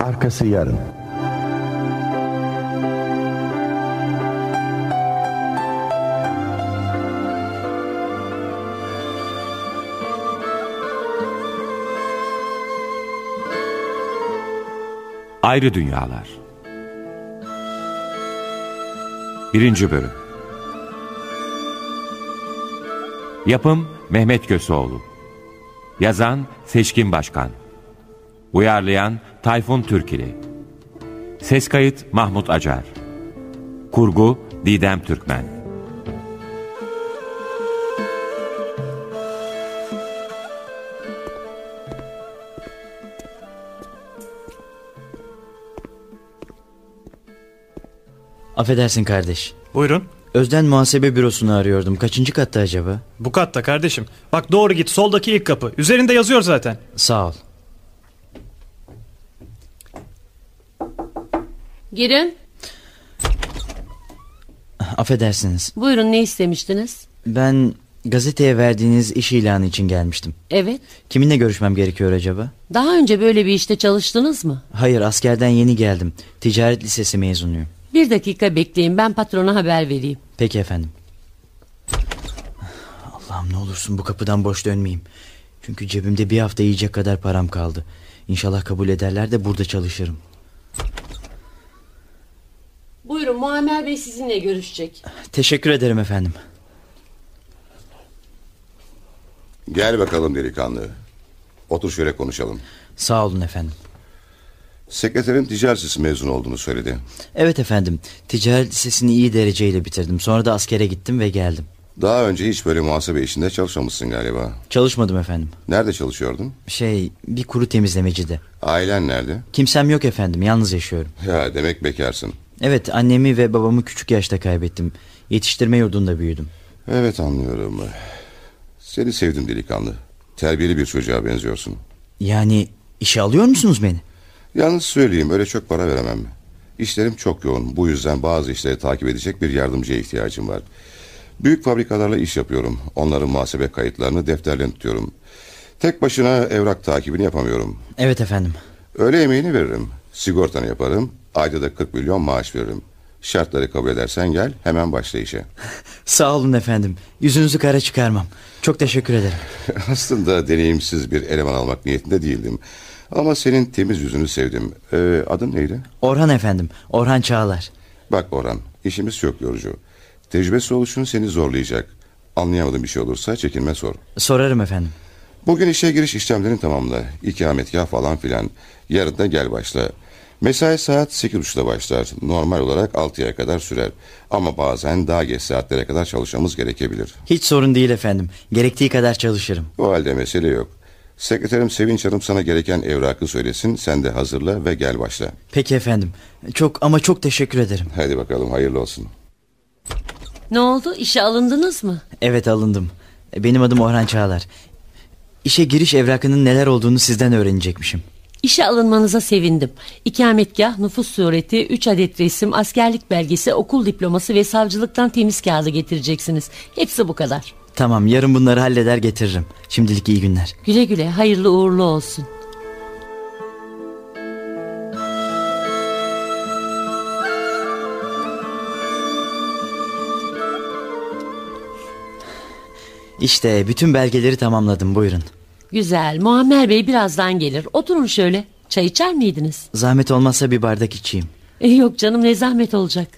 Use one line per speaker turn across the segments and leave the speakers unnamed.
Arkası yarın.
Ayrı Dünyalar 1. Bölüm Yapım Mehmet Köseoğlu Yazan Seçkin Başkan Uyarlayan Tayfun Türkili Ses kayıt Mahmut Acar Kurgu Didem Türkmen
Affedersin kardeş.
Buyurun.
Özden muhasebe bürosunu arıyordum. Kaçıncı katta acaba?
Bu katta kardeşim. Bak doğru git soldaki ilk kapı. Üzerinde yazıyor zaten.
Sağ ol.
Girin.
Affedersiniz.
Buyurun ne istemiştiniz?
Ben gazeteye verdiğiniz iş ilanı için gelmiştim.
Evet.
Kiminle görüşmem gerekiyor acaba?
Daha önce böyle bir işte çalıştınız mı?
Hayır askerden yeni geldim. Ticaret lisesi mezunuyum.
Bir dakika bekleyin ben patrona haber vereyim.
Peki efendim. Allah'ım ne olursun bu kapıdan boş dönmeyeyim. Çünkü cebimde bir hafta yiyecek kadar param kaldı. İnşallah kabul ederler de burada çalışırım.
Buyurun Muammer Bey sizinle görüşecek.
Teşekkür ederim efendim.
Gel bakalım delikanlı. Otur şöyle konuşalım.
Sağ olun efendim.
Sekreterin ticaret lisesi mezun olduğunu söyledi.
Evet efendim. Ticaret lisesini iyi dereceyle bitirdim. Sonra da askere gittim ve geldim.
Daha önce hiç böyle muhasebe işinde çalışmamışsın galiba.
Çalışmadım efendim.
Nerede çalışıyordun?
Şey bir kuru temizlemecide.
Ailen nerede?
Kimsem yok efendim. Yalnız yaşıyorum.
Ya demek bekarsın.
Evet annemi ve babamı küçük yaşta kaybettim. Yetiştirme yurdunda büyüdüm.
Evet anlıyorum. Seni sevdim delikanlı. Terbiyeli bir çocuğa benziyorsun.
Yani işe alıyor musunuz beni?
Yalnız söyleyeyim öyle çok para veremem. İşlerim çok yoğun. Bu yüzden bazı işleri takip edecek bir yardımcıya ihtiyacım var. Büyük fabrikalarla iş yapıyorum. Onların muhasebe kayıtlarını defterlerine tutuyorum. Tek başına evrak takibini yapamıyorum.
Evet efendim.
Öğle yemeğini veririm. Sigortanı yaparım. Ayda da 40 milyon maaş veririm. Şartları kabul edersen gel hemen başla işe.
Sağ olun efendim. Yüzünüzü kara çıkarmam. Çok teşekkür ederim.
Aslında deneyimsiz bir eleman almak niyetinde değildim. Ama senin temiz yüzünü sevdim. Ee, adın neydi?
Orhan efendim. Orhan Çağlar.
Bak Orhan işimiz çok yorucu. Tecrübesi oluşun seni zorlayacak. Anlayamadığın bir şey olursa çekinme sor.
Sorarım efendim.
Bugün işe giriş işlemlerini tamamla. İkametgah falan filan. Yarın da gel başla. Mesai saat 8.30'da başlar. Normal olarak 6'ya kadar sürer. Ama bazen daha geç saatlere kadar çalışmamız gerekebilir.
Hiç sorun değil efendim. Gerektiği kadar çalışırım.
O halde mesele yok. Sekreterim Sevinç Hanım sana gereken evrakı söylesin. Sen de hazırla ve gel başla.
Peki efendim. Çok ama çok teşekkür ederim.
Hadi bakalım hayırlı olsun.
Ne oldu işe alındınız mı?
Evet alındım. Benim adım Orhan Çağlar. İşe giriş evrakının neler olduğunu sizden öğrenecekmişim.
İşe alınmanıza sevindim. İkametgah, nüfus sureti, 3 adet resim, askerlik belgesi, okul diploması ve savcılıktan temiz kağıdı getireceksiniz. Hepsi bu kadar.
Tamam yarın bunları halleder getiririm. Şimdilik iyi günler.
Güle güle hayırlı uğurlu olsun.
İşte bütün belgeleri tamamladım buyurun.
Güzel Muammer Bey birazdan gelir. Oturun şöyle. Çay içer miydiniz?
Zahmet olmazsa bir bardak içeyim.
E, yok canım ne zahmet olacak.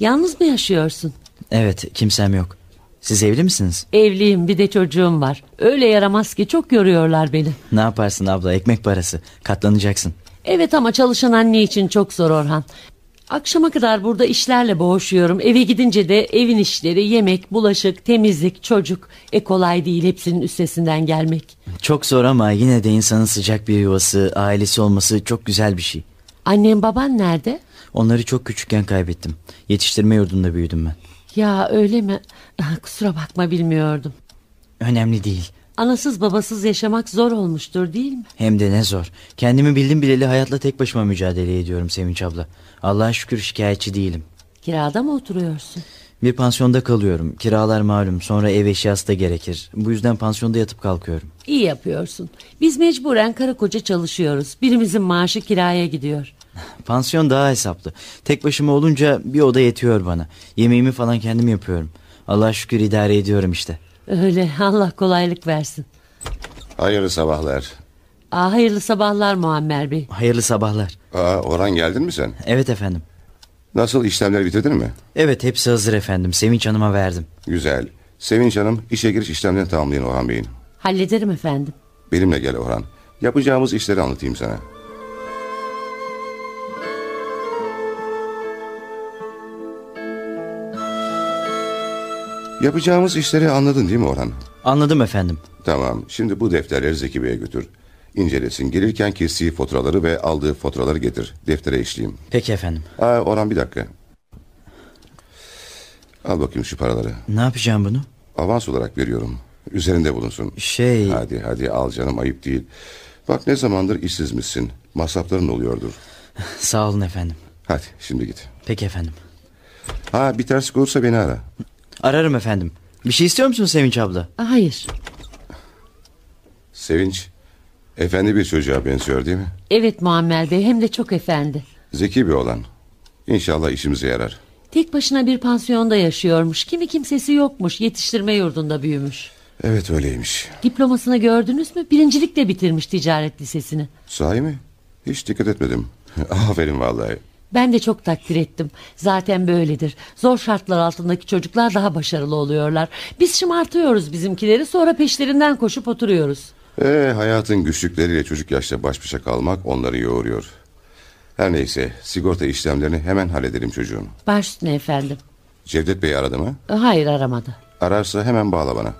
Yalnız mı yaşıyorsun?
Evet kimsem yok. Siz evli misiniz?
Evliyim bir de çocuğum var. Öyle yaramaz ki çok yoruyorlar beni.
Ne yaparsın abla ekmek parası. Katlanacaksın.
Evet ama çalışan anne için çok zor Orhan. Akşama kadar burada işlerle boğuşuyorum. Eve gidince de evin işleri, yemek, bulaşık, temizlik, çocuk. E kolay değil hepsinin üstesinden gelmek.
Çok zor ama yine de insanın sıcak bir yuvası, ailesi olması çok güzel bir şey.
Annem baban nerede?
Onları çok küçükken kaybettim. Yetiştirme yurdunda büyüdüm ben.
Ya öyle mi? Ah, Kusura bakma bilmiyordum.
Önemli değil.
Anasız babasız yaşamak zor olmuştur değil mi?
Hem de ne zor. Kendimi bildim bileli hayatla tek başıma mücadele ediyorum Sevinç abla. Allah'a şükür şikayetçi değilim.
Kirada mı oturuyorsun?
Bir pansiyonda kalıyorum. Kiralar malum. Sonra ev eşyası da gerekir. Bu yüzden pansiyonda yatıp kalkıyorum.
İyi yapıyorsun. Biz mecburen karı koca çalışıyoruz. Birimizin maaşı kiraya gidiyor.
Pansiyon daha hesaplı. Tek başıma olunca bir oda yetiyor bana. Yemeğimi falan kendim yapıyorum. Allah'a şükür idare ediyorum işte.
Öyle Allah kolaylık versin.
Hayırlı sabahlar.
Aa, hayırlı sabahlar Muammer Bey.
Hayırlı sabahlar.
Aa, Orhan geldin mi sen?
Evet efendim.
Nasıl işlemleri bitirdin mi?
Evet hepsi hazır efendim. Sevinç Hanım'a verdim.
Güzel. Sevinç Hanım işe giriş işlemlerini tamamlayın Orhan Bey'in.
Hallederim efendim.
Benimle gel Orhan. Yapacağımız işleri anlatayım sana. Yapacağımız işleri anladın değil mi Orhan?
Anladım efendim.
Tamam. Şimdi bu defterleri Zeki Bey'e götür. İncelesin. Gelirken kestiği faturaları ve aldığı faturaları getir. Deftere işleyeyim.
Peki efendim.
Aa, Orhan bir dakika. Al bakayım şu paraları.
Ne yapacağım bunu?
Avans olarak veriyorum. Üzerinde bulunsun.
Şey
Hadi hadi al canım ayıp değil. Bak ne zamandır işsiz misin? Masrafların oluyordur.
sağ olun efendim.
Hadi şimdi git.
Peki efendim.
Ha bir terslik olursa beni ara.
Ararım efendim. Bir şey istiyor musun Sevinç abla?
Hayır.
Sevinç. Efendi bir çocuğa benziyor değil mi?
Evet Muammer Bey hem de çok efendi.
Zeki bir olan. İnşallah işimize yarar.
Tek başına bir pansiyonda yaşıyormuş. Kimi kimsesi yokmuş. Yetiştirme yurdunda büyümüş.
Evet öyleymiş.
Diplomasını gördünüz mü? Birincilikle bitirmiş ticaret lisesini.
Sahi mi? Hiç dikkat etmedim. Aferin vallahi.
Ben de çok takdir ettim. Zaten böyledir. Zor şartlar altındaki çocuklar daha başarılı oluyorlar. Biz şımartıyoruz bizimkileri sonra peşlerinden koşup oturuyoruz.
Ee, hayatın güçlükleriyle çocuk yaşta baş başa kalmak onları yoğuruyor. Her neyse sigorta işlemlerini hemen halledelim çocuğun.
Baş üstüne efendim.
Cevdet Bey aradı mı?
E, Hayır aramadı.
Ararsa hemen bağla bana.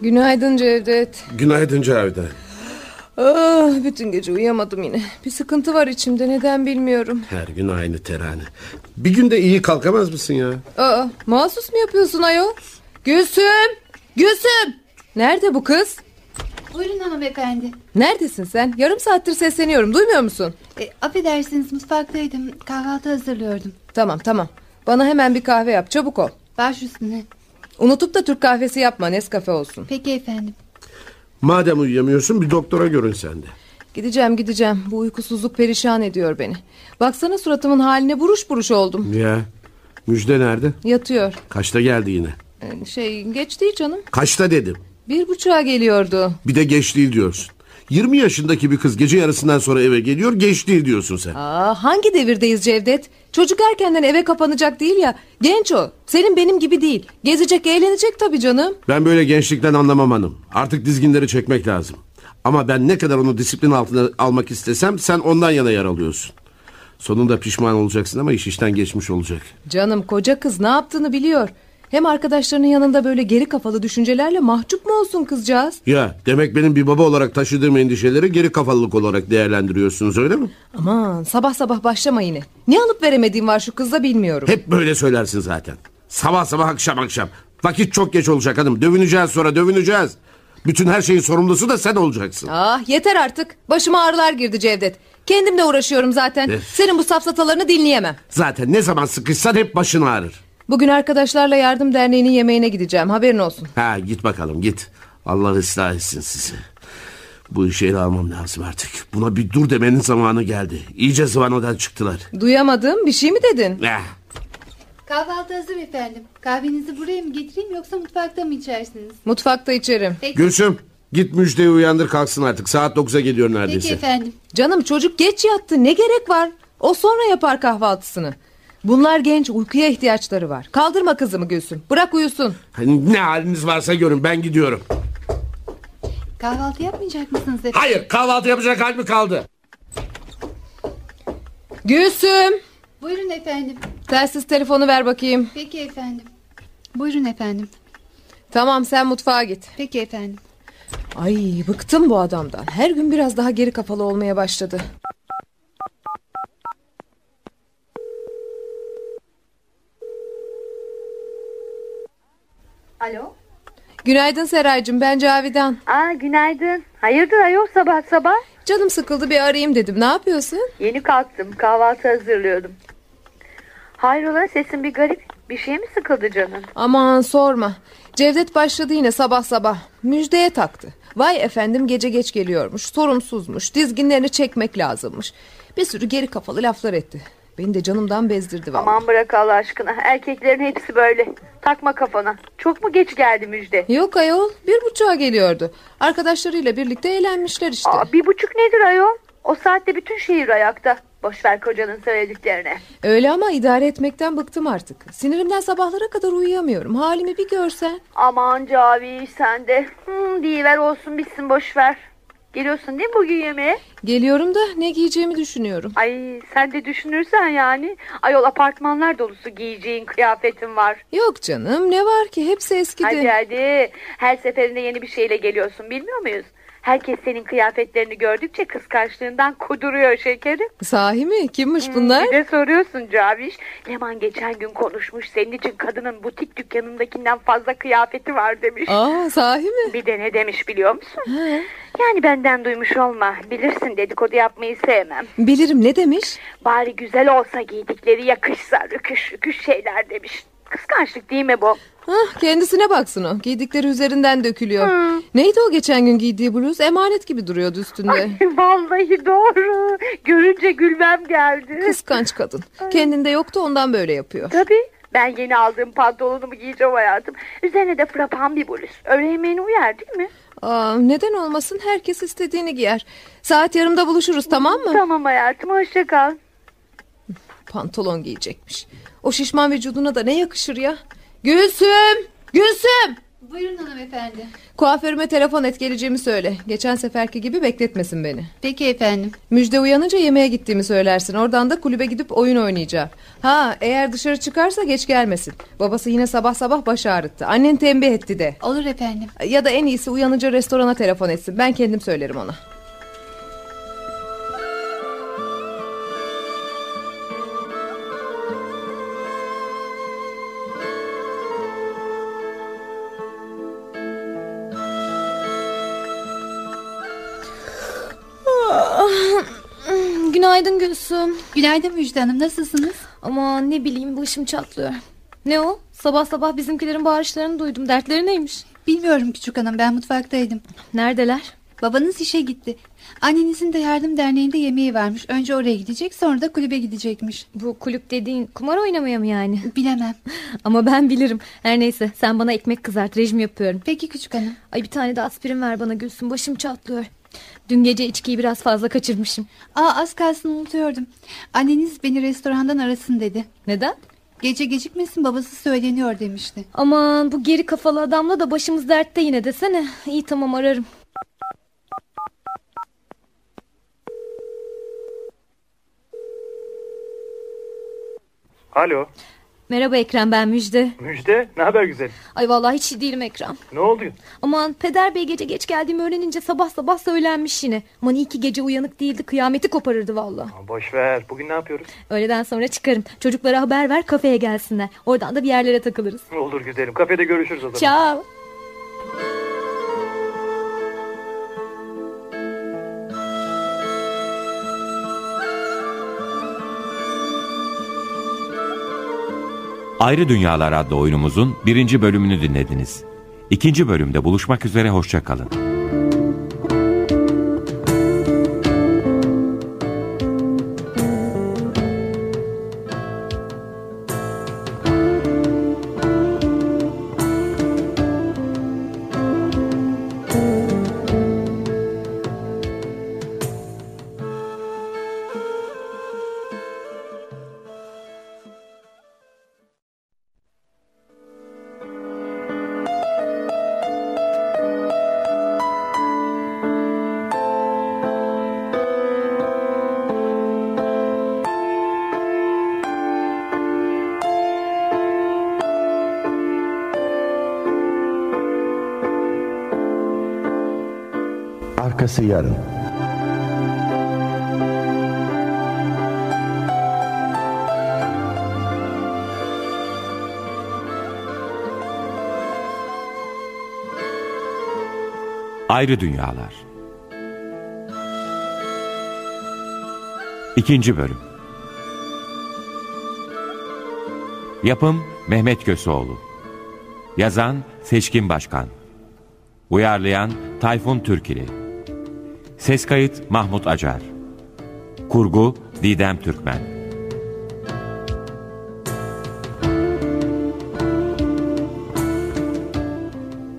Günaydın Cevdet.
Günaydın Cavidan.
Ah, bütün gece uyuyamadım yine. Bir sıkıntı var içimde neden bilmiyorum.
Her gün aynı terane. Bir gün de iyi kalkamaz mısın ya?
Aa, mahsus mu yapıyorsun ayol? Gülsüm! Gülsüm! Nerede bu kız?
Buyurun hanımefendi.
Neredesin sen? Yarım saattir sesleniyorum duymuyor musun?
E, affedersiniz mutfaktaydım. Kahvaltı hazırlıyordum.
Tamam tamam. Bana hemen bir kahve yap çabuk ol.
Baş üstüne.
Unutup da Türk kahvesi yapma Nescafe olsun.
Peki efendim.
Madem uyuyamıyorsun bir doktora görün sen de.
Gideceğim gideceğim. Bu uykusuzluk perişan ediyor beni. Baksana suratımın haline buruş buruş oldum.
Ya müjde nerede?
Yatıyor.
Kaçta geldi yine?
Ee, Şey geç değil canım.
Kaçta dedim.
Bir buçuğa geliyordu.
Bir de geç değil diyorsun. 20 yaşındaki bir kız gece yarısından sonra eve geliyor geç değil diyorsun sen.
Aa, hangi devirdeyiz Cevdet? Çocuk erkenden eve kapanacak değil ya. Genç o. Senin benim gibi değil. Gezecek, eğlenecek tabii canım.
Ben böyle gençlikten anlamam hanım. Artık dizginleri çekmek lazım. Ama ben ne kadar onu disiplin altına almak istesem sen ondan yana yer alıyorsun. Sonunda pişman olacaksın ama iş işten geçmiş olacak.
Canım koca kız ne yaptığını biliyor. Hem arkadaşlarının yanında böyle geri kafalı düşüncelerle mahcup mu olsun kızcağız?
Ya demek benim bir baba olarak taşıdığım endişeleri geri kafalılık olarak değerlendiriyorsunuz öyle mi?
Aman sabah sabah başlama yine. Ne alıp veremediğim var şu kızla bilmiyorum.
Hep böyle söylersin zaten. Sabah sabah akşam akşam. Vakit çok geç olacak hanım. Dövüneceğiz sonra dövüneceğiz. Bütün her şeyin sorumlusu da sen olacaksın.
Ah yeter artık. Başıma ağrılar girdi Cevdet. Kendimle uğraşıyorum zaten.
Eh.
Senin bu safsatalarını dinleyemem.
Zaten ne zaman sıkışsan hep başın ağrır.
Bugün arkadaşlarla yardım derneğinin yemeğine gideceğim. Haberin olsun.
Ha git bakalım git. Allah ıslah etsin sizi. Bu işi ele almam lazım artık. Buna bir dur demenin zamanı geldi. İyice zıvanadan çıktılar.
Duyamadım. Bir şey mi dedin?
Eh,
Kahvaltı hazır efendim. Kahvenizi buraya mı getireyim yoksa mutfakta mı içersiniz?
Mutfakta içerim.
Peki,
Gülsüm git müjdeyi uyandır kalksın artık. Saat 9'a geliyor neredeyse.
peki efendim.
Canım çocuk geç yattı ne gerek var? O sonra yapar kahvaltısını. Bunlar genç uykuya ihtiyaçları var. Kaldırma kızımı Gülsüm. Bırak uyusun.
Hani ne haliniz varsa görün ben gidiyorum.
Kahvaltı yapmayacak mısınız e- efendim?
Hayır kahvaltı yapacak hal mi kaldı?
Gülsüm.
Buyurun efendim.
Telsiz telefonu ver bakayım.
Peki efendim. Buyurun efendim.
Tamam sen mutfağa git.
Peki efendim.
Ay bıktım bu adamdan. Her gün biraz daha geri kafalı olmaya başladı.
Alo.
Günaydın Seraycığım ben Cavidan.
Aa günaydın.
Hayırdır ayol sabah sabah?
Canım sıkıldı bir arayayım dedim. Ne yapıyorsun?
Yeni kalktım kahvaltı hazırlıyordum. Hayrola sesin bir garip. Bir şey mi sıkıldı canım?
Aman sorma. Cevdet başladı yine sabah sabah. Müjdeye taktı. Vay efendim gece geç geliyormuş. Sorumsuzmuş. Dizginlerini çekmek lazımmış. Bir sürü geri kafalı laflar etti. Beni de canımdan bezdirdi vallahi.
Aman bırak Allah aşkına. Erkeklerin hepsi böyle. Takma kafana. Çok mu geç geldi müjde?
Yok ayol bir buçuğa geliyordu. Arkadaşlarıyla birlikte eğlenmişler işte.
Aa, bir buçuk nedir ayol? O saatte bütün şehir ayakta. Boş ver kocanın söylediklerine.
Öyle ama idare etmekten bıktım artık. Sinirimden sabahlara kadar uyuyamıyorum. Halimi bir görsen.
Aman Cavi sen de. Hmm, diyiver olsun bitsin boş ver. Geliyorsun değil mi bugün yemeğe?
Geliyorum da ne giyeceğimi düşünüyorum.
Ay sen de düşünürsen yani. Ayol apartmanlar dolusu giyeceğin kıyafetin var.
Yok canım ne var ki hepsi eskidi.
Hadi hadi. Her seferinde yeni bir şeyle geliyorsun bilmiyor muyuz? Herkes senin kıyafetlerini gördükçe kıskançlığından kuduruyor şekerim.
Sahi mi? Kimmiş bunlar?
Hmm, Bir de soruyorsun Caviş. Leman geçen gün konuşmuş senin için kadının butik dükkanındakinden fazla kıyafeti var demiş.
Aa sahi mi?
Bir de ne demiş biliyor musun? Yani benden duymuş olma. Bilirsin dedikodu yapmayı sevmem.
Bilirim ne demiş?
Bari güzel olsa giydikleri yakışsa rüküş rüküş şeyler demiş. Kıskançlık değil mi bu?
Hah, kendisine baksın o. Giydikleri üzerinden dökülüyor.
Hmm.
Neydi o geçen gün giydiği bluz? Emanet gibi duruyordu üstünde.
Ay, vallahi doğru. Görünce gülmem geldi.
Kıskanç kadın. Kendinde yoktu ondan böyle yapıyor.
Tabii. Ben yeni aldığım pantolonumu giyeceğim hayatım. Üzerine de frapan bir bluz. Öğle yemeğine uyar değil mi?
Aa, neden olmasın herkes istediğini giyer. Saat yarımda buluşuruz tamam mı?
Tamam hayatım hoşça kal.
Pantolon giyecekmiş. O şişman vücuduna da ne yakışır ya? Gülsüm! Gülsüm!
Buyurun hanımefendi.
Kuaförüme telefon et geleceğimi söyle. Geçen seferki gibi bekletmesin beni.
Peki efendim.
Müjde uyanınca yemeğe gittiğimi söylersin. Oradan da kulübe gidip oyun oynayacağım. Ha eğer dışarı çıkarsa geç gelmesin. Babası yine sabah sabah baş ağrıttı. Annen tembih etti de.
Olur efendim.
Ya da en iyisi uyanınca restorana telefon etsin. Ben kendim söylerim ona.
Ah, Günaydın Gülsüm.
Günaydın Müjde Hanım nasılsınız?
Aman ne bileyim başım çatlıyor. Ne o? Sabah sabah bizimkilerin bağırışlarını duydum. Dertleri neymiş?
Bilmiyorum küçük hanım ben mutfaktaydım.
Neredeler?
Babanız işe gitti. Annenizin de yardım derneğinde yemeği varmış. Önce oraya gidecek sonra da kulübe gidecekmiş.
Bu kulüp dediğin kumar oynamaya mı yani?
Bilemem.
Ama ben bilirim. Her neyse sen bana ekmek kızart rejim yapıyorum.
Peki küçük hanım.
Ay bir tane de aspirin ver bana Gülsüm. Başım çatlıyor. Dün gece içkiyi biraz fazla kaçırmışım.
Aa az kalsın unutuyordum. Anneniz beni restorandan arasın dedi.
Neden?
Gece gecikmesin babası söyleniyor demişti.
Aman bu geri kafalı adamla da başımız dertte yine desene. İyi tamam ararım.
Alo.
Merhaba Ekrem ben Müjde.
Müjde. Ne haber güzel?
Ay vallahi hiç iyi değilim Ekrem.
Ne oldu?
Aman peder bey gece geç geldiğimi öğrenince sabah sabah söylenmiş yine. Aman iyi ki gece uyanık değildi kıyameti koparırdı valla.
Aa, Boş ver. Bugün ne yapıyoruz?
Öğleden sonra çıkarım. Çocuklara haber ver kafeye gelsinler. Oradan da bir yerlere takılırız.
Olur güzelim. Kafede görüşürüz o zaman.
Ciao.
Ayrı Dünyalar adlı oyunumuzun birinci bölümünü dinlediniz. İkinci bölümde buluşmak üzere hoşça kalın.
Arkası yarın.
Ayrı Dünyalar İkinci bölüm. Yapım Mehmet Köseoğlu. Yazan Seçkin Başkan. Uyarlayan Tayfun Türkili. Ses kayıt Mahmut Acar. Kurgu Didem Türkmen.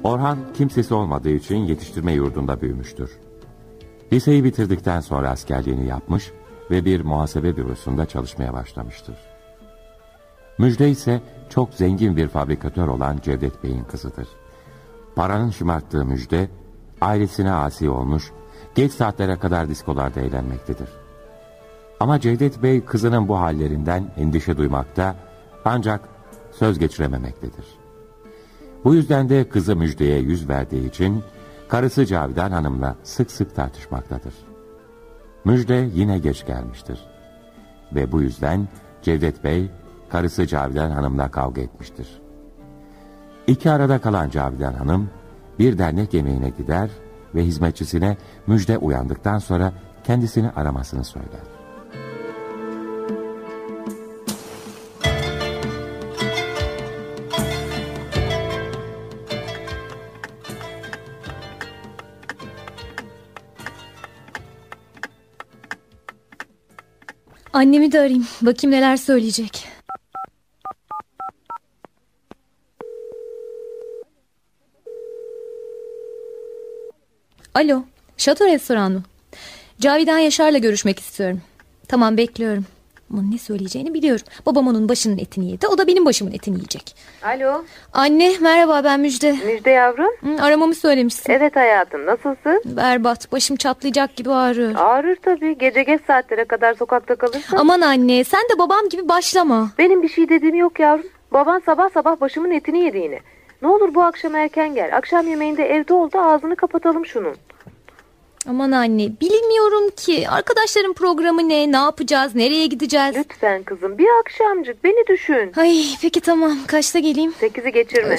Orhan kimsesi olmadığı için yetiştirme yurdunda büyümüştür. Liseyi bitirdikten sonra askerliğini yapmış ve bir muhasebe bürosunda çalışmaya başlamıştır. Müjde ise çok zengin bir fabrikatör olan Cevdet Bey'in kızıdır. Paranın şımarttığı Müjde, ailesine asi olmuş, geç saatlere kadar diskolarda eğlenmektedir. Ama Cevdet Bey kızının bu hallerinden endişe duymakta ancak söz geçirememektedir. Bu yüzden de kızı Müjde'ye yüz verdiği için karısı Cavidan Hanım'la sık sık tartışmaktadır. Müjde yine geç gelmiştir. Ve bu yüzden Cevdet Bey karısı Cavidan Hanım'la kavga etmiştir. İki arada kalan Cavidan Hanım bir dernek yemeğine gider ve hizmetçisine Müjde uyandıktan sonra kendisini aramasını söyler.
Annemi de arayayım. Bakayım neler söyleyecek. Alo. Şato restoran mı? Cavidan Yaşar'la görüşmek istiyorum. Tamam bekliyorum. Ama ne söyleyeceğini biliyorum. Babam onun başının etini yedi. O da benim başımın etini yiyecek.
Alo.
Anne merhaba ben Müjde.
Müjde yavrum.
aramamı söylemişsin.
Evet hayatım nasılsın?
Berbat. Başım çatlayacak gibi ağrıyor.
Ağrır tabii. Gece geç saatlere kadar sokakta kalırsın.
Aman anne sen de babam gibi başlama.
Benim bir şey dediğim yok yavrum. Baban sabah sabah başımın etini yedi yine. Ne olur bu akşam erken gel. Akşam yemeğinde evde ol da ağzını kapatalım şunun.
Aman anne bilmiyorum ki arkadaşların programı ne ne yapacağız nereye gideceğiz.
Lütfen kızım bir akşamcık beni düşün.
Ay peki tamam kaçta geleyim?
Sekizi geçirme.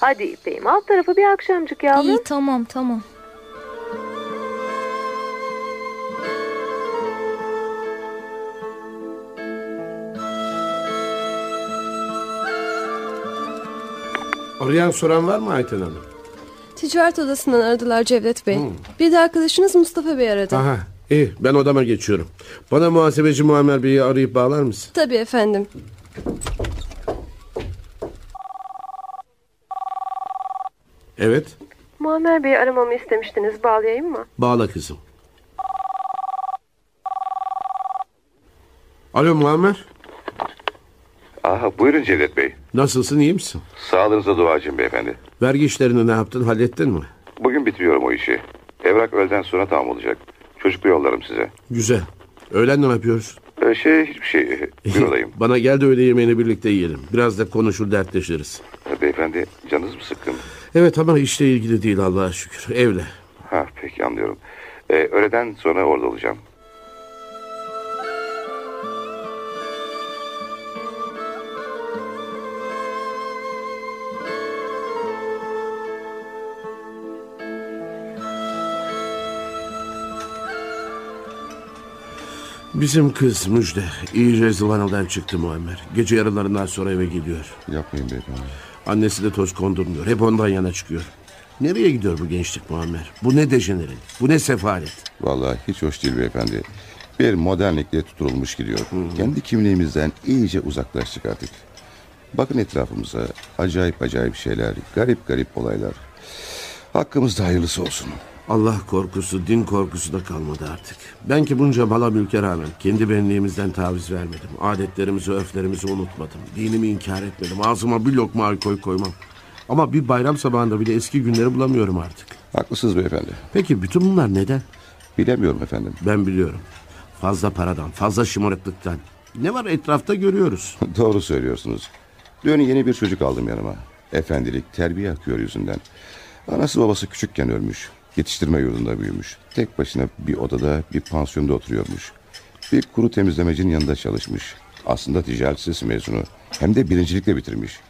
Hadi İpek'im alt tarafı bir akşamcık yavrum.
İyi tamam tamam.
Arayan soran var mı Ayten Hanım?
Ticaret odasından aradılar Cevdet Bey.
Hmm. Ah.
Bir de arkadaşınız Mustafa Bey aradı.
Aha iyi ben odama geçiyorum. Bana muhasebeci Muammer Bey'i arayıp bağlar mısın?
Tabii efendim.
Evet
Muammer Bey'i aramamı istemiştiniz. Bağlayayım mı?
bağla kızım. Alo Muammer
Aha buyurun Cevdet Bey.
nasılsın iyi misin?
Sağlığınıza duacım beyefendi.
Vergi işlerini ne yaptın hallettin mi?
Bugün bitiriyorum o işi. Evrak öğleden sonra tamam olacak. Çocuklu yollarım size.
Güzel. Öğlen ne yapıyoruz?
Ee, şey hiçbir şey. Bürodayım.
Bana gel de öğle yemeğini birlikte yiyelim. Biraz da konuşur dertleşiriz.
Ee, beyefendi canınız mı sıkkın?
Evet ama işle ilgili değil Allah'a şükür. Evle.
Ha peki anlıyorum. Ee, öğleden sonra orada olacağım.
Bizim kız Müjde iyice zıvanadan çıktı Muammer. Gece yarılarından sonra eve gidiyor.
Yapmayın beyefendi.
Annesi de toz kondurmuyor. Hep ondan yana çıkıyor. Nereye gidiyor bu gençlik Muammer? Bu ne dejenere? Bu ne sefalet?
Vallahi hiç hoş değil beyefendi. Bir modernlikle tutulmuş gidiyor. Kendi kimliğimizden iyice uzaklaştık artık. Bakın etrafımıza. Acayip acayip şeyler. Garip garip olaylar. Hakkımızda hayırlısı olsun.
Allah korkusu, din korkusu da kalmadı artık. Ben ki bunca bala mülke rağmen kendi benliğimizden taviz vermedim. Adetlerimizi, örflerimizi unutmadım. Dinimi inkar etmedim. Ağzıma bir lokma alkol koymam. Ama bir bayram sabahında bile eski günleri bulamıyorum artık.
Haklısınız beyefendi.
Peki bütün bunlar neden?
Bilemiyorum efendim.
Ben biliyorum. Fazla paradan, fazla şımarıklıktan. Ne var etrafta görüyoruz.
Doğru söylüyorsunuz. Dün yeni bir çocuk aldım yanıma. Efendilik, terbiye akıyor yüzünden. Anası babası küçükken ölmüş. Yetiştirme yurdunda büyümüş. Tek başına bir odada, bir pansiyonda oturuyormuş. Bir kuru temizlemecinin yanında çalışmış. Aslında ticaret lisesi mezunu. Hem de birincilikle bitirmiş.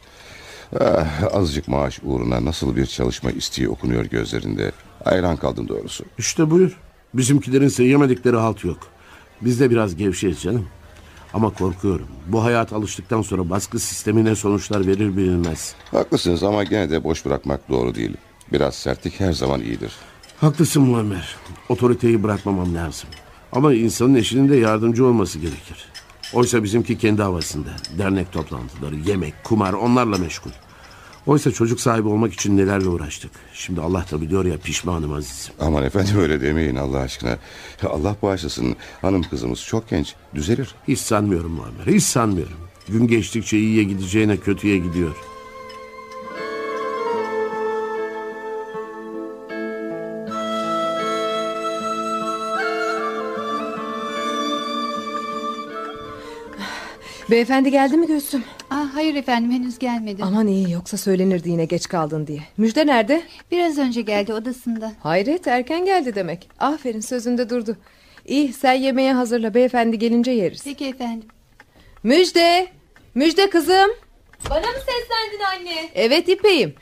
Ah, azıcık maaş uğruna nasıl bir çalışma isteği okunuyor gözlerinde. Hayran kaldım doğrusu.
İşte buyur. Bizimkilerin ise yemedikleri halt yok. Biz de biraz gevşeyiz canım. Ama korkuyorum. Bu hayat alıştıktan sonra baskı sistemi ne sonuçlar verir bilinmez.
Haklısınız ama gene de boş bırakmak doğru değil. Biraz sertlik her zaman iyidir.
Haklısın Muammer. Otoriteyi bırakmamam lazım. Ama insanın eşinin de yardımcı olması gerekir. Oysa bizimki kendi havasında. Dernek toplantıları, yemek, kumar onlarla meşgul. Oysa çocuk sahibi olmak için nelerle uğraştık. Şimdi Allah da biliyor ya pişmanım azizim.
Aman efendim öyle demeyin Allah aşkına. Allah bağışlasın. Hanım kızımız çok genç. Düzelir.
Hiç sanmıyorum Muammer. Hiç sanmıyorum. Gün geçtikçe iyiye gideceğine kötüye gidiyor.
Beyefendi geldi mi Gülsüm?
Aa, Ah, hayır efendim henüz gelmedi.
Aman iyi yoksa söylenirdi yine geç kaldın diye. Müjde nerede?
Biraz önce geldi odasında.
Hayret erken geldi demek. Aferin sözünde durdu. İyi sen yemeğe hazırla beyefendi gelince yeriz.
Peki efendim.
Müjde! Müjde kızım!
Bana mı seslendin anne?
Evet İpeyim.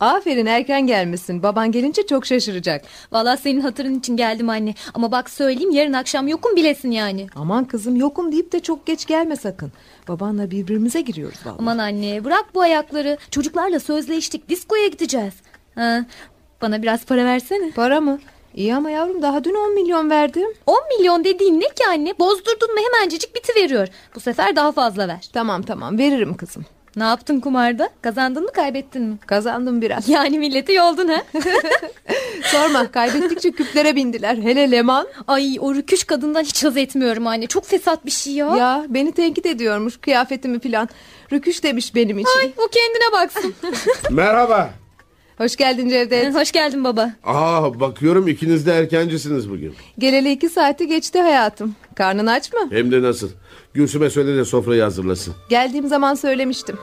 Aferin erken gelmişsin. Baban gelince çok şaşıracak.
Valla senin hatırın için geldim anne. Ama bak söyleyeyim yarın akşam yokum bilesin yani.
Aman kızım yokum deyip de çok geç gelme sakın. Babanla birbirimize giriyoruz vallahi.
Aman anne bırak bu ayakları. Çocuklarla sözleştik diskoya gideceğiz. Ha, bana biraz para versene.
Para mı? İyi ama yavrum daha dün 10 milyon verdim.
10 milyon dediğin ne ki anne? Bozdurdun mu hemencecik biti veriyor. Bu sefer daha fazla ver.
Tamam tamam veririm kızım.
Ne yaptın kumarda? Kazandın mı kaybettin mi?
Kazandım biraz.
Yani milleti yoldun ha?
Sorma kaybettikçe küplere bindiler. Hele Leman.
Ay o rüküş kadından hiç haz etmiyorum anne. Çok fesat bir şey ya.
Ya beni tenkit ediyormuş kıyafetimi filan. Rüküş demiş benim için.
Ay o kendine baksın.
Merhaba.
Hoş geldin Cevdet.
Hoş geldin baba.
Aa bakıyorum ikiniz de erkencisiniz bugün.
Geleli iki saati geçti hayatım. Karnın aç mı?
Hem de nasıl. Gülsüm'e söyle de sofrayı hazırlasın.
Geldiğim zaman söylemiştim.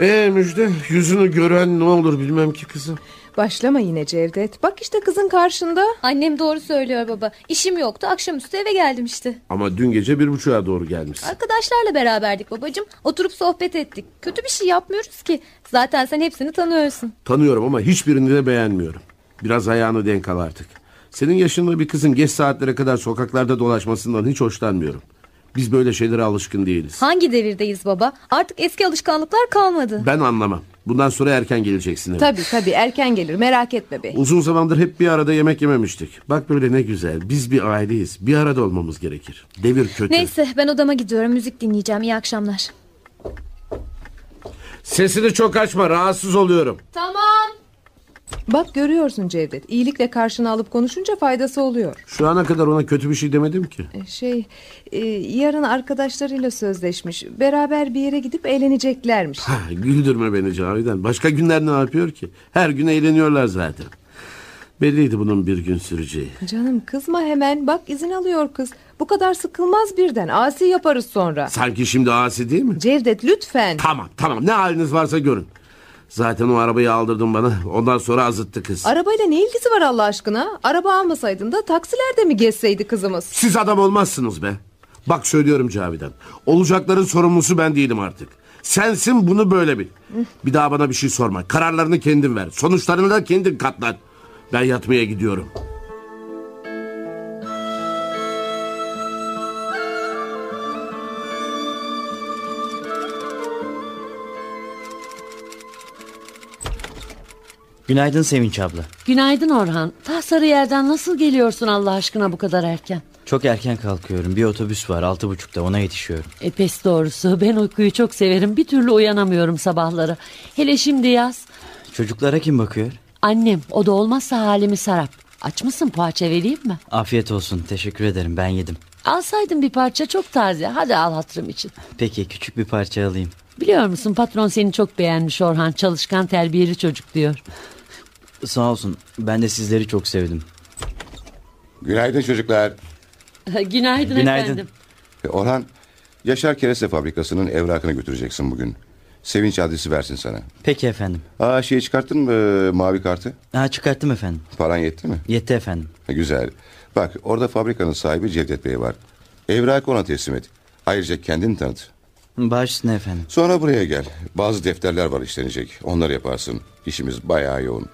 Ee Müjde yüzünü gören ne olur bilmem ki kızım.
Başlama yine Cevdet. Bak işte kızın karşında.
Annem doğru söylüyor baba. İşim yoktu. Akşamüstü eve geldim işte.
Ama dün gece bir buçuğa doğru gelmişsin.
Arkadaşlarla beraberdik babacığım. Oturup sohbet ettik. Kötü bir şey yapmıyoruz ki. Zaten sen hepsini tanıyorsun.
Tanıyorum ama hiçbirini de beğenmiyorum. Biraz ayağını denk al artık. Senin yaşında bir kızın geç saatlere kadar sokaklarda dolaşmasından hiç hoşlanmıyorum. Biz böyle şeylere alışkın değiliz.
Hangi devirdeyiz baba? Artık eski alışkanlıklar kalmadı.
Ben anlamam. Bundan sonra erken geleceksin eve.
Tabii tabii erken gelir merak etme bey.
Uzun zamandır hep bir arada yemek yememiştik. Bak böyle ne güzel. Biz bir aileyiz. Bir arada olmamız gerekir. Devir kötü.
Neyse ben odama gidiyorum. Müzik dinleyeceğim. İyi akşamlar.
Sesini çok açma. Rahatsız oluyorum.
Tamam.
Bak görüyorsun Cevdet. İyilikle karşına alıp konuşunca faydası oluyor.
Şu ana kadar ona kötü bir şey demedim ki.
E, Şey e, yarın arkadaşlarıyla sözleşmiş. Beraber bir yere gidip eğleneceklermiş.
Ha, güldürme beni Cavidan. Başka günler ne yapıyor ki? Her gün eğleniyorlar zaten. Belliydi bunun bir gün süreceği.
Canım kızma hemen. Bak izin alıyor kız. Bu kadar sıkılmaz birden. Asi yaparız sonra.
Sanki şimdi asi değil mi?
Cevdet lütfen.
Tamam tamam ne haliniz varsa görün. Zaten o arabayı aldırdın bana. Ondan sonra azıttı kız.
Arabayla ne ilgisi var Allah aşkına? Araba almasaydın da taksilerde mi gezseydi kızımız?
Siz adam olmazsınız be. Bak söylüyorum Cavidan. Olacakların sorumlusu ben değilim artık. Sensin bunu böyle bil. Bir daha bana bir şey sorma. Kararlarını kendin ver. Sonuçlarını da kendin katlan. Ben yatmaya gidiyorum.
Günaydın Sevinç abla.
Günaydın Orhan. Ta Sarıyer'den nasıl geliyorsun Allah aşkına bu kadar erken?
Çok erken kalkıyorum. Bir otobüs var altı buçukta ona yetişiyorum.
E pes doğrusu ben uykuyu çok severim. Bir türlü uyanamıyorum sabahları. Hele şimdi yaz.
Çocuklara kim bakıyor?
Annem o da olmazsa halimi sarap. Aç mısın poğaça vereyim mi?
Afiyet olsun teşekkür ederim ben yedim.
Alsaydın bir parça çok taze. Hadi al hatırım için.
Peki küçük bir parça alayım.
Biliyor musun patron seni çok beğenmiş Orhan. Çalışkan terbiyeli çocuk diyor.
Sağ olsun ben de sizleri çok sevdim.
Günaydın çocuklar.
Günaydın,
Günaydın.
efendim.
E, Orhan, Yaşar Kereste Fabrikası'nın evrakını götüreceksin bugün. Sevinç adresi versin sana.
Peki efendim.
Aa şey çıkarttın mı e, mavi kartı?
Ha çıkarttım efendim.
Paran yetti mi?
Yetti efendim.
E, Güzel. Bak orada fabrikanın sahibi Cevdet Bey var. Evrakı ona teslim et. Ayrıca kendini tanıt.
Başüstüne efendim.
Sonra buraya gel. Bazı defterler var işlenecek. Onları yaparsın. İşimiz bayağı yoğun.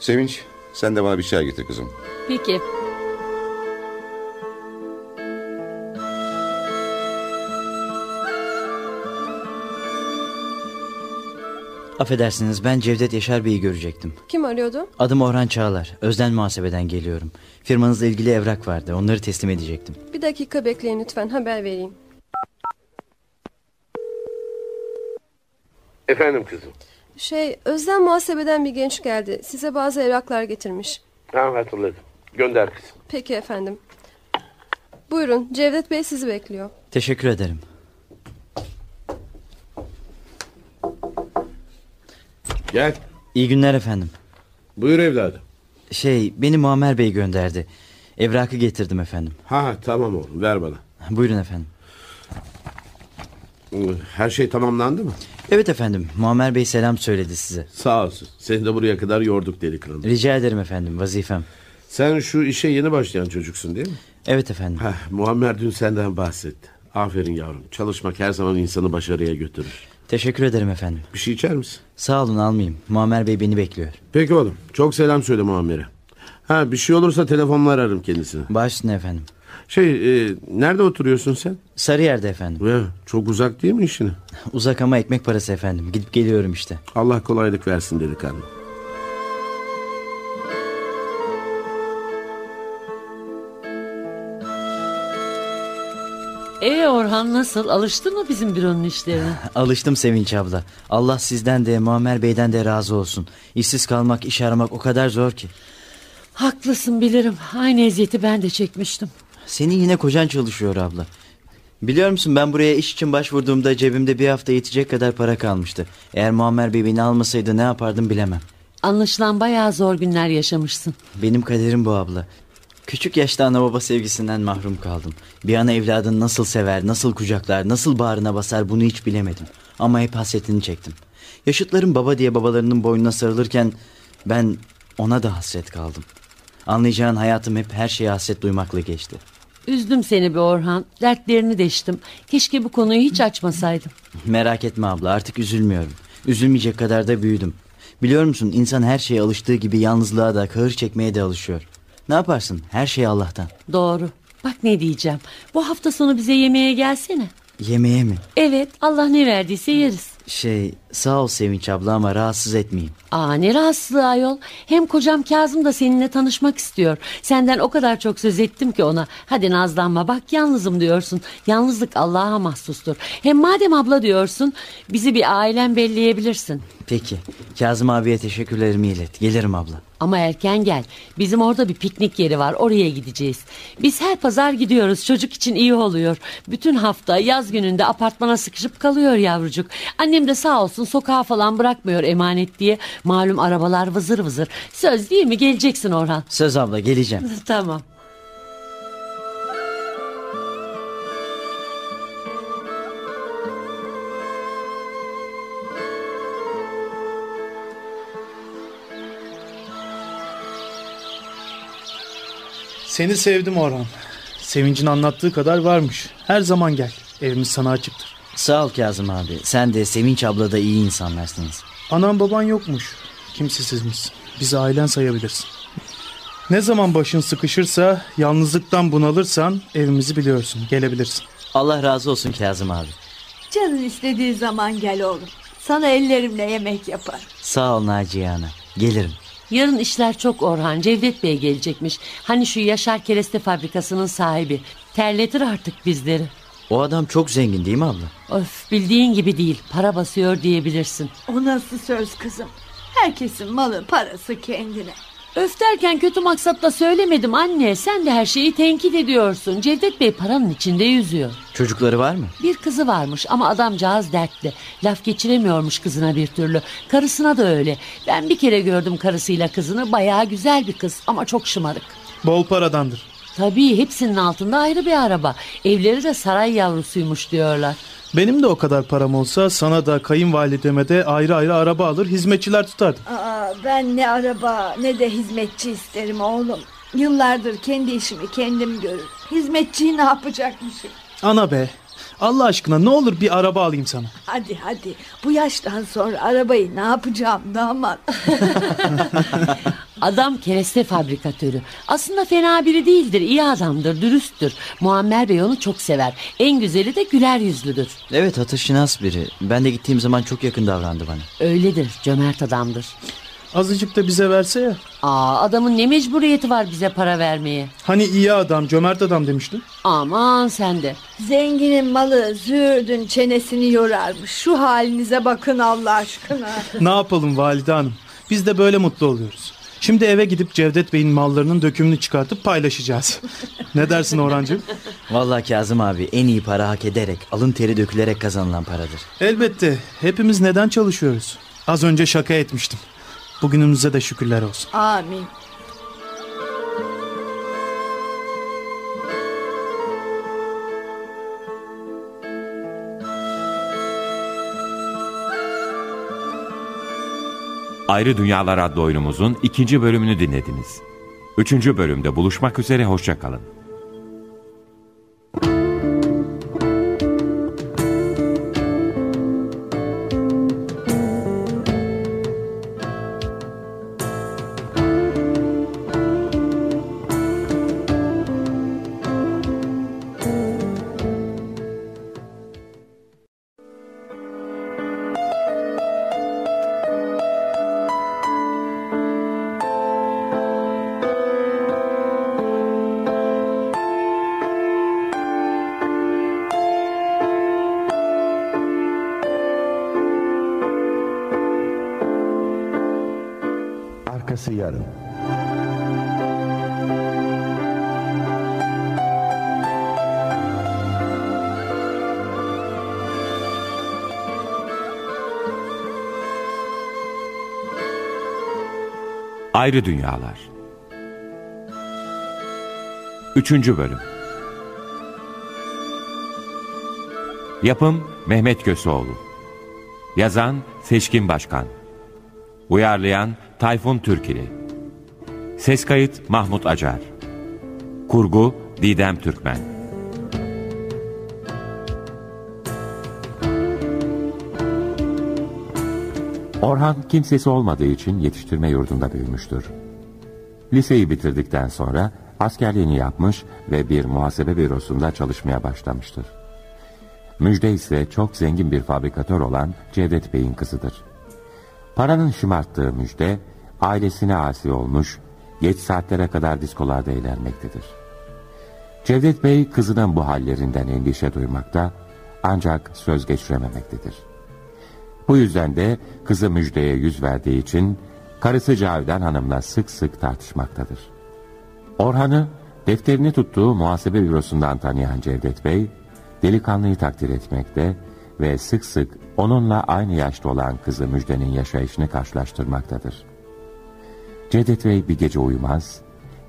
Sevinç sen de bana bir çay getir kızım.
Peki.
Affedersiniz ben Cevdet Yaşar Bey'i görecektim.
Kim arıyordu?
Adım Orhan Çağlar. Özden muhasebeden geliyorum. Firmanızla ilgili evrak vardı. Onları teslim edecektim.
Bir dakika bekleyin lütfen haber vereyim.
Efendim kızım.
Şey Özden muhasebeden bir genç geldi. Size bazı evraklar getirmiş.
Tamam hatırladım. Gönder kızım.
Peki efendim. Buyurun Cevdet Bey sizi bekliyor.
Teşekkür ederim.
Gel.
İyi günler efendim.
Buyur evladım.
Şey beni Muammer Bey gönderdi. Evrakı getirdim efendim.
Ha tamam oğlum ver bana.
Buyurun efendim.
Her şey tamamlandı mı?
Evet efendim. Muammer Bey selam söyledi size.
Sağ olsun. Seni de buraya kadar yorduk delikanlı.
Rica ederim efendim vazifem.
Sen şu işe yeni başlayan çocuksun değil mi?
Evet efendim.
Heh, Muammer dün senden bahsetti. Aferin yavrum. Çalışmak her zaman insanı başarıya götürür.
Teşekkür ederim efendim.
Bir şey içer misin?
Sağ olun almayayım. Muammer Bey beni bekliyor.
Peki oğlum. Çok selam söyle Muammer'e. Ha bir şey olursa telefonla ararım kendisini.
Başüstüne efendim.
Şey e, nerede oturuyorsun sen?
Sarıyer'de efendim.
Ve çok uzak değil mi işine?
Uzak ama ekmek parası efendim. Gidip geliyorum işte.
Allah kolaylık versin delikanlı.
E Orhan nasıl? Alıştın mı bizim büronun işlerine?
Alıştım Sevinç abla. Allah sizden de Muammer Bey'den de razı olsun. İşsiz kalmak, iş aramak o kadar zor ki.
Haklısın bilirim. Aynı eziyeti ben de çekmiştim.
Senin yine kocan çalışıyor abla. Biliyor musun ben buraya iş için başvurduğumda cebimde bir hafta yetecek kadar para kalmıştı. Eğer Muammer Bey beni almasaydı ne yapardım bilemem.
Anlaşılan bayağı zor günler yaşamışsın.
Benim kaderim bu abla. Küçük yaşta ana baba sevgisinden mahrum kaldım. Bir ana evladını nasıl sever, nasıl kucaklar, nasıl bağrına basar bunu hiç bilemedim. Ama hep hasretini çektim. Yaşıtlarım baba diye babalarının boynuna sarılırken ben ona da hasret kaldım. Anlayacağın hayatım hep her şeye hasret duymakla geçti.
Üzdüm seni be Orhan. Dertlerini deştim. Keşke bu konuyu hiç açmasaydım.
Merak etme abla artık üzülmüyorum. Üzülmeyecek kadar da büyüdüm. Biliyor musun insan her şeye alıştığı gibi yalnızlığa da kahır çekmeye de alışıyor. Ne yaparsın her şey Allah'tan.
Doğru. Bak ne diyeceğim. Bu hafta sonu bize yemeğe gelsene.
Yemeğe mi?
Evet Allah ne verdiyse yeriz.
Şey sağ ol Sevinç abla ama rahatsız etmeyeyim.
Aa ne rahatsızlığı ayol. Hem kocam Kazım da seninle tanışmak istiyor. Senden o kadar çok söz ettim ki ona. Hadi nazlanma bak yalnızım diyorsun. Yalnızlık Allah'a mahsustur. Hem madem abla diyorsun bizi bir ailen belleyebilirsin.
Peki Kazım abiye teşekkürlerimi ilet. Gelirim abla.
Ama erken gel. Bizim orada bir piknik yeri var. Oraya gideceğiz. Biz her pazar gidiyoruz. Çocuk için iyi oluyor. Bütün hafta yaz gününde apartmana sıkışıp kalıyor yavrucuk. Annem de sağ olsun sokağa falan bırakmıyor emanet diye. Malum arabalar vızır vızır. Söz değil mi? Geleceksin Orhan.
Söz abla geleceğim.
tamam.
Seni sevdim Orhan. Sevincin anlattığı kadar varmış. Her zaman gel. Evimiz sana açıktır.
Sağ ol Kazım abi. Sen de Sevinç abla da iyi insanlarsınız.
Anan baban yokmuş. Kimsesizmiş. Bizi ailen sayabilirsin. Ne zaman başın sıkışırsa, yalnızlıktan bunalırsan evimizi biliyorsun. Gelebilirsin.
Allah razı olsun Kazım abi.
Canın istediği zaman gel oğlum. Sana ellerimle yemek yaparım.
Sağ ol Naciye Ana. Gelirim.
Yarın işler çok Orhan. Cevdet Bey gelecekmiş. Hani şu Yaşar Kereste fabrikasının sahibi. Terletir artık bizleri.
O adam çok zengin değil mi abla?
Öf bildiğin gibi değil. Para basıyor diyebilirsin.
O nasıl söz kızım? Herkesin malı parası kendine.
Öf derken kötü maksatla söylemedim anne. Sen de her şeyi tenkit ediyorsun. Cevdet Bey paranın içinde yüzüyor.
Çocukları var mı?
Bir kızı varmış ama adamcağız dertli. Laf geçiremiyormuş kızına bir türlü. Karısına da öyle. Ben bir kere gördüm karısıyla kızını. Bayağı güzel bir kız ama çok şımarık.
Bol paradandır.
Tabii hepsinin altında ayrı bir araba. Evleri de saray yavrusuymuş diyorlar.
Benim de o kadar param olsa sana da kayınvalideme de ayrı ayrı araba alır hizmetçiler tutardım.
Aa, ben ne araba ne de hizmetçi isterim oğlum. Yıllardır kendi işimi kendim görür. Hizmetçiyi ne yapacakmışım?
Ana be. Allah aşkına ne olur bir araba alayım sana.
Hadi hadi bu yaştan sonra arabayı ne yapacağım damat.
Adam kereste fabrikatörü. Aslında fena biri değildir, iyi adamdır, dürüsttür. Muammer Bey onu çok sever. En güzeli de güler yüzlüdür.
Evet atışınas biri. Ben de gittiğim zaman çok yakın davrandı bana.
Öyledir, cömert adamdır.
Azıcık da bize verse ya.
Aa, adamın ne mecburiyeti var bize para vermeye?
Hani iyi adam, cömert adam demiştin.
Aman sen de.
Zenginin malı züğürdün çenesini yorarmış. Şu halinize bakın Allah aşkına.
Ne yapalım valide hanım? Biz de böyle mutlu oluyoruz. Şimdi eve gidip Cevdet Bey'in mallarının dökümünü çıkartıp paylaşacağız. ne dersin Orhancığım?
Vallahi Kazım abi en iyi para hak ederek, alın teri dökülerek kazanılan paradır.
Elbette. Hepimiz neden çalışıyoruz? Az önce şaka etmiştim. Bugünümüze de şükürler olsun.
Amin.
Ayrı Dünyalar adlı oyunumuzun ikinci bölümünü dinlediniz. Üçüncü bölümde buluşmak üzere hoşçakalın.
Arkası yarın.
Ayrı Dünyalar Üçüncü bölüm Yapım Mehmet Köseoğlu Yazan Seçkin Başkan Uyarlayan Tayfun Türkili Ses kayıt Mahmut Acar Kurgu Didem Türkmen Orhan kimsesi olmadığı için yetiştirme yurdunda büyümüştür. Liseyi bitirdikten sonra askerliğini yapmış ve bir muhasebe bürosunda çalışmaya başlamıştır. Müjde ise çok zengin bir fabrikatör olan Cevdet Bey'in kızıdır. Paranın şımarttığı Müjde, ailesine asi olmuş, geç saatlere kadar diskolarda eğlenmektedir. Cevdet Bey kızının bu hallerinden endişe duymakta ancak söz geçirememektedir. Bu yüzden de kızı Müjde'ye yüz verdiği için karısı Cavidan Hanım'la sık sık tartışmaktadır. Orhan'ı defterini tuttuğu muhasebe bürosundan tanıyan Cevdet Bey, delikanlıyı takdir etmekte ve sık sık onunla aynı yaşta olan kızı Müjde'nin yaşayışını karşılaştırmaktadır. Cevdet Bey bir gece uyumaz,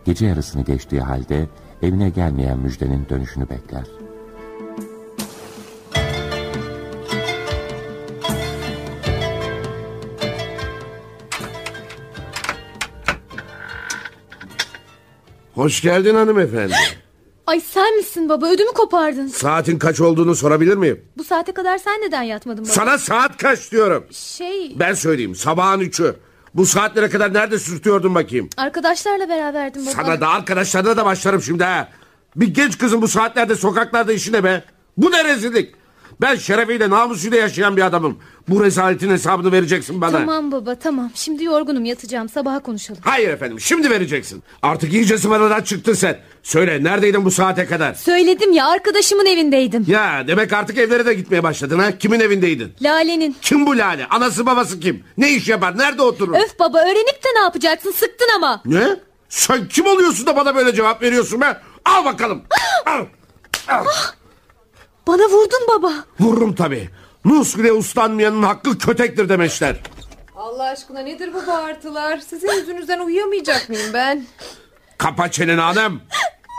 gece yarısını geçtiği halde evine gelmeyen Müjde'nin dönüşünü bekler.
Hoş geldin hanımefendi.
Ay sen misin baba ödümü kopardın.
Saatin kaç olduğunu sorabilir miyim?
Bu saate kadar sen neden yatmadın baba?
Sana saat kaç diyorum.
Şey
Ben söyleyeyim sabahın üçü. Bu saatlere kadar nerede sürtüyordun bakayım?
arkadaşlarla beraberdim baba.
Sana da arkadaşlarına da başlarım şimdi ha. Bir genç kızın bu saatlerde sokaklarda işi ne be? Bu ne rezillik? Ben şerefiyle namusuyla yaşayan bir adamım. Bu rezaletin hesabını vereceksin bana.
Tamam baba tamam şimdi yorgunum yatacağım sabaha konuşalım.
Hayır efendim şimdi vereceksin. Artık iyice zıvanadan çıktın sen. Söyle neredeydin bu saate kadar?
Söyledim ya arkadaşımın evindeydim.
Ya demek artık evlere de gitmeye başladın ha. Kimin evindeydin?
Lale'nin.
Kim bu Lale? Anası babası kim? Ne iş yapar? Nerede oturur?
Öf baba öğrenip de ne yapacaksın sıktın ama.
Ne? Sen kim oluyorsun da bana böyle cevap veriyorsun be? Al bakalım. Al. Al.
Bana vurdun baba.
Vururum tabii. Nuskule ustanmayanın hakkı kötektir demişler.
Allah aşkına nedir bu bağırtılar? Sizin yüzünüzden uyuyamayacak mıyım ben?
Kapa çeneni hanım.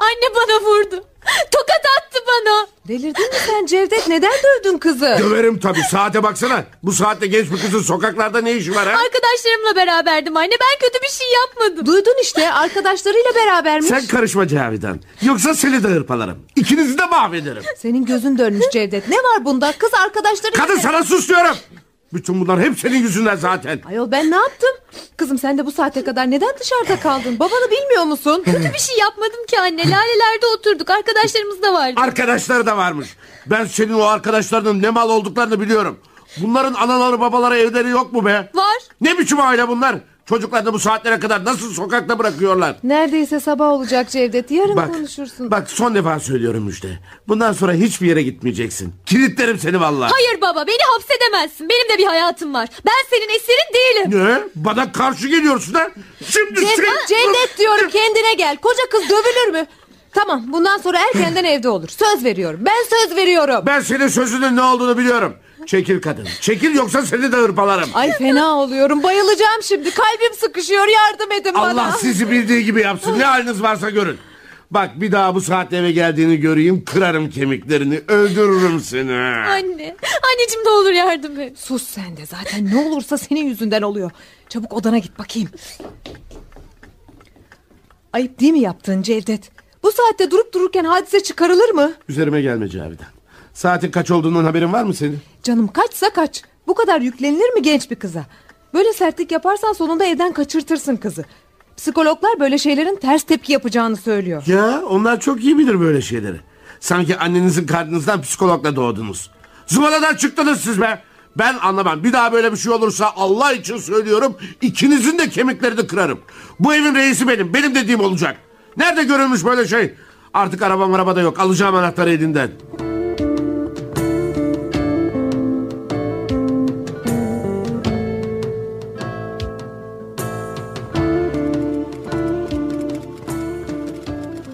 Anne bana vurdu. Tokat attı
bana. Delirdin mi sen Cevdet? Neden dövdün kızı?
Döverim tabii saate baksana. Bu saatte genç bir kızın sokaklarda ne işi var ha?
Arkadaşlarımla beraberdim anne. Ben kötü bir şey yapmadım.
Duydun işte arkadaşlarıyla berabermiş.
Sen karışma Cavidan. Yoksa seni de hırpalarım. İkinizi de mahvederim.
Senin gözün dönmüş Cevdet. Ne var bunda? Kız arkadaşları...
Kadın sana sus diyorum. Bütün bunlar hep senin yüzünden zaten.
Ayol ben ne yaptım? Kızım sen de bu saate kadar neden dışarıda kaldın? Babanı bilmiyor musun?
Kötü bir şey yapmadım ki anne. Lalelerde oturduk. Arkadaşlarımız da vardı.
Arkadaşları da varmış. Ben senin o arkadaşlarının ne mal olduklarını biliyorum. Bunların anaları babaları evleri yok mu be?
Var.
Ne biçim aile bunlar? Çocuklarını bu saatlere kadar nasıl sokakta bırakıyorlar?
Neredeyse sabah olacak Cevdet. Yarın
Bak,
konuşursun.
Bak son defa söylüyorum Müjde. Bundan sonra hiçbir yere gitmeyeceksin. Kilitlerim seni vallahi.
Hayır baba beni hapsedemezsin. Benim de bir hayatım var. Ben senin esirin değilim.
Ne? Bana karşı geliyorsun ha? Şimdi
Cevdet,
sen...
Cevdet diyorum kendine gel. Koca kız dövülür mü? Tamam bundan sonra erkenden evde olur. Söz veriyorum. Ben söz veriyorum.
Ben senin sözünün ne olduğunu biliyorum. Çekil kadın. Çekil yoksa seni de hırpalarım.
Ay fena oluyorum. Bayılacağım şimdi. Kalbim sıkışıyor. Yardım edin bana.
Allah sizi bildiği gibi yapsın. Ne haliniz varsa görün. Bak bir daha bu saatte eve geldiğini göreyim. Kırarım kemiklerini. Öldürürüm seni.
Anne. Anneciğim ne olur yardım et.
Sus sen de zaten ne olursa senin yüzünden oluyor. Çabuk odana git bakayım. Ayıp değil mi yaptığın Cevdet? Bu saatte durup dururken hadise çıkarılır mı?
Üzerime gelme Cavidan. Saatin kaç olduğundan haberin var mı senin?
Canım kaçsa kaç. Bu kadar yüklenilir mi genç bir kıza? Böyle sertlik yaparsan sonunda evden kaçırtırsın kızı. Psikologlar böyle şeylerin ters tepki yapacağını söylüyor.
Ya onlar çok iyi bilir böyle şeyleri. Sanki annenizin karnınızdan psikologla doğdunuz. Zıvanadan çıktınız siz be. Ben anlamam. Bir daha böyle bir şey olursa Allah için söylüyorum ikinizin de kemiklerini kırarım. Bu evin reisi benim. Benim dediğim olacak. Nerede görülmüş böyle şey? Artık arabam arabada yok. Alacağım anahtarı elinden.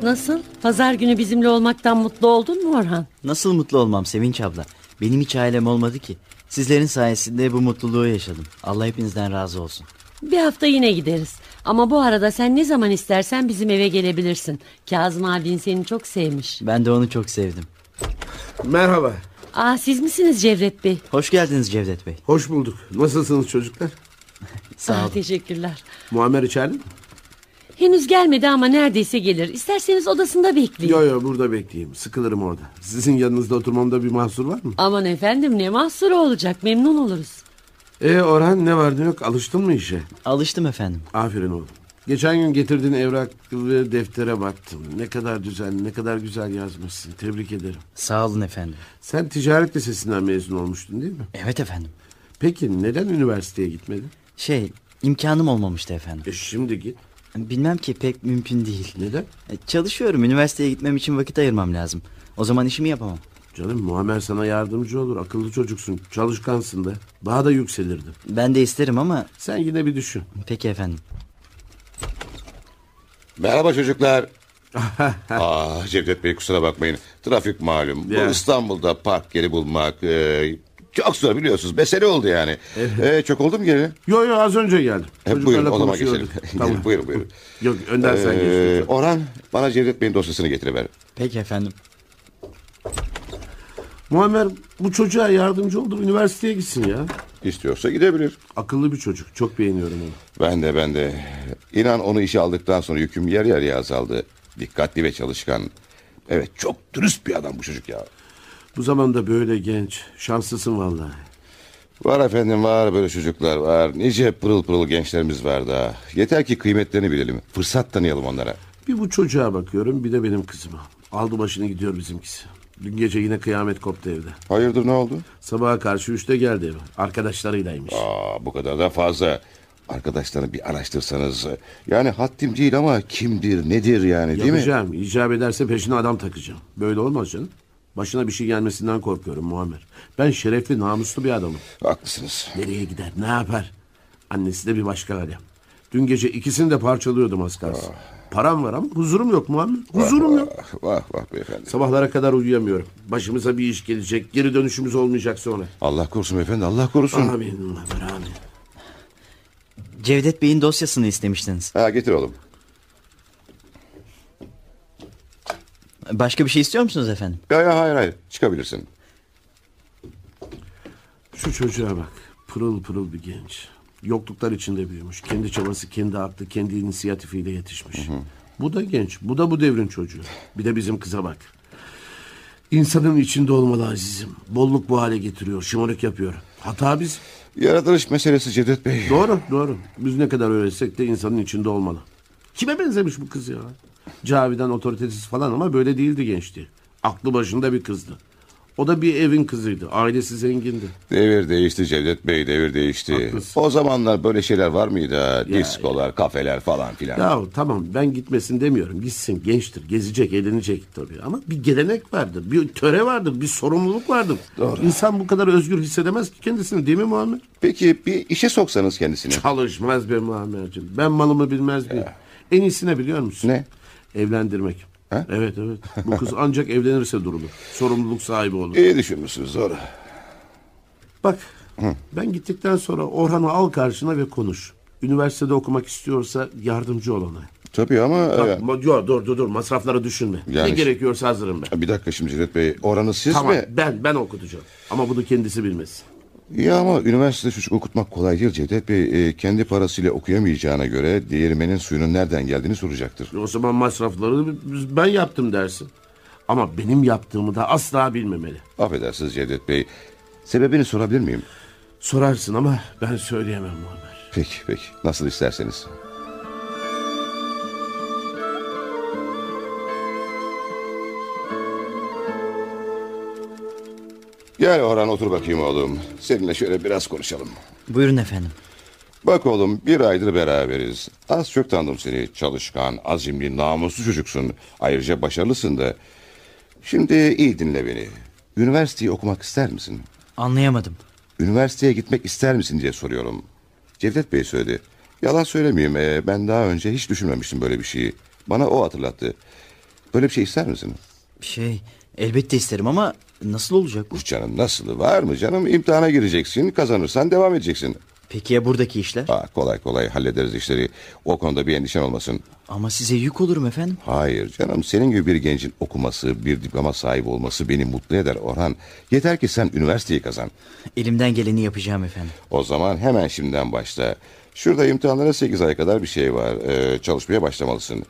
Nasıl? Pazar günü bizimle olmaktan mutlu oldun mu Orhan?
Nasıl mutlu olmam Sevinç abla? Benim hiç ailem olmadı ki. Sizlerin sayesinde bu mutluluğu yaşadım. Allah hepinizden razı olsun.
Bir hafta yine gideriz. Ama bu arada sen ne zaman istersen bizim eve gelebilirsin. Kazım abin seni çok sevmiş.
Ben de onu çok sevdim.
Merhaba.
Aa siz misiniz Cevdet Bey?
Hoş geldiniz Cevdet Bey.
Hoş bulduk. Nasılsınız çocuklar?
Aa, teşekkürler.
Muammer içeride mi?
Henüz gelmedi ama neredeyse gelir. İsterseniz odasında bekleyin.
Yo yo burada bekleyeyim. Sıkılırım orada. Sizin yanınızda oturmamda bir mahsur var mı?
Aman efendim ne mahsuru olacak memnun oluruz.
E Orhan ne var ne yok alıştın mı işe?
Alıştım efendim.
Aferin oğlum. Geçen gün getirdiğin evrak ve deftere baktım. Ne kadar düzenli, ne kadar güzel yazmışsın. Tebrik ederim.
Sağ olun efendim.
Sen ticaret lisesinden mezun olmuştun değil mi?
Evet efendim.
Peki neden üniversiteye gitmedin?
Şey imkanım olmamıştı efendim.
E şimdi git.
Bilmem ki pek mümkün değil. E,
Neden?
çalışıyorum. Üniversiteye gitmem için vakit ayırmam lazım. O zaman işimi yapamam.
Canım Muammer sana yardımcı olur. Akıllı çocuksun, çalışkansın da. Daha da yükselirdi.
Ben de isterim ama...
Sen yine bir düşün.
Peki efendim.
Merhaba çocuklar. ah Cevdet Bey kusura bakmayın. Trafik malum. Bu
Ya.
İstanbul'da park yeri bulmak e, çok zor biliyorsunuz. Mesele oldu yani. E, çok oldu mu geri?
Yo yo az önce geldim.
E, buyurun
Çocuklarla
odama geçelim.
konuşuyorduk.
Tamam. buyurun buyurun. E,
Yok önden sen geç lütfen.
Orhan bana Cevdet Bey'in dosyasını getiriver.
Peki efendim.
Muammer bu çocuğa yardımcı oldu. Üniversiteye gitsin ya.
İstiyorsa gidebilir.
Akıllı bir çocuk. Çok beğeniyorum onu.
Ben de ben de. İnan onu işe aldıktan sonra yüküm yer yarıya azaldı. Dikkatli ve çalışkan. Evet çok dürüst bir adam bu çocuk ya.
Bu zamanda böyle genç. Şanslısın vallahi.
Var efendim var böyle çocuklar var. Nice pırıl pırıl gençlerimiz var da. Yeter ki kıymetlerini bilelim. Fırsat tanıyalım onlara.
Bir bu çocuğa bakıyorum bir de benim kızıma. Aldı başını gidiyor bizimkisi. Dün gece yine kıyamet koptu evde.
Hayırdır ne oldu?
Sabaha karşı üçte geldi eve. Arkadaşlarıylaymış.
Aa, bu kadar da fazla. Arkadaşlarını bir araştırsanız. Yani haddim değil ama kimdir nedir yani E, değil mi?
Yapacağım. icap ederse peşine adam takacağım. Böyle olmaz canım. Başına bir şey gelmesinden korkuyorum Muammer. Ben şerefli, namuslu bir adamım.
Haklısınız.
Nereye gider, ne yapar? Annesi de bir başka alem. Dün gece ikisini de parçalıyordum az kalsın. Param var ama huzurum yok Muammer. Huzurum yok.
Ah. Vah vah beyefendi.
Sabahlara kadar uyuyamıyorum. Başımıza bir iş gelecek. Geri dönüşümüz olmayacak sonra.
Allah korusun beyefendi Allah korusun.
Amin Muammer amin.
Cevdet Bey'in dosyasını istemiştiniz.
Ha getir oğlum.
Başka bir şey istiyor musunuz efendim?
Ya ya hayır hayır çıkabilirsin.
Şu çocuğa bak. Pırıl pırıl bir genç. Yokluklar içinde büyümüş. Kendi çabası, kendi aklı, kendi inisiyatifiyle yetişmiş. Bu da genç. Bu da bu devrin çocuğu. Bir de bizim kıza bak. İnsanın içinde olmalı azizim. Bolluk bu hale getiriyor. Şımarık yapıyor. Hata biz.
Yaratılış meselesi Cevdet Bey.
Doğru doğru. Biz ne kadar öğretsek de insanın içinde olmalı. Kime benzemiş bu kız ya? Cavidan otoritesiz falan ama böyle değildi gençti. Aklı başında bir kızdı. O da bir evin kızıydı. Ailesi zengindi.
Devir değişti Cevdet Bey devir değişti. O zamanlar böyle şeyler var mıydı? ha? Diskolar, kafeler falan filan.
Ya tamam ben gitmesin demiyorum. Gitsin gençtir. Gezecek, eğlenecek tabii. Ama bir gelenek vardır. Bir töre vardır. Bir sorumluluk vardır. İnsan bu kadar özgür hissedemez ki kendisini değil mi Muammer?
Peki bir işe soksanız kendisini.
Çalışmaz be Muammer'cim. Ben malımı bilmez miyim? En iyisi ne biliyor musun? Ne? Evlendirmek. Evet evet. Bu kız ancak evlenirse durulur. Sorumluluk sahibi olur.
İyi düşünmüşsünüz doğru.
Bak ben gittikten sonra Orhan'ı al karşına ve konuş. Üniversitede okumak istiyorsa yardımcı ol ona.
Tabii ama...
Bak,
e,
ma- yo, dur dur dur masrafları düşünme.
Yani-
ne gerekiyorsa hazırım ben.
Bir dakika şimdi Cevdet Bey oranı siz
tamam
mi?
ben ben okutacağım. Ama bunu kendisi bilmesin.
Ya ama üniversitede çocuk okutmak kolay değil Cevdet Bey. E, kendi parasıyla okuyamayacağına göre değirmenin suyunun nereden geldiğini soracaktır.
O zaman masrafları biz- ben yaptım dersin. Ama benim yaptığımı da asla bilmemeli.
Affedersiniz Cevdet Bey. Sebebini sorabilir miyim?
Sorarsın ama ben söyleyemem Muhammed.
Peki peki nasıl isterseniz. Gel Orhan otur bakayım oğlum. Seninle şöyle biraz konuşalım.
Buyurun efendim.
Bak oğlum bir aydır beraberiz. Az çok tanıdım seni. Çalışkan, azimli, namuslu çocuksun. Ayrıca başarılısın da. Şimdi iyi dinle beni. Üniversiteyi okumak ister misin?
Anlayamadım.
Üniversiteye gitmek ister misin diye soruyorum. Cevdet Bey söyledi. Yalan söylemeyeyim. ee, ben daha önce hiç düşünmemiştim böyle bir şeyi. Bana o hatırlattı. Böyle bir şey ister misin?
Şey elbette isterim ama nasıl olacak bu?
Canım nasılı var mı canım? İmtihana gireceksin. Kazanırsan devam edeceksin.
Peki ya buradaki işler?
Aa, kolay kolay hallederiz işleri. O konuda bir endişen olmasın.
Ama size yük olurum efendim.
Hayır canım senin gibi bir gencin okuması, bir diploma sahibi olması beni mutlu eder Orhan. Yeter ki sen üniversiteyi kazan.
Elimden geleni yapacağım efendim.
O zaman hemen şimdiden başla. Şurada imtihanlara 8 ay kadar bir şey var. Ee, çalışmaya başlamalısın.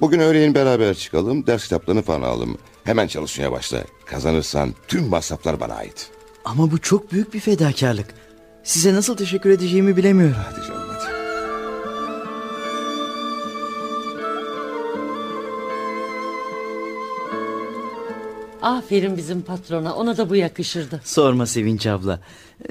Bugün öğleyin beraber çıkalım, ders kitaplarını falan alalım. Hemen çalışmaya başla. Kazanırsan tüm masraflar bana ait.
Ama bu çok büyük bir fedakarlık. Size nasıl teşekkür edeceğimi bilemiyorum.
Hadi canım hadi.
Aferin bizim patrona ona da bu yakışırdı.
Sorma Sevinç abla.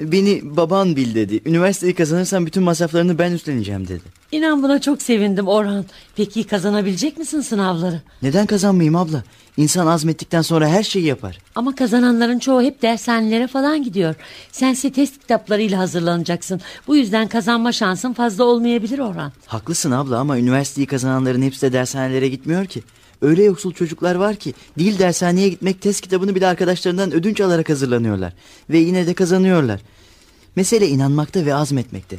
Beni baban bil dedi. Üniversiteyi kazanırsan bütün masraflarını ben üstleneceğim dedi.
İnan buna çok sevindim Orhan. Peki kazanabilecek misin sınavları?
Neden kazanmayayım abla? İnsan azmettikten sonra her şeyi yapar.
Ama kazananların çoğu hep dershanelere falan gidiyor. Sense test kitaplarıyla hazırlanacaksın. Bu yüzden kazanma şansın fazla olmayabilir Orhan.
Haklısın abla ama üniversiteyi kazananların hepsi de dershanelere gitmiyor ki. Öyle yoksul çocuklar var ki değil dershaneye gitmek test kitabını bile arkadaşlarından ödünç alarak hazırlanıyorlar. Ve yine de kazanıyorlar. Mesele inanmakta ve azmetmekte.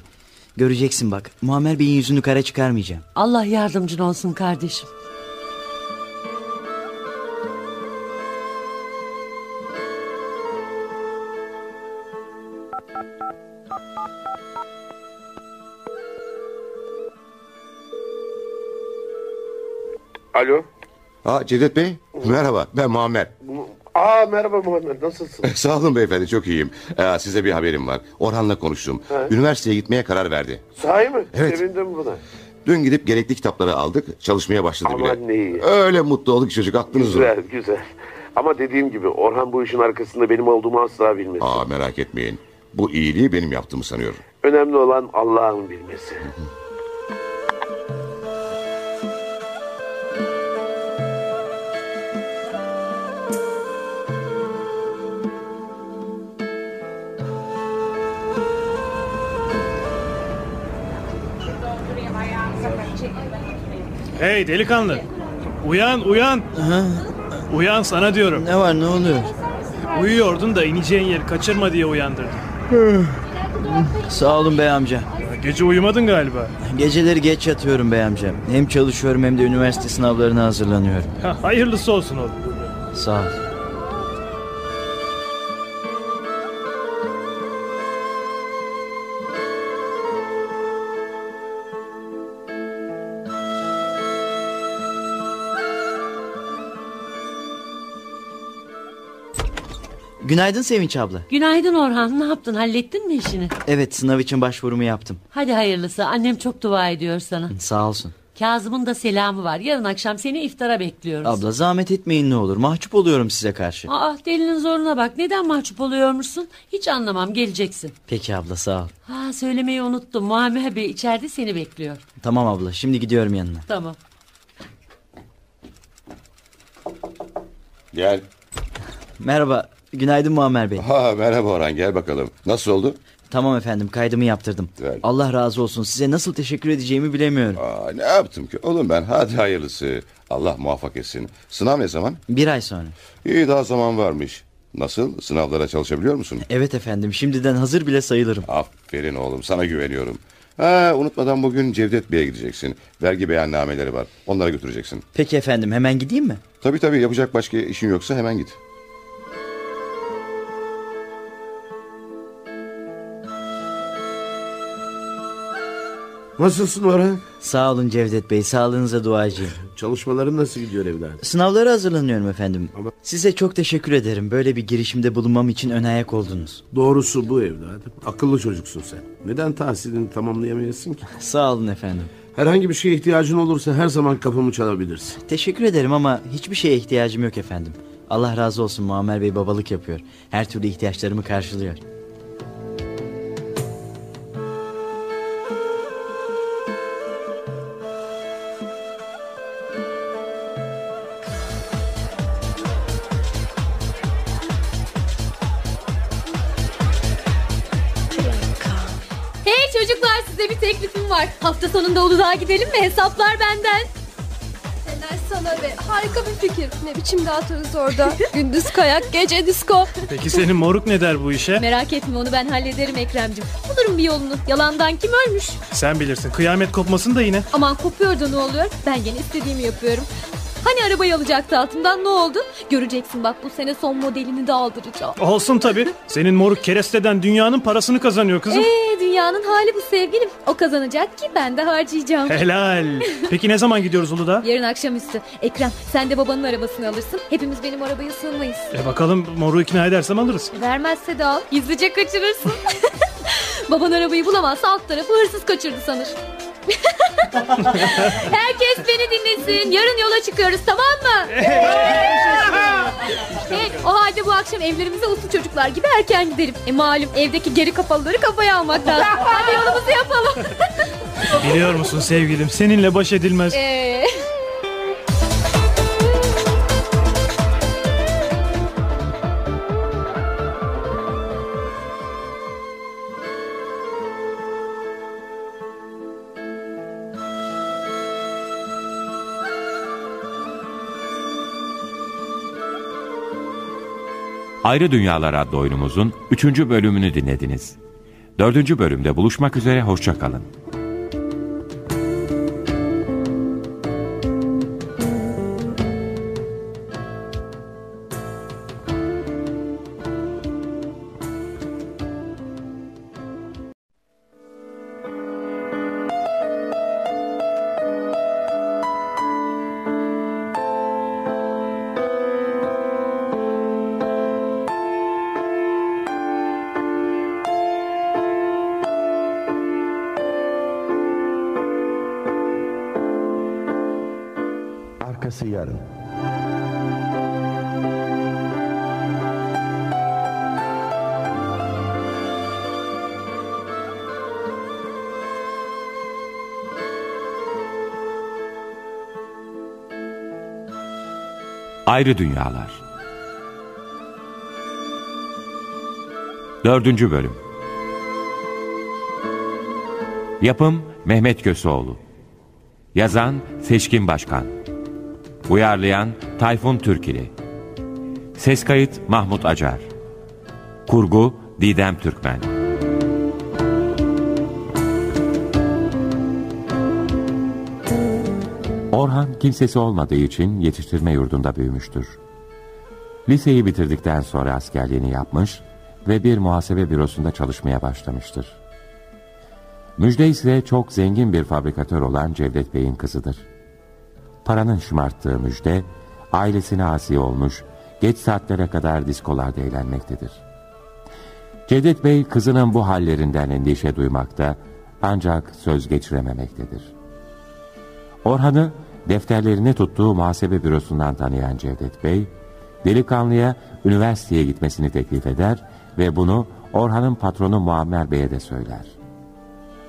Göreceksin bak Muammer Bey'in yüzünü kara çıkarmayacağım.
Allah yardımcın olsun kardeşim.
Alo. Aa, Cevdet Bey merhaba ben Muammer.
Aa merhaba Muhammed nasılsın?
Sağ olun beyefendi çok iyiyim. Ee, size bir haberim var. Orhan'la konuştum.
He.
Üniversiteye gitmeye karar verdi.
Sahi mi?
Evet.
Sevindim buna.
Dün gidip gerekli kitapları aldık. Çalışmaya başladı
Aman
bile.
ne iyi.
Öyle mutlu olduk çocuk aklınız
Güzel güzel. Ama dediğim gibi Orhan bu işin arkasında benim olduğumu asla bilmez.
Aa merak etmeyin. Bu iyiliği benim yaptığımı sanıyor.
Önemli olan Allah'ın bilmesi.
Hey delikanlı. Uyan uyan. Uyan sana diyorum.
Ne var ne oluyor?
Uyuyordun da ineceğin yeri kaçırma diye uyandırdım.
Sağ olun bey amca.
Gece uyumadın galiba.
Geceleri geç yatıyorum bey amcam. Hem çalışıyorum hem de üniversite sınavlarına hazırlanıyorum.
Ha, hayırlısı olsun oğlum.
Sağ ol. Günaydın Sevinç abla.
Günaydın Orhan. Ne yaptın? Hallettin mi işini?
Evet sınav için başvurumu yaptım.
Hadi hayırlısı. Annem çok dua ediyor sana.
Sağ olsun.
Kazım'ın da selamı var. Yarın akşam seni iftara bekliyoruz.
Abla zahmet etmeyin ne olur. Mahcup oluyorum size karşı.
Aa delinin zoruna bak. Neden mahcup oluyormuşsun? Hiç anlamam. Geleceksin.
Peki abla sağ ol.
Ha söylemeyi unuttum. Muammer Bey içeride seni bekliyor.
Tamam abla şimdi gidiyorum yanına.
Tamam.
Gel.
Merhaba. Günaydın Muammer Bey.
Ha merhaba Orhan gel bakalım. Nasıl oldu?
Tamam efendim kaydımı yaptırdım. Allah razı olsun size nasıl teşekkür edeceğimi bilemiyorum.
Aa, ne yaptım ki? Oğlum ben hadi hayırlısı. Allah muvaffak etsin. Sınav ne zaman?
Bir ay sonra.
İyi daha zaman varmış. Nasıl? Sınavlara çalışabiliyor musun?
Evet efendim şimdiden hazır bile sayılırım.
Aferin oğlum sana güveniyorum. Ha, unutmadan bugün Cevdet Bey'e gideceksin. Vergi beyannameleri var. Onlara götüreceksin.
Peki efendim hemen gideyim mi?
Tabii tabii yapacak başka işin yoksa hemen git.
Nasılsın Orhan?
Sağ olun Cevdet Bey sağlığınıza duacıyım.
Çalışmaların nasıl gidiyor evladım?
Sınavlara hazırlanıyorum efendim. Size çok teşekkür ederim. Böyle bir girişimde bulunmam için ön ayak oldunuz.
Doğrusu bu evladım. Akıllı çocuksun sen. Neden tahsilini tamamlayamayasın ki?
Sağ olun efendim.
Herhangi bir şeye ihtiyacın olursa her zaman kapımı çalabilirsin.
Teşekkür ederim ama hiçbir şeye ihtiyacım yok efendim. Allah razı olsun Muammer Bey babalık yapıyor. Her türlü ihtiyaçlarımı karşılıyor.
Hey çocuklar size bir teklifim var. Hafta sonunda Uludağ'a gidelim mi? Hesaplar benden.
Helal sana be. Harika bir fikir. Ne biçim dağıtırız orada. Gündüz kayak, gece disko.
Peki senin moruk ne der bu işe?
Merak etme onu ben hallederim Ekrem'cim. Bulurum bir yolunu. Yalandan kim ölmüş?
Sen bilirsin. Kıyamet kopmasın da yine.
Aman kopuyor da ne oluyor? Ben gene istediğimi yapıyorum. Hani arabayı alacaktı altından ne oldu? Göreceksin bak bu sene son modelini de aldıracağım.
Olsun tabii. Senin moruk keresteden dünyanın parasını kazanıyor kızım.
Ee, dünyanın hali bu sevgilim. O kazanacak ki ben de harcayacağım.
Helal. Peki ne zaman gidiyoruz Uludağ'a?
Yarın akşamüstü. Ekrem sen de babanın arabasını alırsın. Hepimiz benim arabaya sığmayız.
E bakalım moru ikna edersem alırız.
Vermezse de al. Gizlice kaçırırsın. Baban arabayı bulamazsa alt tarafı hırsız kaçırdı sanır. Herkes beni dinlesin. Yarın yola çıkıyoruz tamam mı?
şey-
evet, o halde bu akşam evlerimize uslu çocuklar gibi erken gidelim. E malum evdeki geri kafalıları kafaya almak lazım. Hadi yolumuzu yapalım.
Biliyor musun sevgilim seninle baş edilmez.
Ee,
Ayrı Dünyalar adlı oyunumuzun 3. bölümünü dinlediniz. 4. bölümde buluşmak üzere hoşça kalın.
Arkası yarın.
Ayrı Dünyalar 4. Bölüm Yapım Mehmet Köseoğlu Yazan Seçkin Başkan Uyarlayan Tayfun Türkili Ses kayıt Mahmut Acar Kurgu Didem Türkmen Orhan kimsesi olmadığı için yetiştirme yurdunda büyümüştür. Liseyi bitirdikten sonra askerliğini yapmış ve bir muhasebe bürosunda çalışmaya başlamıştır. Müjde ise çok zengin bir fabrikatör olan Cevdet Bey'in kızıdır. Paranın şımarttığı Müjde, ailesine asi olmuş, geç saatlere kadar diskolarda eğlenmektedir. Cevdet Bey kızının bu hallerinden endişe duymakta ancak söz geçirememektedir. Orhan'ı defterlerini tuttuğu muhasebe bürosundan tanıyan Cevdet Bey, delikanlıya üniversiteye gitmesini teklif eder ve bunu Orhan'ın patronu Muammer Bey'e de söyler.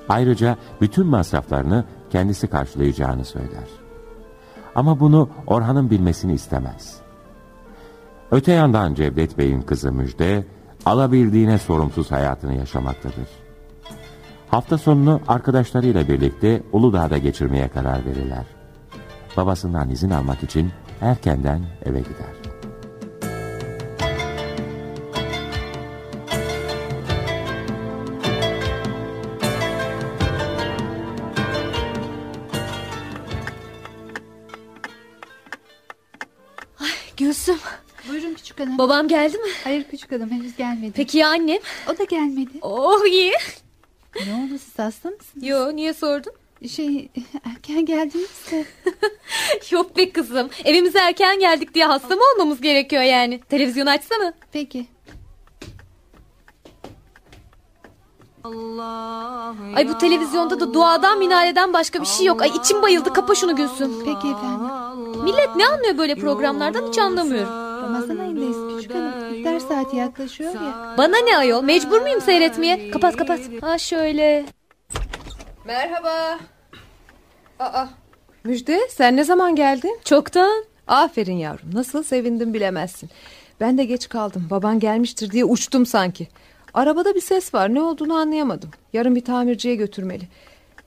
Ayrıca bütün masraflarını kendisi karşılayacağını söyler. Ama bunu Orhan'ın bilmesini istemez. Öte yandan Cevdet Bey'in kızı Müjde, alabildiğine sorumsuz hayatını yaşamaktadır. Hafta sonunu arkadaşlarıyla birlikte Uludağ'da geçirmeye karar verirler. Babasından izin almak için erkenden eve gider.
Gülsüm.
Buyurun küçük hanım.
Babam geldi mi?
Hayır küçük hanım henüz gelmedi.
Peki ya annem?
O da gelmedi.
Oh iyi.
Ne oldu siz hasta mısınız?
Yo niye sordun?
Şey erken geldiniz de.
Yok be kızım. Evimize erken geldik diye hasta mı olmamız gerekiyor yani? Televizyonu açsana.
Peki.
Ay bu televizyonda da duadan minareden başka bir şey yok. Ay içim bayıldı. Kapa şunu Gülsüm.
Peki efendim.
Millet ne anlıyor böyle programlardan hiç anlamıyorum.
Ramazan ayındayız küçük hanım. İftar saati yaklaşıyor ya.
Bana ne ayol? Mecbur muyum seyretmeye? Kapat kapat. Ha şöyle.
Merhaba. Aa, Müjde sen ne zaman geldin?
Çoktan.
Aferin yavrum nasıl sevindim bilemezsin. Ben de geç kaldım baban gelmiştir diye uçtum sanki. Arabada bir ses var ne olduğunu anlayamadım. Yarın bir tamirciye götürmeli.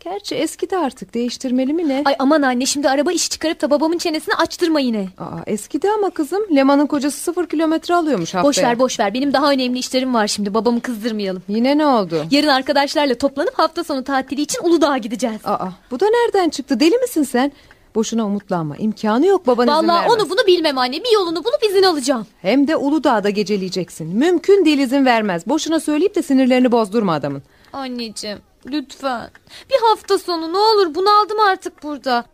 Gerçi eski de artık değiştirmeli mi ne?
Ay aman anne şimdi araba işi çıkarıp da babamın çenesini açtırma yine.
Aa, eskidi ama kızım Leman'ın kocası sıfır kilometre alıyormuş haftaya.
Boş ver boş ver. Benim daha önemli işlerim var şimdi. Babamı kızdırmayalım.
Yine ne oldu?
Yarın arkadaşlarla toplanıp hafta sonu tatili için Uludağ'a gideceğiz.
Aa, bu da nereden çıktı deli misin sen? Boşuna umutlanma imkanı yok baban izin
Vallahi
vermez.
onu bunu bilmem anne. Bir yolunu bulup izin alacağım.
Hem de Uludağ'da geceleyeceksin. Mümkün değil izin vermez. Boşuna söyleyip de sinirlerini bozdurma adamın.
Anneciğim lütfen. Bir hafta sonu ne olur bunaldım artık burada.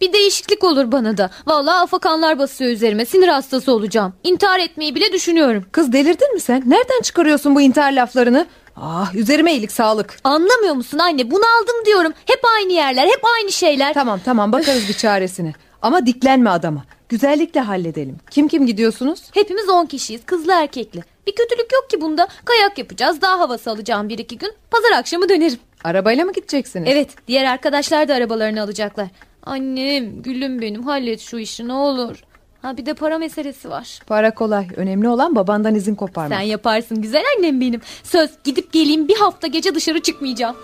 Bir değişiklik olur bana da. Vallahi afakanlar basıyor üzerime. Sinir hastası olacağım. İntihar etmeyi bile düşünüyorum.
Kız delirdin mi sen? Nereden çıkarıyorsun bu intihar laflarını? Ah üzerime iyilik sağlık.
Anlamıyor musun anne? Bunaldım diyorum. Hep aynı yerler, hep aynı şeyler.
Tamam tamam bakarız bir çaresine. Ama diklenme adama. Güzellikle halledelim. Kim kim gidiyorsunuz?
Hepimiz 10 kişiyiz kızlı erkekli. Bir kötülük yok ki bunda. Kayak yapacağız. Daha havası alacağım bir iki gün. Pazar akşamı dönerim.
Arabayla mı gideceksiniz?
Evet diğer arkadaşlar da arabalarını alacaklar. Annem gülüm benim hallet şu işi ne olur. Ha bir de para meselesi var.
Para kolay. Önemli olan babandan izin koparmak.
Sen yaparsın güzel annem benim. Söz gidip geleyim bir hafta gece dışarı çıkmayacağım.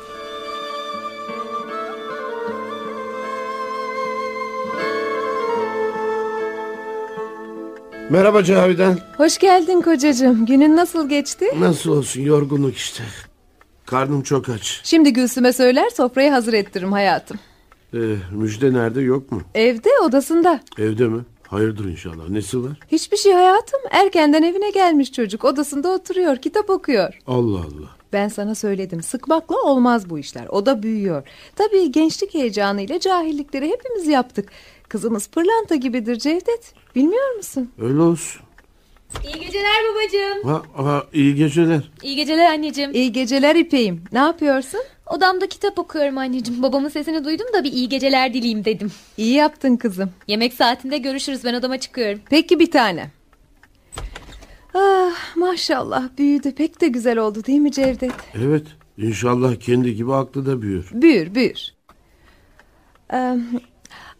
Merhaba Cavidan.
Hoş geldin kocacığım. Günün nasıl geçti?
Nasıl olsun yorgunluk işte. Karnım çok aç.
Şimdi Gülsüm'e söyler sofrayı hazır ettiririm hayatım.
Ee, müjde nerede yok mu?
Evde odasında.
Evde mi? Hayırdır inşallah. Nesi var?
Hiçbir şey hayatım. Erkenden evine gelmiş çocuk. Odasında oturuyor, kitap okuyor.
Allah Allah.
Ben sana söyledim. Sıkmakla olmaz bu işler. O da büyüyor. Tabii gençlik heyecanıyla cahillikleri hepimiz yaptık. Kızımız pırlanta gibidir Cevdet. Bilmiyor musun?
Öyle olsun.
İyi geceler babacığım.
Ha, ha, iyi geceler.
İyi geceler anneciğim.
İyi geceler İpeğim. Ne yapıyorsun?
Odamda kitap okuyorum anneciğim. Babamın sesini duydum da bir iyi geceler dileyim dedim.
İyi yaptın kızım.
Yemek saatinde görüşürüz ben odama çıkıyorum.
Peki bir tane. Ah maşallah büyüdü. Pek de güzel oldu değil mi Cevdet?
Evet. İnşallah kendi gibi aklı da büyür.
Büyür büyür. Ee,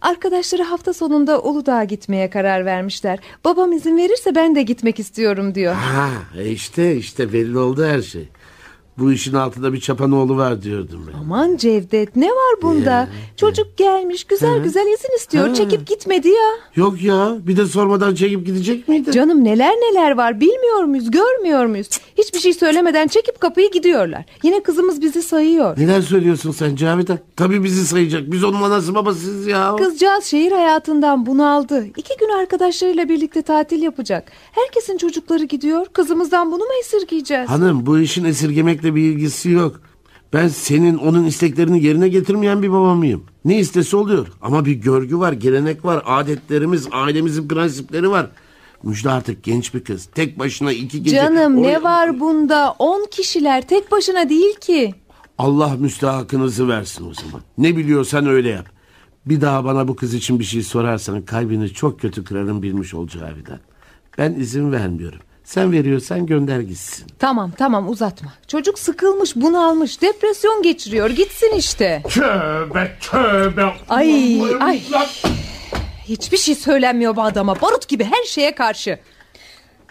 arkadaşları hafta sonunda Uludağ'a gitmeye karar vermişler. Babam izin verirse ben de gitmek istiyorum diyor.
Ha e işte işte belli oldu her şey. Bu işin altında bir çapanoğlu var diyordum ben.
Aman Cevdet ne var bunda? Çocuk gelmiş güzel
Hı.
güzel izin istiyor.
Ha.
Çekip gitmedi ya.
Yok ya bir de sormadan çekip gidecek miydi?
Canım neler neler var bilmiyor muyuz görmüyor muyuz? Hiçbir şey söylemeden çekip kapıyı gidiyorlar. Yine kızımız bizi sayıyor.
Neler söylüyorsun sen Cavidan? Tabii bizi sayacak. Biz onun anası babasıyız ya.
Kızcağız şehir hayatından bunaldı. İki gün arkadaşlarıyla birlikte tatil yapacak. Herkesin çocukları gidiyor. Kızımızdan bunu mu esirgeyeceğiz?
Hanım bu işin esirgemekle bir ilgisi yok. Ben senin onun isteklerini yerine getirmeyen bir baba mıyım? Ne istese oluyor. Ama bir görgü var, gelenek var, adetlerimiz, ailemizin prensipleri var. Müjde artık genç bir kız. Tek başına iki gece...
Canım
Oraya-
ne var bunda? On kişiler tek başına değil ki.
Allah müstahakınızı versin o zaman. Ne biliyorsan öyle yap. Bir daha bana bu kız için bir şey sorarsan kalbini çok kötü kırarım bilmiş ol Cavidan. Ben izin vermiyorum. Sen veriyorsan gönder gitsin.
Tamam tamam uzatma. Çocuk sıkılmış bunalmış depresyon geçiriyor gitsin işte.
Tövbe tövbe.
Ay ay.
Lan
Hiçbir şey söylenmiyor bu adama barut gibi her şeye karşı.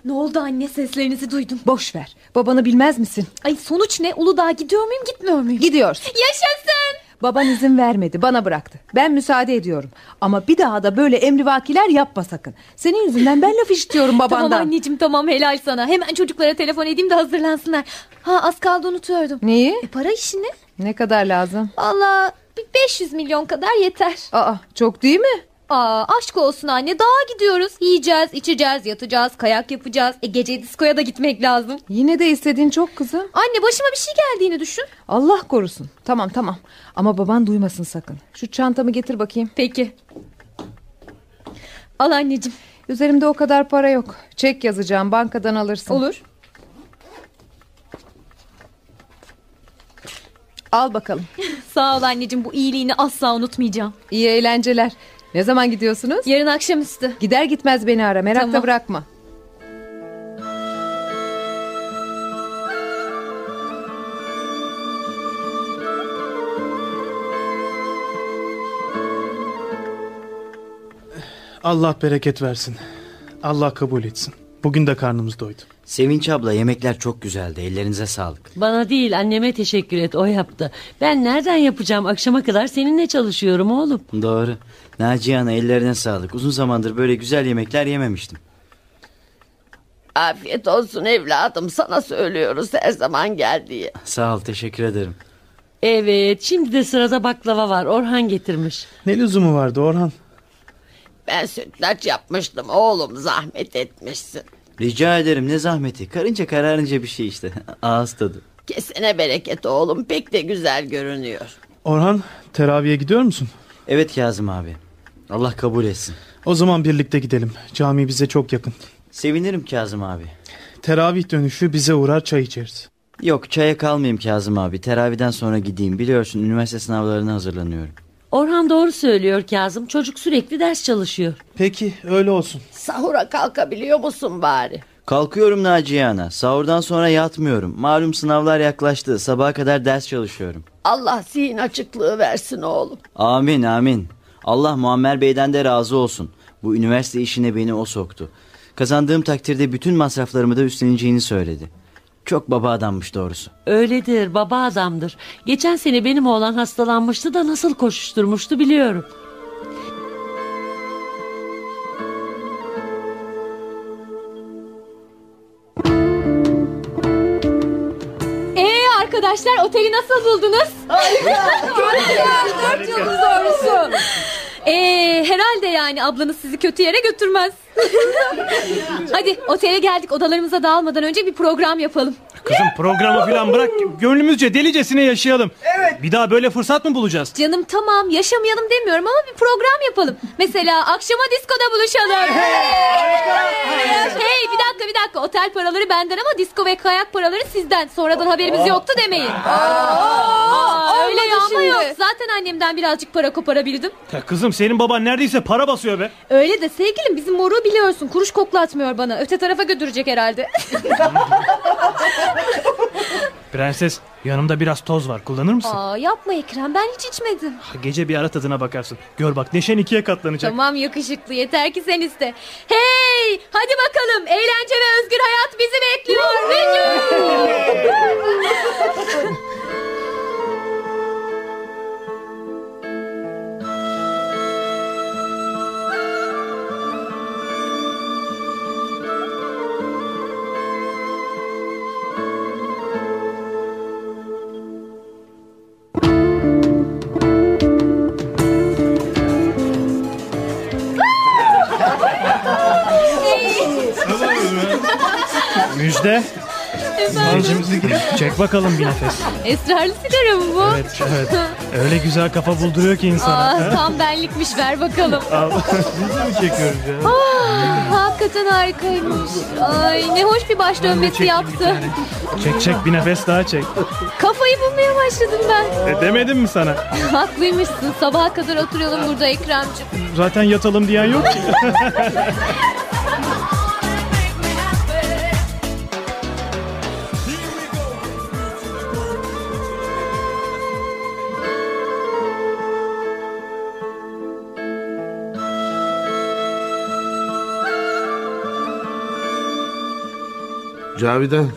Ne oldu anne seslerinizi duydum.
Boş ver babanı bilmez misin?
Ay sonuç ne Uludağ'a gidiyor muyum gitmiyor muyum?
Gidiyorsun.
Yaşasın.
Baban izin vermedi bana bıraktı. Ben müsaade ediyorum. Ama bir daha da böyle emrivakiler yapma sakın. Senin yüzünden ben laf işitiyorum babandan.
Tamam anneciğim tamam helal sana. Hemen çocuklara telefon edeyim de hazırlansınlar. Ha az kaldı unutuyordum.
Neyi?
E, para işini.
Ne kadar lazım?
Valla bir 500 milyon kadar yeter.
Aa çok değil mi?
Aa aşk olsun anne dağa gidiyoruz. Yiyeceğiz, içeceğiz, yatacağız, kayak yapacağız. E gece diskoya da gitmek lazım.
Yine de istediğin çok kızım.
Anne başıma bir şey geldiğini düşün.
Allah korusun. Tamam tamam. Ama baban duymasın sakın. Şu çantamı getir bakayım.
Peki. Al anneciğim.
Üzerimde o kadar para yok. Çek yazacağım bankadan alırsın.
Olur.
Al bakalım.
Sağ ol anneciğim bu iyiliğini asla unutmayacağım.
İyi eğlenceler. Ne zaman gidiyorsunuz?
Yarın akşamüstü.
Gider gitmez beni ara. Merakta bırakma.
Allah bereket versin. Allah kabul etsin. Bugün de karnımız doydu.
Sevinç abla yemekler çok güzeldi. Ellerinize sağlık.
Bana değil anneme teşekkür et o yaptı. Ben nereden yapacağım akşama kadar seninle çalışıyorum oğlum.
Doğru. Naciye Ana ellerine sağlık. Uzun zamandır böyle güzel yemekler yememiştim.
Afiyet olsun evladım sana söylüyoruz her zaman gel diye.
Sağ ol teşekkür ederim.
Evet şimdi de sırada baklava var Orhan getirmiş.
Ne lüzumu vardı Orhan?
Ben sütlaç yapmıştım oğlum zahmet etmişsin.
Rica ederim ne zahmeti. Karınca kararınca bir şey işte. Ağız tadı.
Kesene bereket oğlum pek de güzel görünüyor.
Orhan teraviye gidiyor musun?
Evet Kazım abi. Allah kabul etsin.
O zaman birlikte gidelim. Cami bize çok yakın.
Sevinirim Kazım abi.
Teravih dönüşü bize uğrar çay içeriz.
Yok çaya kalmayayım Kazım abi. Teraviden sonra gideyim. Biliyorsun üniversite sınavlarına hazırlanıyorum.
Orhan doğru söylüyor Kazım çocuk sürekli ders çalışıyor.
Peki öyle olsun.
Sahura kalkabiliyor musun bari?
Kalkıyorum Naciye Ana. Sahurdan sonra yatmıyorum. Malum sınavlar yaklaştı. Sabaha kadar ders çalışıyorum.
Allah zihin açıklığı versin oğlum.
Amin amin. Allah Muammer Bey'den de razı olsun. Bu üniversite işine beni o soktu. Kazandığım takdirde bütün masraflarımı da üstleneceğini söyledi. Çok baba adammış doğrusu.
Öyledir baba adamdır. Geçen sene benim oğlan hastalanmıştı da nasıl koşuşturmuştu biliyorum.
Ee arkadaşlar oteli nasıl buldunuz?
Harika,
çok güzel, dört yıldız doğrusu.
Ee, herhalde yani ablanız sizi kötü yere götürmez. Hadi otele geldik odalarımıza dağılmadan önce bir program yapalım.
Kızım programı falan bırak. Gönlümüzce delicesine yaşayalım. Evet. Bir daha böyle fırsat mı bulacağız?
Canım tamam yaşamayalım demiyorum ama bir program yapalım. Mesela akşama diskoda buluşalım. hey bir dakika bir dakika otel paraları benden ama disko ve kayak paraları sizden. Sonradan haberimiz yoktu demeyin. Aa, öyle
olmadı
yağma
şimdi.
yok. Zaten annemden birazcık para koparabildim.
Ya kızım senin baban neredeyse para basıyor be.
Öyle de sevgilim bizim moru biliyorsun. Kuruş koklatmıyor bana. Öte tarafa götürecek herhalde.
Prenses yanımda biraz toz var kullanır mısın?
Aa, yapma Ekrem ben hiç içmedim.
Gece bir ara tadına bakarsın. Gör bak neşen ikiye katlanacak.
Tamam yakışıklı yeter ki sen iste. Hey Oley! Hadi bakalım eğlence ve özgür hayat bizi bekliyor. Yuhuu!
Müjde.
Efendim?
Çek bakalım bir nefes.
Esrarlı sigara mı bu?
Evet, evet. Öyle güzel kafa bulduruyor ki insana.
Aa,
Ha?
tam benlikmiş ver bakalım.
Al. Biz de mi çekiyoruz ya?
Ah, hakikaten harikaymış. Ay ne hoş bir baş dönmesi yaptı.
Çek çek bir nefes daha çek.
Kafayı bulmaya başladım ben.
E, demedim mi sana?
Haklıymışsın. Sabaha kadar oturalım burada Ekrem'cim.
Zaten yatalım diyen yok ki.
Cavidan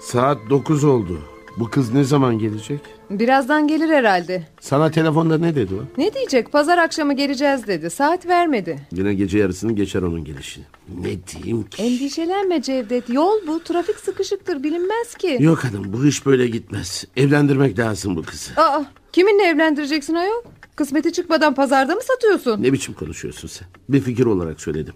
saat 9 oldu. Bu kız ne zaman gelecek?
Birazdan gelir herhalde.
Sana telefonda ne dedi o?
Ne diyecek? Pazar akşamı geleceğiz dedi. Saat vermedi.
Yine gece yarısını geçer onun gelişini. Ne diyeyim ki?
Endişelenme Cevdet. Yol bu. Trafik sıkışıktır. Bilinmez ki.
Yok hanım bu iş böyle gitmez. Evlendirmek lazım bu kızı.
Aa, kiminle evlendireceksin ayol? Kısmeti çıkmadan pazarda mı satıyorsun?
Ne biçim konuşuyorsun sen? Bir fikir olarak söyledim.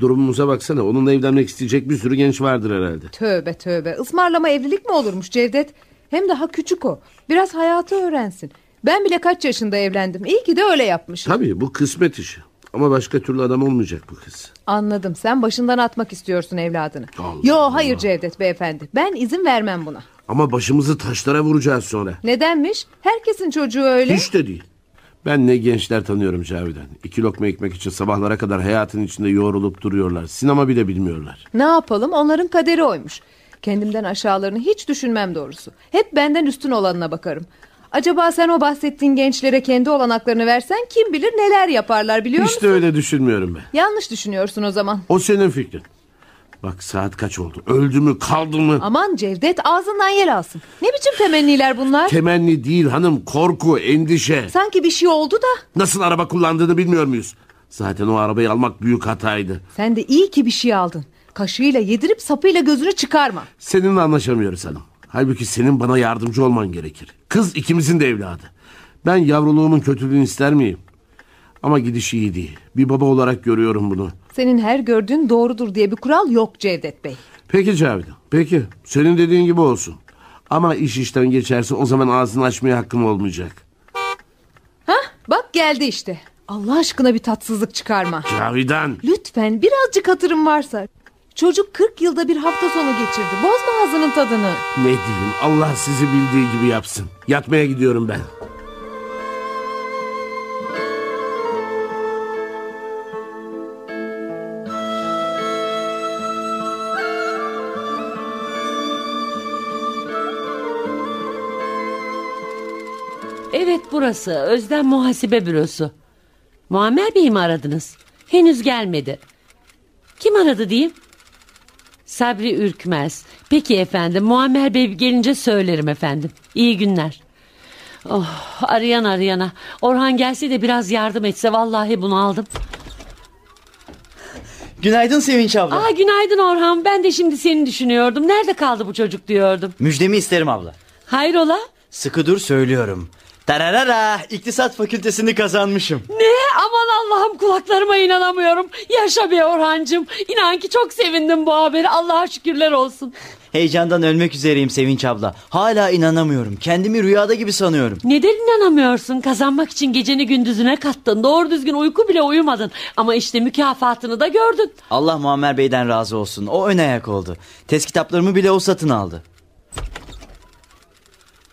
Durumumuza baksana onunla evlenmek isteyecek bir sürü genç vardır herhalde.
Tövbe tövbe. Ismarlama evlilik mi olurmuş Cevdet? Hem daha küçük o. Biraz hayatı öğrensin. Ben bile kaç yaşında evlendim. İyi ki de öyle yapmış.
Tabii bu kısmet işi. Ama başka türlü adam olmayacak bu kız.
Anladım. Sen başından atmak istiyorsun evladını. Yo hayır Cevdet beyefendi. Ben izin vermem buna.
Ama başımızı taşlara vuracağız sonra.
Nedenmiş? Herkesin çocuğu öyle.
Hiç de değil. Ben ne gençler tanıyorum Cavidan. İki lokma ekmek için sabahlara kadar hayatın içinde yoğrulup duruyorlar. Sinema bile bilmiyorlar.
Ne yapalım? Onların kaderi oymuş. Kendimden aşağılarını hiç düşünmem doğrusu. Hep benden üstün olanına bakarım. Acaba sen o bahsettiğin gençlere kendi olanaklarını versen kim bilir neler yaparlar biliyor
Hiç
musun?
de öyle düşünmüyorum ben.
Yanlış düşünüyorsun o zaman.
O senin fikrin. Bak saat kaç oldu? Öldü mü kaldı mı?
Aman Cevdet ağzından yel alsın. Ne biçim temenniler bunlar?
Temenni değil hanım korku, endişe.
Sanki bir şey oldu da.
Nasıl araba kullandığını bilmiyor muyuz? Zaten o arabayı almak büyük hataydı.
Sen de iyi ki bir şey aldın. Kaşığıyla yedirip sapıyla gözünü çıkarma.
Seninle anlaşamıyoruz hanım. Halbuki senin bana yardımcı olman gerekir. Kız ikimizin de evladı. Ben yavruluğumun kötülüğünü ister miyim? Ama gidiş iyi değil. Bir baba olarak görüyorum bunu.
Senin her gördüğün doğrudur diye bir kural yok Cevdet Bey.
Peki Cavidan, peki. Senin dediğin gibi olsun. Ama iş işten geçerse o zaman ağzını açmaya hakkım olmayacak.
Hah bak geldi işte. Allah aşkına bir tatsızlık çıkarma.
Cavidan,
Lütfen birazcık hatırım varsa. Çocuk 40 yılda bir hafta sonu geçirdi. Bozma ağzının tadını.
ne diyeyim Allah sizi bildiği gibi yapsın. Yatmaya gidiyorum ben.
Evet burası Özden Muhasebe Bürosu. Muammer Bey'i mi aradınız? Henüz gelmedi. Kim aradı diyeyim? Sabri Ürkmez. Peki efendim Muammer Bey gelince söylerim efendim. İyi günler. Oh arayan arayana. Orhan gelse de biraz yardım etse vallahi bunu aldım.
Günaydın Sevinç abla.
Aa günaydın Orhan. Ben de şimdi seni düşünüyordum. Nerede kaldı bu çocuk diyordum.
Müjdemi isterim abla.
Hayrola?
Sıkı dur söylüyorum. Tararara İktisat fakültesini kazanmışım.
Ne? Aman Allah'ım kulaklarıma inanamıyorum. Yaşa be Orhancığım. İnan ki çok sevindim bu haberi. Allah'a şükürler olsun.
Heyecandan ölmek üzereyim Sevinç abla. Hala inanamıyorum. Kendimi rüyada gibi sanıyorum.
Neden inanamıyorsun? Kazanmak için geceni gündüzüne kattın. Doğru düzgün uyku bile uyumadın. Ama işte mükafatını da gördün.
Allah Muammer Bey'den razı olsun. O ön ayak oldu. Test kitaplarımı bile o satın aldı.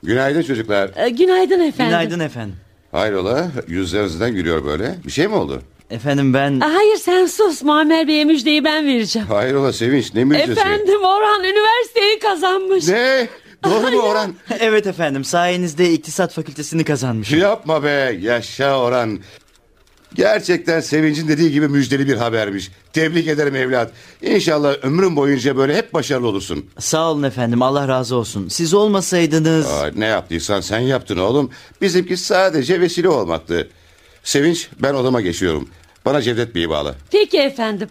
Günaydın çocuklar.
Ee, günaydın efendim.
Günaydın efendim.
Hayrola yüzlerinizden gülüyor böyle. Bir şey mi oldu?
Efendim ben...
Aa, Hayır sen sus. Muammer Bey'e müjdeyi ben vereceğim.
Hayrola Sevinç ne müjdesi?
Efendim Orhan üniversiteyi kazanmış.
Ne? Doğru mu Orhan?
evet efendim sayenizde iktisat fakültesini kazanmışım.
Yapma be yaşa Orhan. Gerçekten Sevinç'in dediği gibi müjdeli bir habermiş. Tebrik ederim evlat. İnşallah ömrün boyunca böyle hep başarılı olursun.
Sağ olun efendim Allah razı olsun. Siz olmasaydınız...
Aa, ne yaptıysan sen yaptın oğlum. Bizimki sadece vesile olmaktı. Sevinç ben odama geçiyorum. Bana Cevdet Bey'i bağla.
Peki efendim.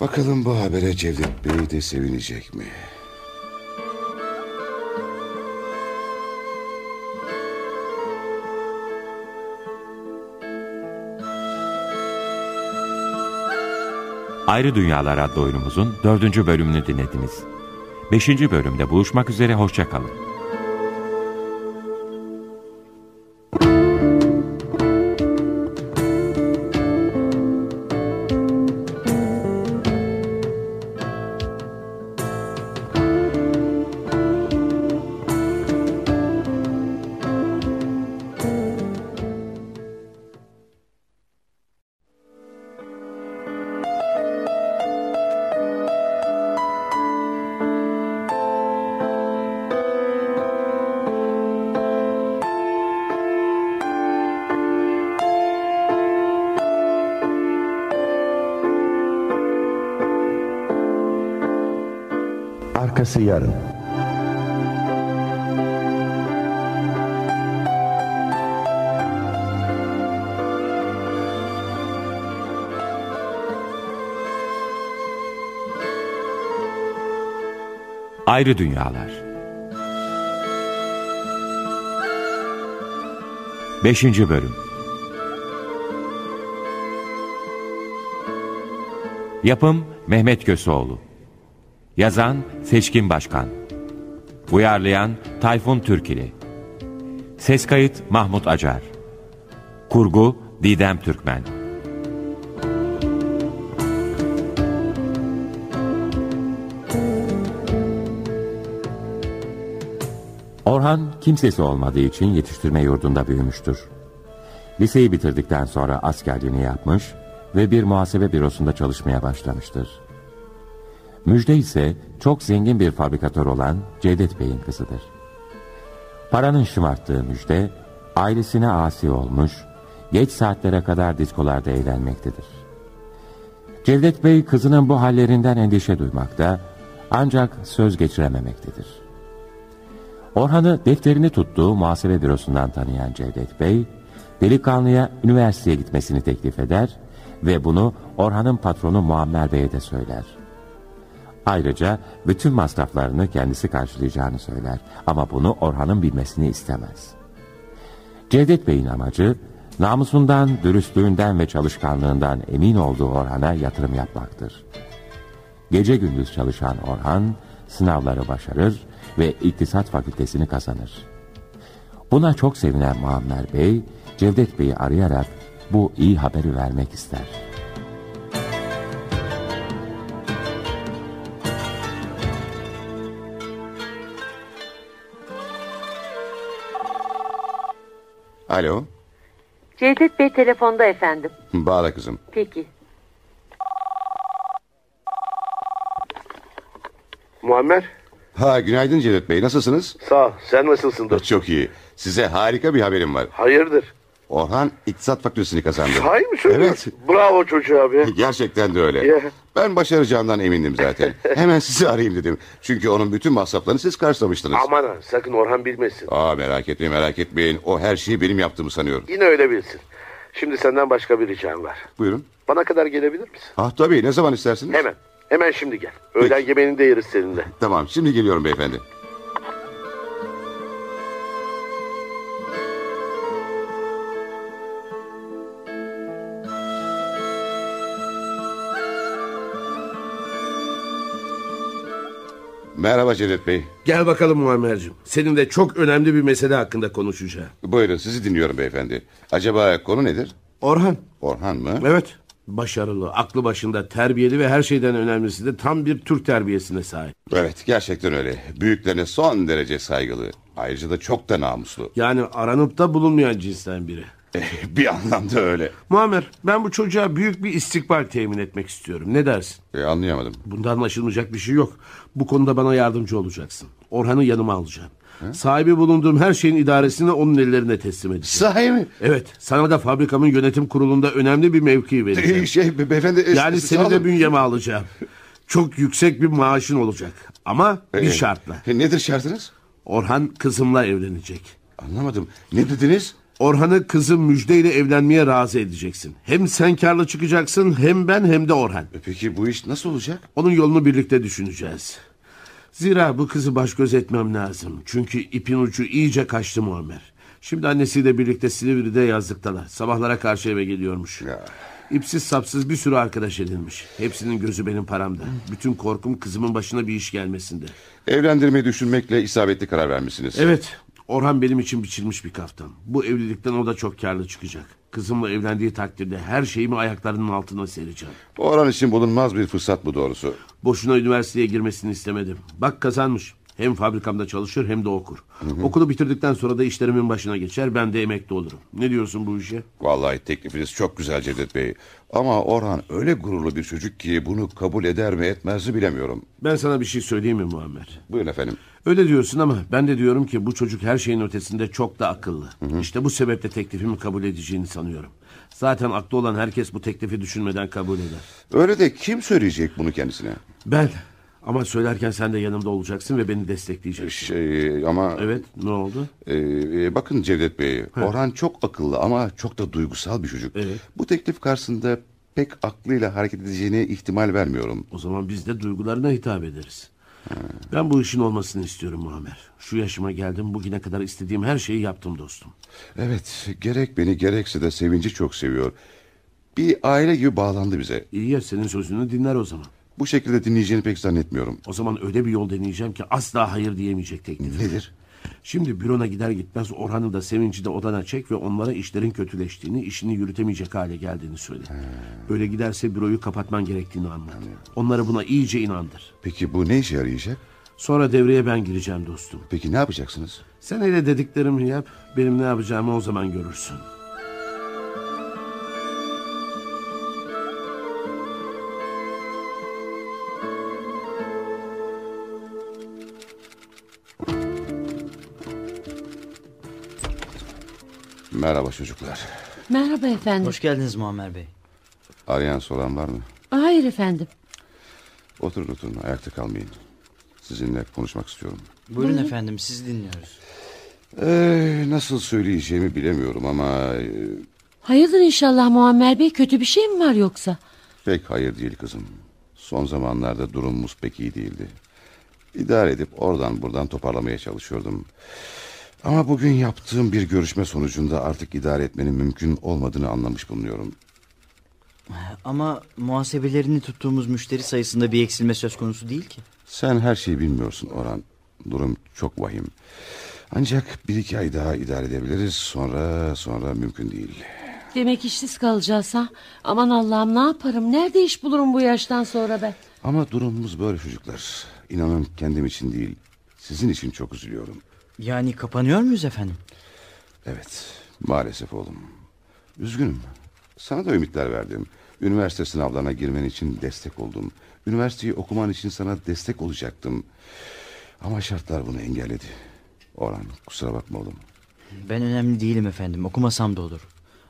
Bakalım bu habere Cevdet Bey de sevinecek mi?
Ayrı Dünyalar adlı oyunumuzun dördüncü bölümünü dinlediniz. Beşinci bölümde buluşmak üzere, hoşçakalın.
Arkası yarın.
Ayrı Dünyalar 5. Bölüm Yapım Mehmet Köseoğlu Yazan Seçkin Başkan Uyarlayan Tayfun Türkili Ses kayıt Mahmut Acar Kurgu Didem Türkmen Orhan kimsesi olmadığı için yetiştirme yurdunda büyümüştür. Liseyi bitirdikten sonra askerliğini yapmış ve bir muhasebe bürosunda çalışmaya başlamıştır. Müjde ise çok zengin bir fabrikatör olan Cevdet Bey'in kızıdır. Paranın şımarttığı Müjde, ailesine asi olmuş, geç saatlere kadar diskolarda eğlenmektedir. Cevdet Bey kızının bu hallerinden endişe duymakta, ancak söz geçirememektedir. Orhan'ı defterini tuttuğu muhasebe bürosundan tanıyan Cevdet Bey, delikanlıya üniversiteye gitmesini teklif eder ve bunu Orhan'ın patronu Muammer Bey'e de söyler. Ayrıca bütün masraflarını kendisi karşılayacağını söyler ama bunu Orhan'ın bilmesini istemez. Cevdet Bey'in amacı namusundan, dürüstlüğünden ve çalışkanlığından emin olduğu Orhan'a yatırım yapmaktır. Gece gündüz çalışan Orhan sınavları başarır ve iktisat fakültesini kazanır. Buna çok sevinen Muammer Bey, Cevdet Bey'i arayarak bu iyi haberi vermek ister.
Alo.
Cevdet Bey telefonda efendim.
Bağla kızım.
Peki.
Muammer. Ha günaydın Cevdet Bey nasılsınız? Sağ ol sen nasılsındır? Çok iyi. Size harika bir haberim var. Hayırdır? Orhan İktisat Fakültesini kazandı.
Hayır mı söylüyorsun? Bravo çocuğa be.
Gerçekten de öyle.
Ya.
Ben başaracağından emindim zaten. Hemen sizi arayayım dedim. Çünkü onun bütün masraflarını siz karşılamıştınız.
Aman ha sakın Orhan bilmesin.
Aa merak etmeyin merak etmeyin. O her şeyi benim yaptığımı sanıyor.
Yine öyle bilsin. Şimdi senden başka bir ricam var.
Buyurun.
Bana kadar gelebilir misin?
Ah tabii ne zaman istersiniz?
Hemen. Hemen şimdi gel. Öğlen yemeğini de yeriz seninle.
Tamam şimdi geliyorum beyefendi. Merhaba Cevdet Bey.
Gel bakalım Muammer'cim. Seninle çok önemli bir mesele hakkında konuşacağım.
Buyurun sizi dinliyorum beyefendi. Acaba konu nedir?
Orhan.
Orhan mı?
Evet. Başarılı, aklı başında, terbiyeli ve her şeyden önemlisi de tam bir Türk terbiyesine sahip.
Evet gerçekten öyle. Büyüklerine son derece saygılı. Ayrıca da çok da namuslu.
Yani aranıp da bulunmayan cinsten biri.
bir anlamda öyle.
Muammer ben bu çocuğa büyük bir istikbal temin etmek istiyorum. Ne dersin?
E, anlayamadım.
Bunda anlaşılmayacak bir şey yok. Bu konuda bana yardımcı olacaksın. Orhan'ı yanıma alacağım. Sahibi bulunduğum her şeyin idaresini onun ellerine teslim edeceğim.
Sahi mi?
Evet. Sana da fabrikamın yönetim kurulunda önemli bir mevki vereceğim.
Şey be- beyefendi... e,
Yani
sağ
seni de
olun.
bünyeme alacağım. Çok yüksek bir maaşın olacak. Ama bir
Ee,
şartla.
nedir şartınız?
Orhan kızımla evlenecek.
Anlamadım. Ne dediniz?
Orhan'ı kızım Müjde ile evlenmeye razı edeceksin. Hem sen karlı çıkacaksın hem ben hem de Orhan.
E, Peki bu iş nasıl olacak?
Onun yolunu birlikte düşüneceğiz. Zira bu kızı baş göz etmem lazım. Çünkü ipin ucu iyice kaçtı Muammer. Şimdi annesiyle birlikte Silivri'de yazlıktalar. Sabahlara karşı eve geliyormuş. İpsiz sapsız bir sürü arkadaş edinmiş. Hepsinin gözü benim paramda. Bütün korkum kızımın başına bir iş gelmesinde.
Evlendirmeyi düşünmekle isabetli karar vermişsiniz.
Evet. Orhan benim için biçilmiş bir kaftan. Bu evlilikten o da çok karlı çıkacak. Kızımla evlendiği takdirde her şeyimi ayaklarının altına sereceğim.
Orhan için bulunmaz bir fırsat bu doğrusu.
Boşuna üniversiteye girmesini istemedim. Bak kazanmış. Hem fabrikamda çalışır hem de okur. Okulu bitirdikten sonra da işlerimin başına geçer. Ben de emekli olurum. Ne diyorsun bu işe?
Vallahi teklifiniz çok güzel Cevdet Bey. Ama Orhan öyle gururlu bir çocuk ki bunu kabul eder mi etmez mi bilemiyorum.
Ben sana bir şey söyleyeyim mi Muammer?
Buyurun efendim.
Öyle diyorsun ama ben de diyorum ki bu çocuk her şeyin ötesinde çok da akıllı. İşte bu sebeple teklifimi kabul edeceğini sanıyorum. Zaten aklı olan herkes bu teklifi düşünmeden kabul eder.
Öyle de kim söyleyecek bunu kendisine?
Ben ama söylerken sen de yanımda olacaksın ve beni destekleyeceksin.
Şey ama... Ee, e,
Evet ne oldu?
bakın Cevdet Bey Orhan çok akıllı ama çok da duygusal bir çocuk. Bu teklif karşısında pek aklıyla hareket edeceğine ihtimal vermiyorum.
O zaman biz de duygularına hitap ederiz. Ben bu işin olmasını istiyorum Muammer. Şu yaşıma geldim bugüne kadar istediğim her şeyi yaptım dostum.
Evet gerek beni gerekse de sevinci çok seviyor. Bir aile gibi bağlandı bize.
İyi ya senin sözünü dinler o zaman.
Bu şekilde dinleyeceğini pek zannetmiyorum.
O zaman öyle bir yol deneyeceğim ki asla hayır diyemeyecek teklif.
Nedir?
Şimdi bürona gider gitmez Orhan'ı da Sevinç'i de odana çek ve onlara işlerin kötüleştiğini, işini yürütemeyecek hale geldiğini söyle. Böyle giderse büroyu kapatman gerektiğini anlat. Onları buna iyice inandır.
Peki bu ne işe yarayacak?
Sonra devreye ben gireceğim dostum.
Peki ne yapacaksınız?
Sen hele dediklerimi yap, benim ne yapacağımı o zaman görürsün.
Merhaba çocuklar.
Merhaba efendim.
Hoş geldiniz Muammer Bey.
Arayan soran var mı?
Hayır efendim.
Oturun oturun ayakta kalmayın. Sizinle konuşmak istiyorum.
Buyurun, efendim sizi dinliyoruz.
Ee, nasıl söyleyeceğimi bilemiyorum ama... e,
Hayırdır inşallah Muammer Bey kötü bir şey mi var yoksa?
Pek hayır değil kızım. Son zamanlarda durumumuz pek iyi değildi. İdare edip oradan buradan toparlamaya çalışıyordum. Ama bugün yaptığım bir görüşme sonucunda artık idare etmenin mümkün olmadığını anlamış bulunuyorum.
Ama muhasebelerini tuttuğumuz müşteri sayısında bir eksilme söz konusu değil ki.
Sen her şeyi bilmiyorsun Orhan. Durum çok vahim. Ancak bir iki ay daha idare edebiliriz. Sonra sonra mümkün değil.
Demek işsiz kalacağız ha? Aman Allah'ım ne yaparım? Nerede iş bulurum bu yaştan sonra ben?
Ama durumumuz böyle çocuklar. İnanın kendim için değil, sizin için çok üzülüyorum.
Yani kapanıyor muyuz efendim?
Evet, maalesef oğlum. Üzgünüm. Sana da ümitler verdim. Üniversite sınavlarına girmen için destek oldum. Üniversiteyi okuman için sana destek olacaktım. Ama şartlar bunu engelledi. Orhan kusura bakma oğlum.
Ben önemli değilim efendim. Okumasam da olur.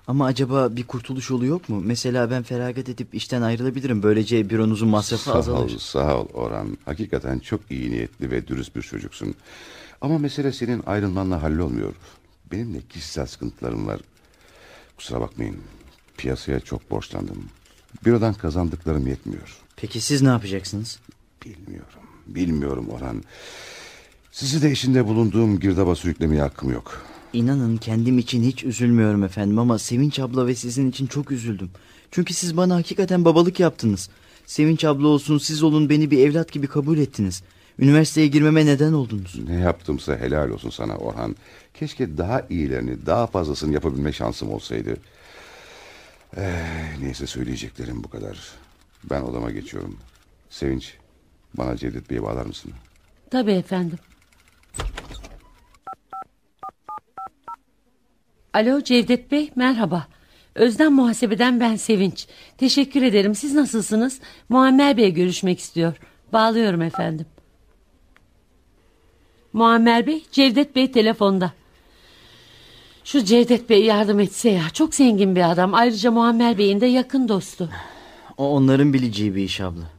Ama acaba bir kurtuluş yolu yok mu? Mesela ben feragat edip işten ayrılabilirim. Böylece büronuzun masrafı
sağ
azalır.
ol, sağ ol Orhan. Hakikaten çok iyi niyetli ve dürüst bir çocuksun. Ama mesele senin ayrılmanla hallolmuyor. Benim de kişisel sıkıntılarım var. Kusura bakmayın. Piyasaya çok borçlandım. Bürodan kazandıklarım yetmiyor.
Peki siz ne yapacaksınız?
Bilmiyorum Orhan. Sizi de içinde bulunduğum girdaba sürüklemeye hakkım yok.
İnanın kendim için hiç üzülmüyorum efendim ama Sevinç abla ve sizin için çok üzüldüm. Çünkü siz bana hakikaten babalık yaptınız. Sevinç abla olsun siz olun beni bir evlat gibi kabul ettiniz. Üniversiteye girmeme neden oldunuz.
Ne yaptımsa helal olsun sana Orhan. Keşke daha iyilerini, daha fazlasını yapabilme şansım olsaydı. Eh, neyse söyleyeceklerim bu kadar. Ben odama geçiyorum. Sevinç, bana Cevdet Bey'i bağlar mısın?
Tabii efendim. Alo Cevdet Bey merhaba. Özlem muhasebeden ben Sevinç. Teşekkür ederim. Siz nasılsınız? Muammer Bey görüşmek istiyor. Bağlıyorum efendim. Muammer Bey, Cevdet Bey telefonda. Şu Cevdet Bey yardım etse ya. Çok zengin bir adam. Ayrıca Muammer Bey'in de yakın dostu.
O onların bileceği bir iş abla.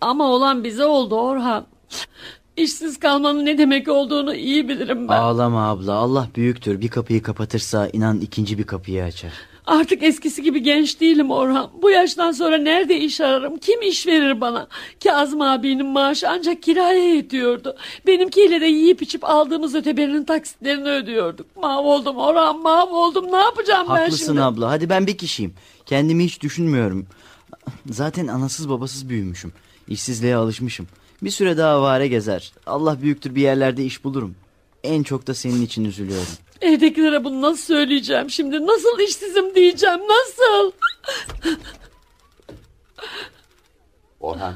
Ama olan bize oldu Orhan. İşsiz kalmanın ne demek olduğunu iyi bilirim ben.
Ağlama abla Allah büyüktür. Bir kapıyı kapatırsa inan ikinci bir kapıyı açar.
Artık eskisi gibi genç değilim Orhan. Bu yaştan sonra nerede iş ararım? Kim iş verir bana? Kazım abinin maaşı ancak kiraya yetiyordu. Benimkiyle de yiyip içip aldığımız öteberinin taksitlerini ödüyorduk. Mahvoldum Orhan mahvoldum. Ne yapacağım ben
Haklısın
şimdi?
abla hadi ben bir kişiyim. Kendimi hiç düşünmüyorum. Zaten anasız babasız büyümüşüm. İşsizliğe alışmışım. Bir süre daha avare gezer. Allah büyüktür bir yerlerde iş bulurum. En çok da senin için üzülüyorum.
Evdekilere bunu nasıl söyleyeceğim şimdi? Nasıl işsizim diyeceğim? Nasıl?
Orhan.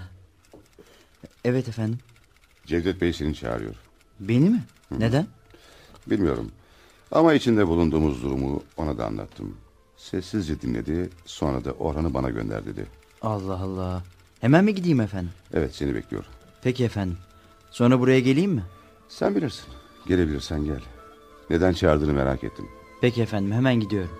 Evet efendim.
Cevdet Bey seni çağırıyor.
Beni mi? Neden?
Bilmiyorum. Ama içinde bulunduğumuz durumu ona da anlattım. Sessizce dinledi. Sonra da Orhan'ı bana gönder dedi.
Allah Allah. Hemen mi gideyim efendim?
Evet seni bekliyor.
Peki efendim. Sonra buraya geleyim mi?
Sen bilirsin. Gelebilirsen gel. Neden çağırdığını merak ettim.
Peki efendim hemen gidiyorum.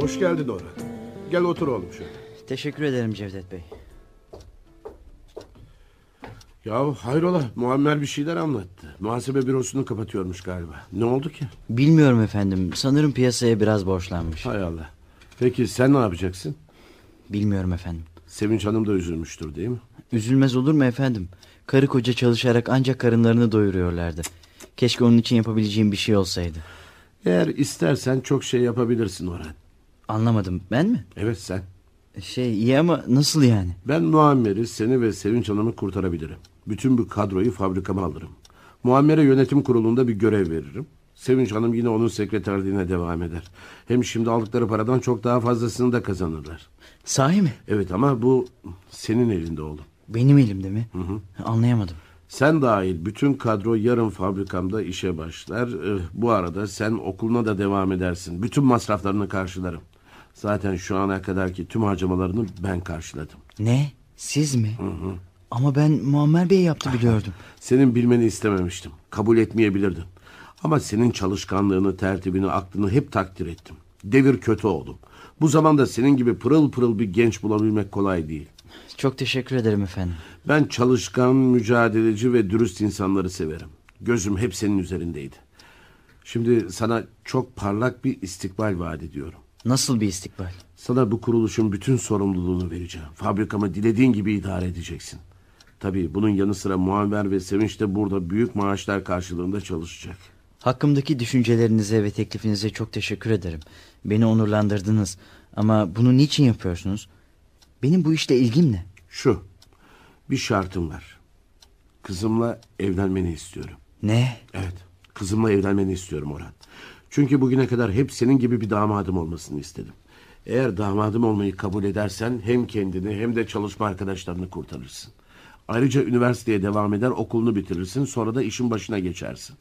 Hoş geldin Orhan. Gel otur oğlum şöyle.
Teşekkür ederim Cevdet Bey.
Ya hayrola Muammer bir şeyler anlattı. Muhasebe bürosunu kapatıyormuş galiba. Ne oldu ki?
Bilmiyorum efendim. Sanırım piyasaya biraz borçlanmış.
Hay Allah. Peki sen ne yapacaksın?
Bilmiyorum efendim.
Sevinç Hanım da üzülmüştür değil mi?
Üzülmez olur mu efendim? Karı koca çalışarak ancak karınlarını doyuruyorlardı. Keşke onun için yapabileceğim bir şey olsaydı.
Eğer istersen çok şey yapabilirsin Orhan.
Anlamadım. Ben mi?
Evet sen.
Şey iyi ama nasıl yani?
Ben Muammer'i seni ve Sevinç Hanım'ı kurtarabilirim. Bütün bu kadroyu fabrikama alırım. Muammer'e yönetim kurulunda bir görev veririm. Sevinç Hanım yine onun sekreterliğine devam eder. Hem şimdi aldıkları paradan çok daha fazlasını da kazanırlar.
Sahi mi?
Evet ama bu senin elinde oğlum.
Benim elimde mi? Anlayamadım.
Sen dahil bütün kadro yarın fabrikamda işe başlar. Eh, Bu arada sen okuluna da devam edersin. Bütün masraflarını karşılarım. Zaten şu ana kadarki tüm harcamalarını ben karşıladım.
Ne? Siz mi? Ama ben Muammer Bey yaptı biliyordum.
Senin bilmeni istememiştim. Kabul etmeyebilirdin. Ama senin çalışkanlığını, tertibini, aklını hep takdir ettim. Devir kötü oğlum. Bu zamanda senin gibi pırıl pırıl bir genç bulabilmek kolay değil.
Çok teşekkür ederim efendim.
Ben çalışkan, mücadeleci ve dürüst insanları severim. Gözüm hep senin üzerindeydi. Şimdi sana çok parlak bir istikbal vaat ediyorum.
Nasıl bir istikbal?
Sana bu kuruluşun bütün sorumluluğunu vereceğim. Fabrikamı dilediğin gibi idare edeceksin. Tabii bunun yanı sıra Muammer ve Sevinç de burada büyük maaşlar karşılığında çalışacak.
Hakkımdaki düşüncelerinize ve teklifinize çok teşekkür ederim. Beni onurlandırdınız. Ama bunu niçin yapıyorsunuz? Benim bu işle ilgim ne?
Şu. Bir şartım var. Kızımla evlenmeni istiyorum.
Ne?
Evet. Kızımla evlenmeni istiyorum Orhan. Çünkü bugüne kadar hep senin gibi bir damadım olmasını istedim. Eğer damadım olmayı kabul edersen hem kendini hem de çalışma arkadaşlarını kurtarırsın. Ayrıca üniversiteye devam eder, okulunu bitirirsin, sonra da işin başına geçersin.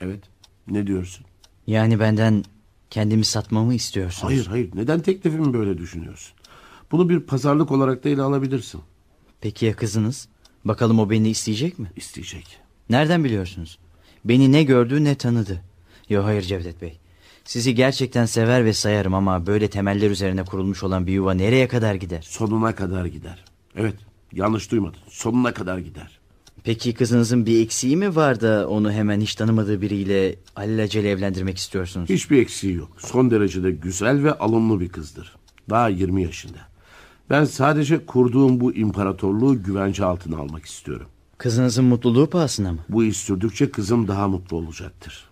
Evet. Ne diyorsun?
Yani benden kendimi satmamı istiyorsunuz.
Hayır, hayır. Neden teklifimi böyle düşünüyorsun? Bunu bir pazarlık olarak da ele alabilirsin.
Peki ya kızınız? Bakalım o beni isteyecek mi?
İsteyecek.
Nereden biliyorsunuz? Beni ne gördü ne tanıdı. Yo hayır Cevdet Bey. Sizi gerçekten sever ve sayarım ama böyle temeller üzerine kurulmuş olan bir yuva nereye kadar gider?
Sonuna kadar gider. Evet, yanlış duymadın. Sonuna kadar gider.
Peki kızınızın bir eksiği mi var da onu hemen hiç tanımadığı biriyle alelacele evlendirmek istiyorsunuz?
Hiçbir eksiği yok. Son derecede güzel ve alımlı bir kızdır. Daha 20 yaşında. Ben sadece kurduğum bu imparatorluğu güvence altına almak istiyorum.
Kızınızın mutluluğu pahasına mı?
Bu iş sürdükçe kızım daha mutlu olacaktır.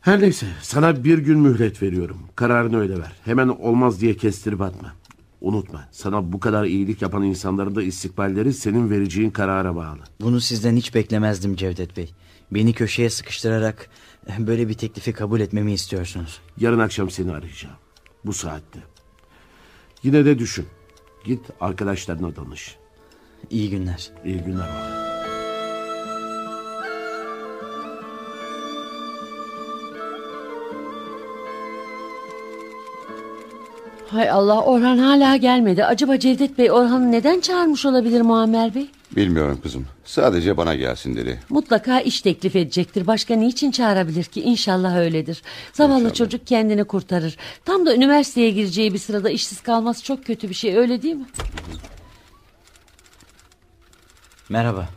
Her neyse sana bir gün mühlet veriyorum. Kararını öyle ver. Hemen olmaz diye kestirip atma. Unutma sana bu kadar iyilik yapan insanların da istikballeri senin vereceğin karara bağlı.
Bunu sizden hiç beklemezdim Cevdet Bey. Beni köşeye sıkıştırarak böyle bir teklifi kabul etmemi istiyorsunuz.
Yarın akşam seni arayacağım. Bu saatte. Yine de düşün. Git arkadaşlarına danış.
İyi günler.
İyi günler. baba.
Hay Allah Orhan hala gelmedi. Acaba Cevdet Bey Orhan'ı neden çağırmış olabilir Muammer Bey?
Bilmiyorum kızım. Sadece bana gelsin dedi.
Mutlaka iş teklif edecektir. Başka niçin çağırabilir ki? İnşallah öyledir. Zavallı çocuk kendini kurtarır. Tam da üniversiteye gireceği bir sırada işsiz kalması çok kötü bir şey. Öyle değil mi?
Merhaba.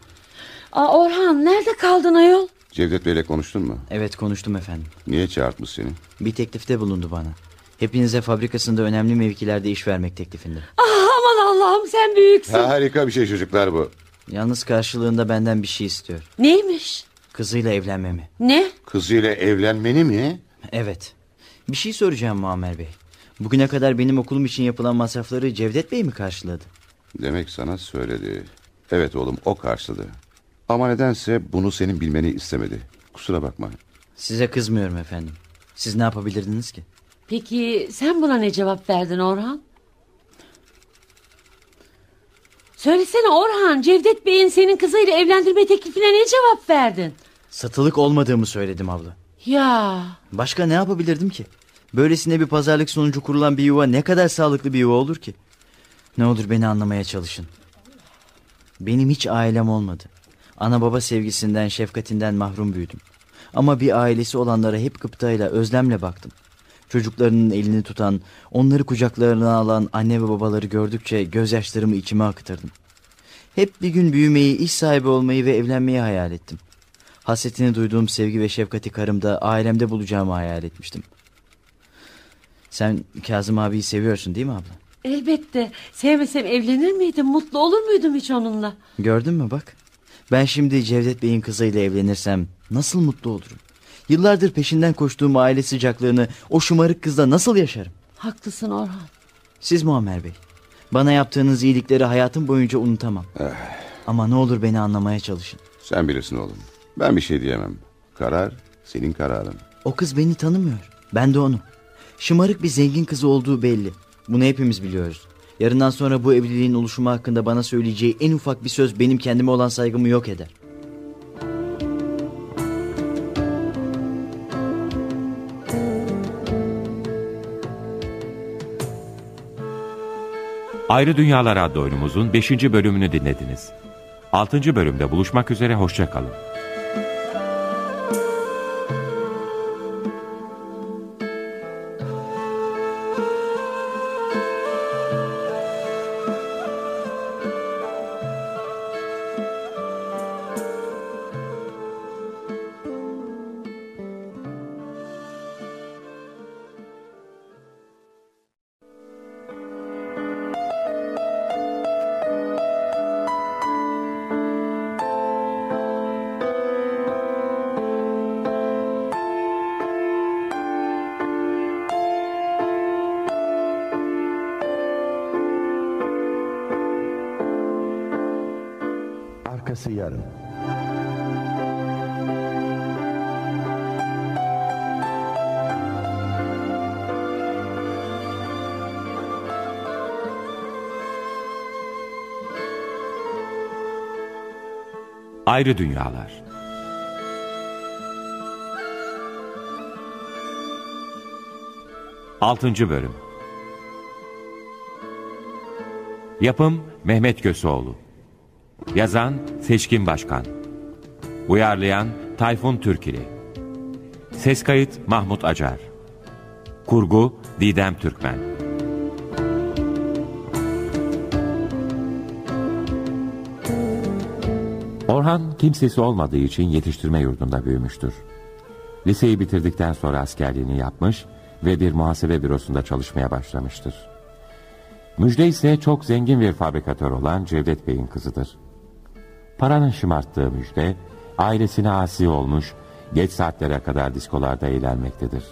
Aa Orhan nerede kaldın ayol?
Cevdet Bey'le konuştun mu?
Evet konuştum efendim.
Niye çağırtmış seni?
Bir teklifte bulundu bana. Hepinize fabrikasında önemli mevkilerde iş vermek teklifinde.
Ah, aman Allah'ım sen büyüksün.
harika bir şey çocuklar bu.
Yalnız karşılığında benden bir şey istiyor.
Neymiş?
Kızıyla evlenmemi.
Ne?
Kızıyla evlenmeni mi?
Evet. Bir şey soracağım Muammer Bey. Bugüne kadar benim okulum için yapılan masrafları Cevdet Bey mi karşıladı?
Demek sana söyledi. Evet oğlum o karşıladı. Ama nedense bunu senin bilmeni istemedi. Kusura bakma.
Size kızmıyorum efendim. Siz ne yapabilirdiniz ki?
Peki sen buna ne cevap verdin Orhan? Söylesene Orhan, Cevdet Bey'in senin kızıyla evlendirme teklifine ne cevap verdin?
Satılık olmadığımı söyledim abla.
Ya
Başka ne yapabilirdim ki? Böylesine bir pazarlık sonucu kurulan bir yuva ne kadar sağlıklı bir yuva olur ki? Ne olur beni anlamaya çalışın. Benim hiç ailem olmadı. Ana baba sevgisinden, şefkatinden mahrum büyüdüm. Ama bir ailesi olanlara hep gıptayla, özlemle baktım. Çocuklarının elini tutan, onları kucaklarına alan anne ve babaları gördükçe gözyaşlarımı içime akıtırdım. Hep bir gün büyümeyi, iş sahibi olmayı ve evlenmeyi hayal ettim. Hasretini duyduğum sevgi ve şefkati karımda, ailemde bulacağımı hayal etmiştim. Sen Kazım abiyi seviyorsun değil mi abla?
elbette. Sevmesem evlenir miydim, mutlu olur muydum hiç onunla?
Gördün mü bak. Ben şimdi Cevdet Bey'in kızıyla evlenirsem nasıl mutlu olurum. Yıllardır peşinden koştuğum aile sıcaklığını o şımarık kızla nasıl yaşarım?
Haklısın Orhan.
Siz Muammer Bey. Bana yaptığınız iyilikleri hayatım boyunca unutamam. Ama ne olur beni anlamaya çalışın.
Sen bilirsin oğlum. Ben bir şey diyemem. Karar senin kararın.
O kız beni tanımıyor. Ben de onu. Şımarık bir zengin kızı olduğu belli. Bunu hepimiz biliyoruz. Yarından sonra bu evliliğin oluşumu hakkında bana söyleyeceği en ufak bir söz benim kendime olan saygımı yok eder.
Ayrı Dünyalar adlı oyunumuzun 5. bölümünü dinlediniz. 6. bölümde buluşmak üzere hoşça kalın.
Arkası yarın.
Ayrı Dünyalar Altıncı Bölüm Yapım Mehmet Köseoğlu Yazan Seçkin Başkan Uyarlayan Tayfun Türkili Ses kayıt Mahmut Acar Kurgu Didem Türkmen Orhan kimsesi olmadığı için yetiştirme yurdunda büyümüştür. Liseyi bitirdikten sonra askerliğini yapmış ve bir muhasebe bürosunda çalışmaya başlamıştır. Müjde ise çok zengin bir fabrikatör olan Cevdet Bey'in kızıdır. Paranın şımarttığı Müjde, ailesine asi olmuş, geç saatlere kadar diskolarda eğlenmektedir.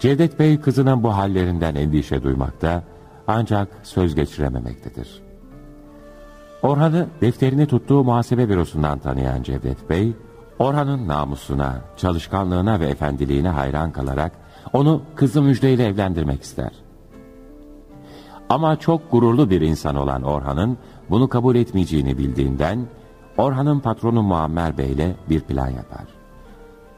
Cevdet Bey kızının bu hallerinden endişe duymakta, ancak söz geçirememektedir. Orhan'ı defterini tuttuğu muhasebe bürosundan tanıyan Cevdet Bey, Orhan'ın namusuna, çalışkanlığına ve efendiliğine hayran kalarak onu kızı Müjde ile evlendirmek ister. Ama çok gururlu bir insan olan Orhan'ın bunu kabul etmeyeceğini bildiğinden Orhan'ın patronu Muammer Bey ile bir plan yapar.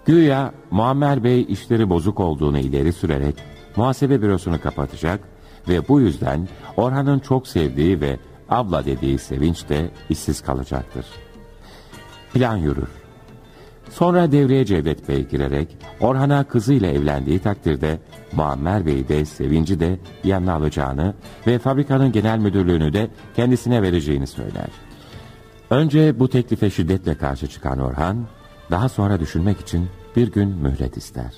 Güya Muammer Bey işleri bozuk olduğunu ileri sürerek muhasebe bürosunu kapatacak ve bu yüzden Orhan'ın çok sevdiği ve abla dediği Sevinç de işsiz kalacaktır. Plan yürür. Sonra devreye Cevdet Bey girerek Orhan'a kızıyla evlendiği takdirde Muammer Bey de Sevinci de yanına alacağını ve fabrikanın genel müdürlüğünü de kendisine vereceğini söyler. Önce bu teklife şiddetle karşı çıkan Orhan, daha sonra düşünmek için bir gün mühlet ister.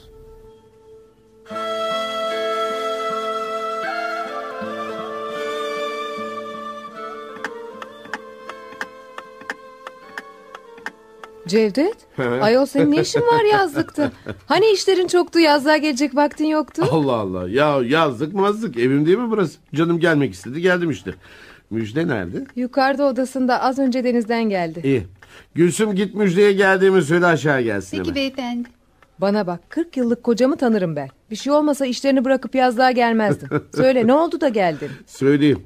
Cevdet? Ayol senin ne işin var yazlıkta? Hani işlerin çoktu yazlığa gelecek vaktin yoktu?
Allah Allah. Ya yazdık mazdık. Evim değil mi burası? Canım gelmek istedi. Geldim işte. Müjde nerede?
Yukarıda odasında az önce denizden geldi.
İyi. Gülsüm git müjdeye geldiğimi söyle aşağı gelsin hemen.
beyefendi. Bana bak 40 yıllık kocamı tanırım ben. Bir şey olmasa işlerini bırakıp yazlığa gelmezdin. Söyle ne oldu da geldin?
Söyleyeyim.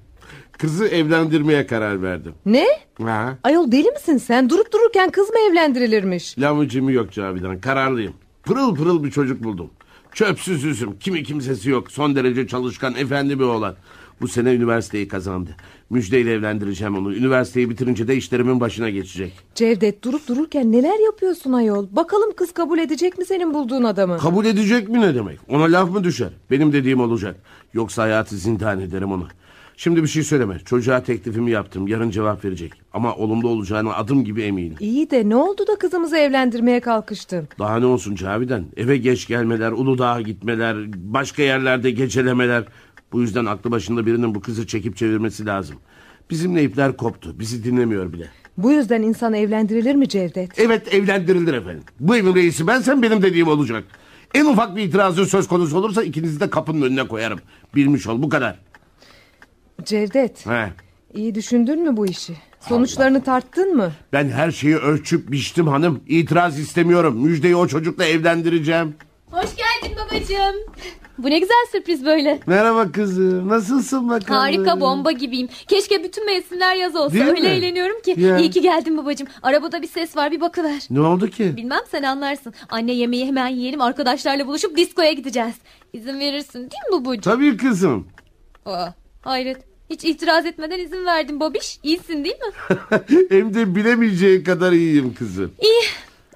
Kızı evlendirmeye karar verdim.
Ne?
Ha?
Ayol deli misin sen? Durup dururken kız mı evlendirilirmiş?
Lavucumu yok Cavidan. Kararlıyım. Pırıl pırıl bir çocuk buldum. Çöpsüz üzüm. Kimi kimsesi yok. Son derece çalışkan, efendi bir oğlan. Bu sene üniversiteyi kazandı. Müjdeyle evlendireceğim onu. Üniversiteyi bitirince de işlerimin başına geçecek.
Cevdet durup dururken neler yapıyorsun ayol? Bakalım kız kabul edecek mi senin bulduğun adamı?
Kabul edecek mi ne demek? Ona laf mı düşer? Benim dediğim olacak. Yoksa hayatı zindan ederim ona. Şimdi bir şey söyleme. Çocuğa teklifimi yaptım. Yarın cevap verecek. Ama olumlu olacağına adım gibi eminim.
İyi de ne oldu da kızımızı evlendirmeye kalkıştın?
Daha ne olsun Cavidan? Eve geç gelmeler, Uludağ'a gitmeler, başka yerlerde gecelemeler. Bu yüzden aklı başında birinin bu kızı çekip çevirmesi lazım. Bizimle ipler koptu. Bizi dinlemiyor bile.
Bu yüzden insan evlendirilir mi Cevdet?
Evet evlendirilir efendim. Bu evin reisi bensen benim dediğim olacak. En ufak bir itirazın söz konusu olursa ikinizi de kapının önüne koyarım. Bilmiş ol bu kadar.
Cevdet
He.
iyi düşündün mü bu işi? Sonuçlarını tarttın mı?
Ben her şeyi ölçüp biçtim hanım. İtiraz istemiyorum. Müjdeyi o çocukla evlendireceğim.
Hoş geldin babacığım. Bu ne güzel sürpriz böyle.
Merhaba kızım. Nasılsın bakalım?
Harika bomba gibiyim. Keşke bütün mevsimler yaz olsa.
Değil
Öyle
mi?
eğleniyorum ki.
Ya.
İyi ki geldin babacığım. Arabada bir ses var bir bakıver.
Ne oldu ki?
Bilmem sen anlarsın. Anne yemeği hemen yiyelim. Arkadaşlarla buluşup diskoya gideceğiz. İzin verirsin değil mi babacığım?
Tabii kızım.
Aa, hayret. Hiç itiraz etmeden izin verdin babiş. İyisin değil mi?
Hem de bilemeyeceği kadar iyiyim kızım.
İyi.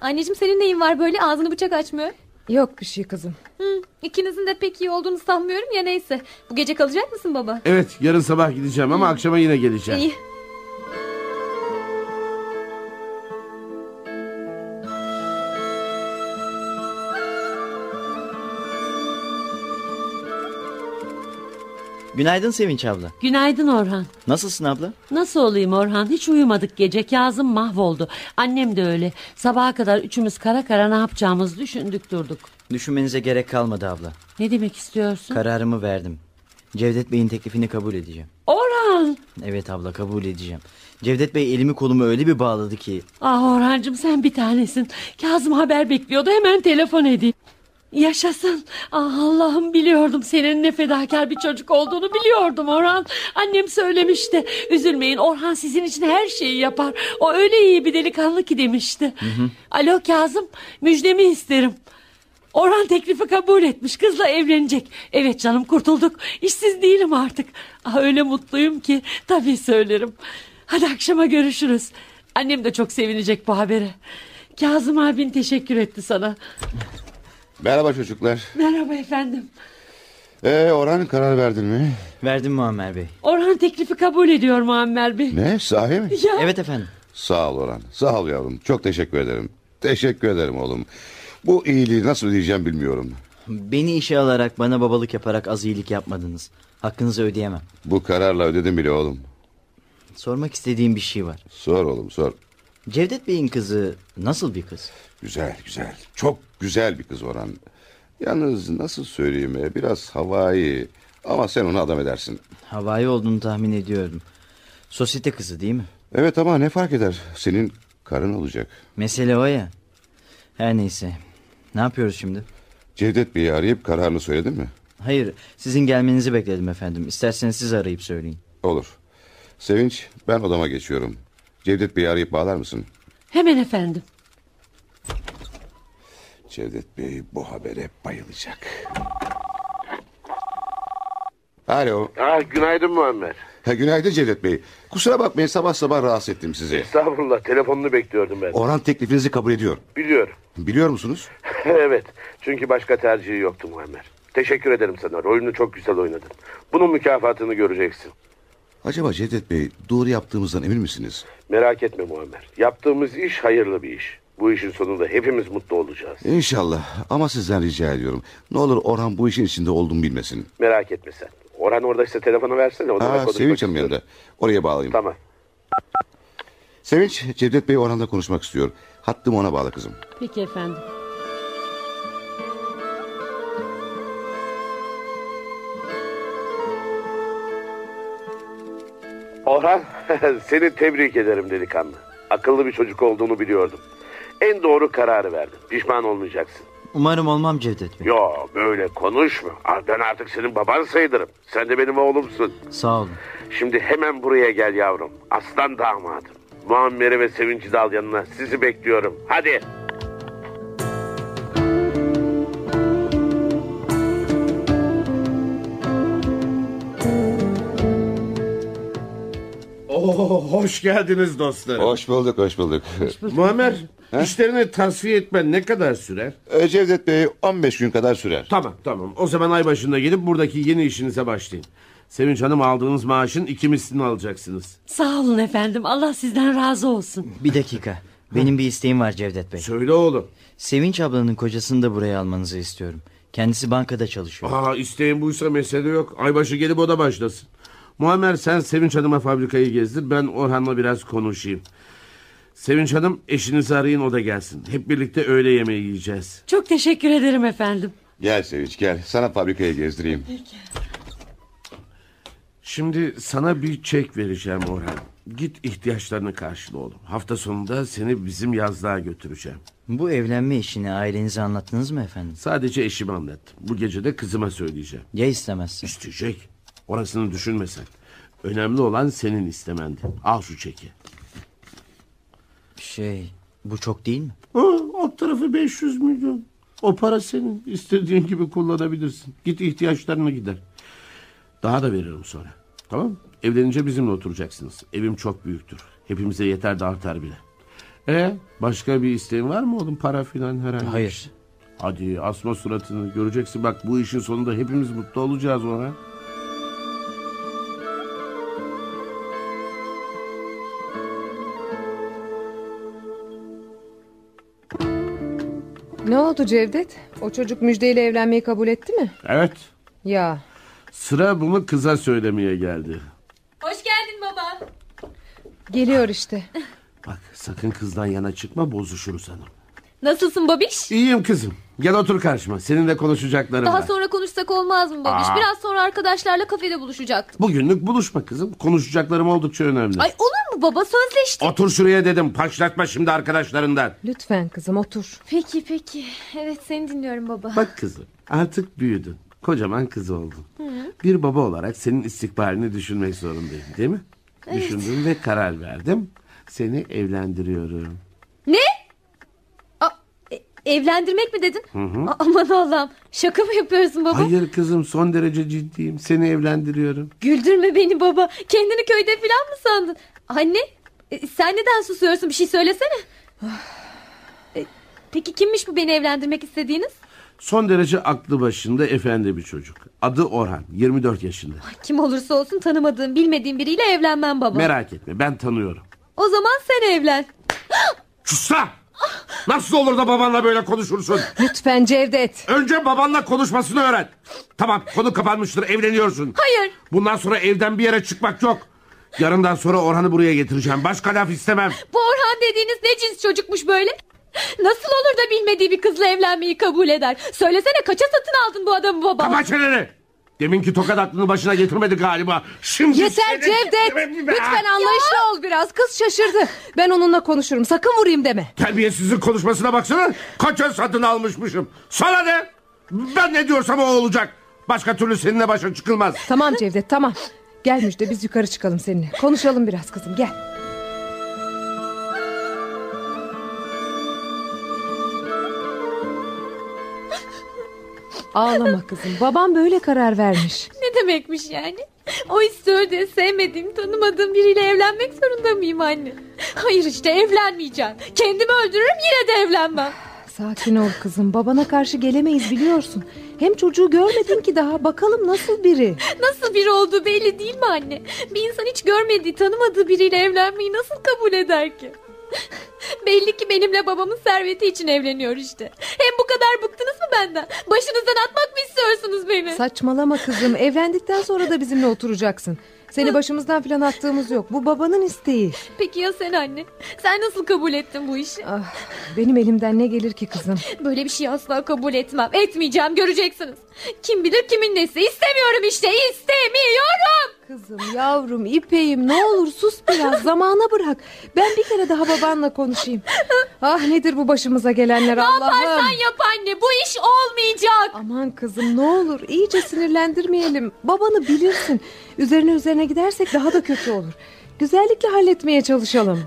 Anneciğim senin neyin var böyle ağzını bıçak açmıyor?
Yok bir şey kızım.
Hı, ikinizin de pek iyi olduğunu sanmıyorum ya neyse. Bu gece kalacak mısın baba?
Evet yarın sabah gideceğim ama akşama yine geleceğim.
İyi.
Günaydın Sevinç abla.
Günaydın Orhan.
Nasılsın abla?
Nasıl olayım Orhan? Hiç uyumadık gece. Kazım mahvoldu. Annem de öyle. Sabaha kadar üçümüz kara kara ne yapacağımızı düşündük durduk.
Düşünmenize gerek kalmadı abla.
Ne demek istiyorsun?
Kararımı verdim. Cevdet Bey'in teklifini kabul edeceğim.
Orhan!
Evet abla kabul edeceğim. Cevdet Bey elimi kolumu öyle bir bağladı ki.
Ah Orhancığım sen bir tanesin. Kazım haber bekliyordu hemen telefon edeyim. Yaşasın. Ah Allah'ım biliyordum senin ne fedakar bir çocuk olduğunu biliyordum Orhan. Annem söylemişti. Üzülmeyin Orhan sizin için her şeyi yapar. O öyle iyi bir delikanlı ki demişti. Alo Kazım müjdemi isterim. Orhan teklifi kabul etmiş kızla evlenecek. Evet canım kurtulduk. İşsiz değilim artık. Ah, öyle mutluyum ki tabii söylerim. Hadi akşama görüşürüz. Annem de çok sevinecek bu habere. Kazım abin teşekkür etti sana.
Merhaba çocuklar.
Merhaba efendim.
Ee, Orhan karar verdin mi?
Verdim Muammer Bey.
Orhan teklifi kabul ediyor Muammer Bey.
Ne sahi mi?
Ya.
Evet efendim.
Sağ ol Orhan. Sağ ol yavrum. Çok teşekkür ederim. Teşekkür ederim oğlum. Bu iyiliği nasıl ödeyeceğim bilmiyorum.
Beni işe alarak bana babalık yaparak az iyilik yapmadınız. Hakkınızı ödeyemem.
Bu kararla ödedim bile oğlum.
Sormak istediğim bir şey var.
Sor oğlum sor.
Cevdet Bey'in kızı nasıl bir kız?
Güzel güzel. Çok güzel bir kız Orhan. Yalnız nasıl söyleyeyim e, biraz havai ama sen onu adam edersin.
Havai olduğunu tahmin ediyordum. Sosyete kızı değil mi?
Evet ama ne fark eder? Senin karın olacak.
Mesele o ya. Her neyse. Ne yapıyoruz şimdi?
Cevdet Bey'i arayıp kararını söyledin mi?
Hayır, sizin gelmenizi bekledim efendim. İsterseniz siz arayıp söyleyin.
Olur. Sevinç ben odama geçiyorum. Cevdet Bey'i arayıp bağlar mısın?
Hemen efendim.
Cevdet Bey bu habere bayılacak. Alo.
Ah, günaydın Muammer.
Ha, günaydın Cevdet Bey. Kusura bakmayın sabah sabah rahatsız ettim sizi.
Estağfurullah telefonunu bekliyordum ben.
Orhan teklifinizi kabul ediyor.
Biliyorum.
Biliyor musunuz?
evet. Çünkü başka tercihi yoktu Muammer. Teşekkür ederim sana. Rolünü çok güzel oynadın. Bunun mükafatını göreceksin.
Acaba Cevdet Bey doğru yaptığımızdan emin misiniz?
Merak etme Muammer. Yaptığımız iş hayırlı bir iş. Bu işin sonunda hepimiz mutlu olacağız.
E-
İnşallah ama sizden rica ediyorum. Ne olur Orhan bu işin içinde olduğumu bilmesin.
Merak etme sen. Orhan oradaysa telefonu versene. Onunla
Aa,
konuşmak
Sevinç Hanım
istiyorum.
yanında. Oraya bağlayayım.
Tamam.
Sevinç, Cevdet Bey Orhan'la konuşmak istiyor. Hattımı ona bağla kızım.
Peki efendim.
Orhan seni tebrik ederim delikanlı. Akıllı bir çocuk olduğunu biliyordum. En doğru kararı verdin. Pişman olmayacaksın.
Umarım olmam Cevdet Bey.
Yo böyle konuşma. Aa, Ben artık senin baban sayılırım. Sen de benim oğlumsun.
Sağ olun.
Şimdi hemen buraya gel yavrum. Aslan damadım. Muammer'i ve Sevinç'i de al yanına. Sizi bekliyorum. Hadi.
Oo, hoş geldiniz dostlarım.
Hoş bulduk, hoş bulduk.
Muammer, işlerini tasfiye etmen ne kadar sürer?
Ee, Cevdet Bey 15 gün kadar sürer.
Tamam, tamam. O zaman ay başında gelip buradaki yeni işinize başlayın. Sevinç Hanım aldığınız maaşın iki mislini alacaksınız.
Sağ olun efendim. Allah sizden razı olsun.
Bir dakika. Benim bir isteğim var Cevdet Bey.
Söyle oğlum.
Sevinç ablanın kocasını da buraya almanızı istiyorum. Kendisi bankada çalışıyor.
Aa, isteğin buysa mesele yok. Aybaşı gelip o da başlasın. Muammer sen Sevinç Hanım'a fabrikayı gezdir. Ben Orhan'la biraz konuşayım. Sevinç Hanım eşinizi arayın o da gelsin. Hep birlikte öğle yemeği yiyeceğiz.
Çok teşekkür ederim efendim.
Gel Sevinç gel. Sana fabrikayı gezdireyim.
Şimdi sana bir çek vereceğim Orhan. Git ihtiyaçlarını karşıla oğlum. Hafta sonunda seni bizim yazlığa götüreceğim.
Bu evlenme işini ailenize anlattınız mı efendim?
Sadece eşime anlattım. Bu gece de kızıma söyleyeceğim.
Ya istemezsin?
İsteyecek. Orasını düşünme sen. Önemli olan senin istemendi. Al şu çeki.
Şey bu çok değil mi?
Ha, alt tarafı 500 milyon. O para senin. İstediğin gibi kullanabilirsin. Git ihtiyaçlarına gider. Daha da veririm sonra. Tamam mı? Evlenince bizimle oturacaksınız. Evim çok büyüktür. Hepimize yeter de artar bile. E başka bir isteğin var mı oğlum para filan herhangi? şey?
Hayır.
Hadi asma suratını göreceksin bak bu işin sonunda hepimiz mutlu olacağız ona.
Ne oldu Cevdet? O çocuk Müjde ile evlenmeyi kabul etti mi?
Evet
Ya
sıra bunu kıza söylemeye geldi.
Hoş geldin baba.
geliyor işte.
Bak sakın kızdan yana çıkma bozuşuruz hanım.
Nasılsın babiş?
İyiyim kızım gel otur karşıma seninle konuşacaklarım
Daha
var.
sonra konuşsak olmaz mı babiş?
Aa.
Biraz sonra arkadaşlarla kafede buluşacaktık.
Bugünlük buluşma kızım konuşacaklarım oldukça önemli.
Ay olur mu baba sözleştik.
Otur şuraya dedim paçlatma şimdi arkadaşlarından.
Lütfen kızım otur.
Peki peki. Evet seni dinliyorum baba.
Bak kızım artık büyüdün kocaman kız oldun.
Hı.
Bir baba olarak senin istikbalini düşünmek zorundayım değil mi?
Evet.
Düşündüm ve karar verdim. Seni evlendiriyorum.
Ne? Aa, e- evlendirmek mi dedin?
Hı hı.
A- Aman Allah'ım şaka mı yapıyorsun baba?
Hayır kızım son derece ciddiyim. Seni evlendiriyorum.
Güldürme beni baba. Kendini köyde falan mı sandın? Anne e, sen neden susuyorsun bir şey söylesene. E, Peki kimmiş bu beni evlendirmek istediğiniz?
Son derece aklı başında efendi bir çocuk. Adı Orhan. 24 yaşında.
Kim olursa olsun tanımadığım bilmediğim biriyle evlenmem baba.
Merak etme ben tanıyorum.
O zaman sen evlen.
Susla! Nasıl olur da babanla böyle konuşursun?
Lütfen Cevdet.
Önce babanla konuşmasını öğren. Tamam konu kapanmıştır evleniyorsun.
Hayır.
Bundan sonra evden bir yere çıkmak yok. Yarından sonra Orhan'ı buraya getireceğim. Başka laf istemem.
Bu Orhan dediğiniz ne cins çocukmuş böyle? Nasıl olur da bilmediği bir kızla evlenmeyi kabul eder? Söylesene kaça satın aldın bu adamı baba?
Kapa çeneni. Deminki tokat aklını başına getirmedi galiba. Şimdi
Yeter
seni-
Cevdet. Lütfen anlayışlı ol biraz. Kız şaşırdı. Ben onunla konuşurum. Sakın vurayım deme.
Terbiyesizlik konuşmasına baksana. Kaça satın almışmışım. Sana ne? Ben ne diyorsam o olacak. Başka türlü seninle başa çıkılmaz.
Tamam Cevdet tamam. Gel Müjde biz yukarı çıkalım seninle. Konuşalım biraz kızım gel. Ağlama kızım. Babam böyle karar vermiş.
Ne ne demekmiş yani? O istiyor diye sevmediğim, tanımadığım biriyle evlenmek zorunda mıyım anne? Hayır işte evlenmeyeceğim. Kendimi öldürürüm yine de evlenmem.
Sakin ol kızım. Babana karşı gelemeyiz biliyorsun. Hem çocuğu görmedin ki daha. Bakalım nasıl biri.
Nasıl biri olduğu belli değil mi anne? Bir insan hiç görmediği, tanımadığı biriyle evlenmeyi nasıl kabul eder ki? Belli ki benimle babamın serveti için evleniyor işte. Hem bu kadar bıktınız mı benden? Başınızdan atmak mı istiyorsunuz beni?
Saçmalama kızım. Evlendikten sonra da bizimle oturacaksın. Seni başımızdan filan attığımız yok. Bu babanın isteği.
Peki ya sen anne? Sen nasıl kabul ettin bu işi?
Ah, Benim elimden ne gelir ki kızım?
Böyle bir şeyi asla kabul etmem. Etmeyeceğim göreceksiniz. Kim bilir kimin nesi. İstemiyorum işte istemiyorum.
Kızım yavrum ipeğim ne olur sus biraz zamana bırak. Ben bir kere daha babanla konuşayım. Ah nedir bu başımıza gelenler
Ne
Allah'ım.
yaparsan yap anne bu iş olmayacak.
Aman kızım ne olur iyice sinirlendirmeyelim. Babanı bilirsin. Üzerine üzerine gidersek daha da kötü olur. Güzellikle halletmeye çalışalım.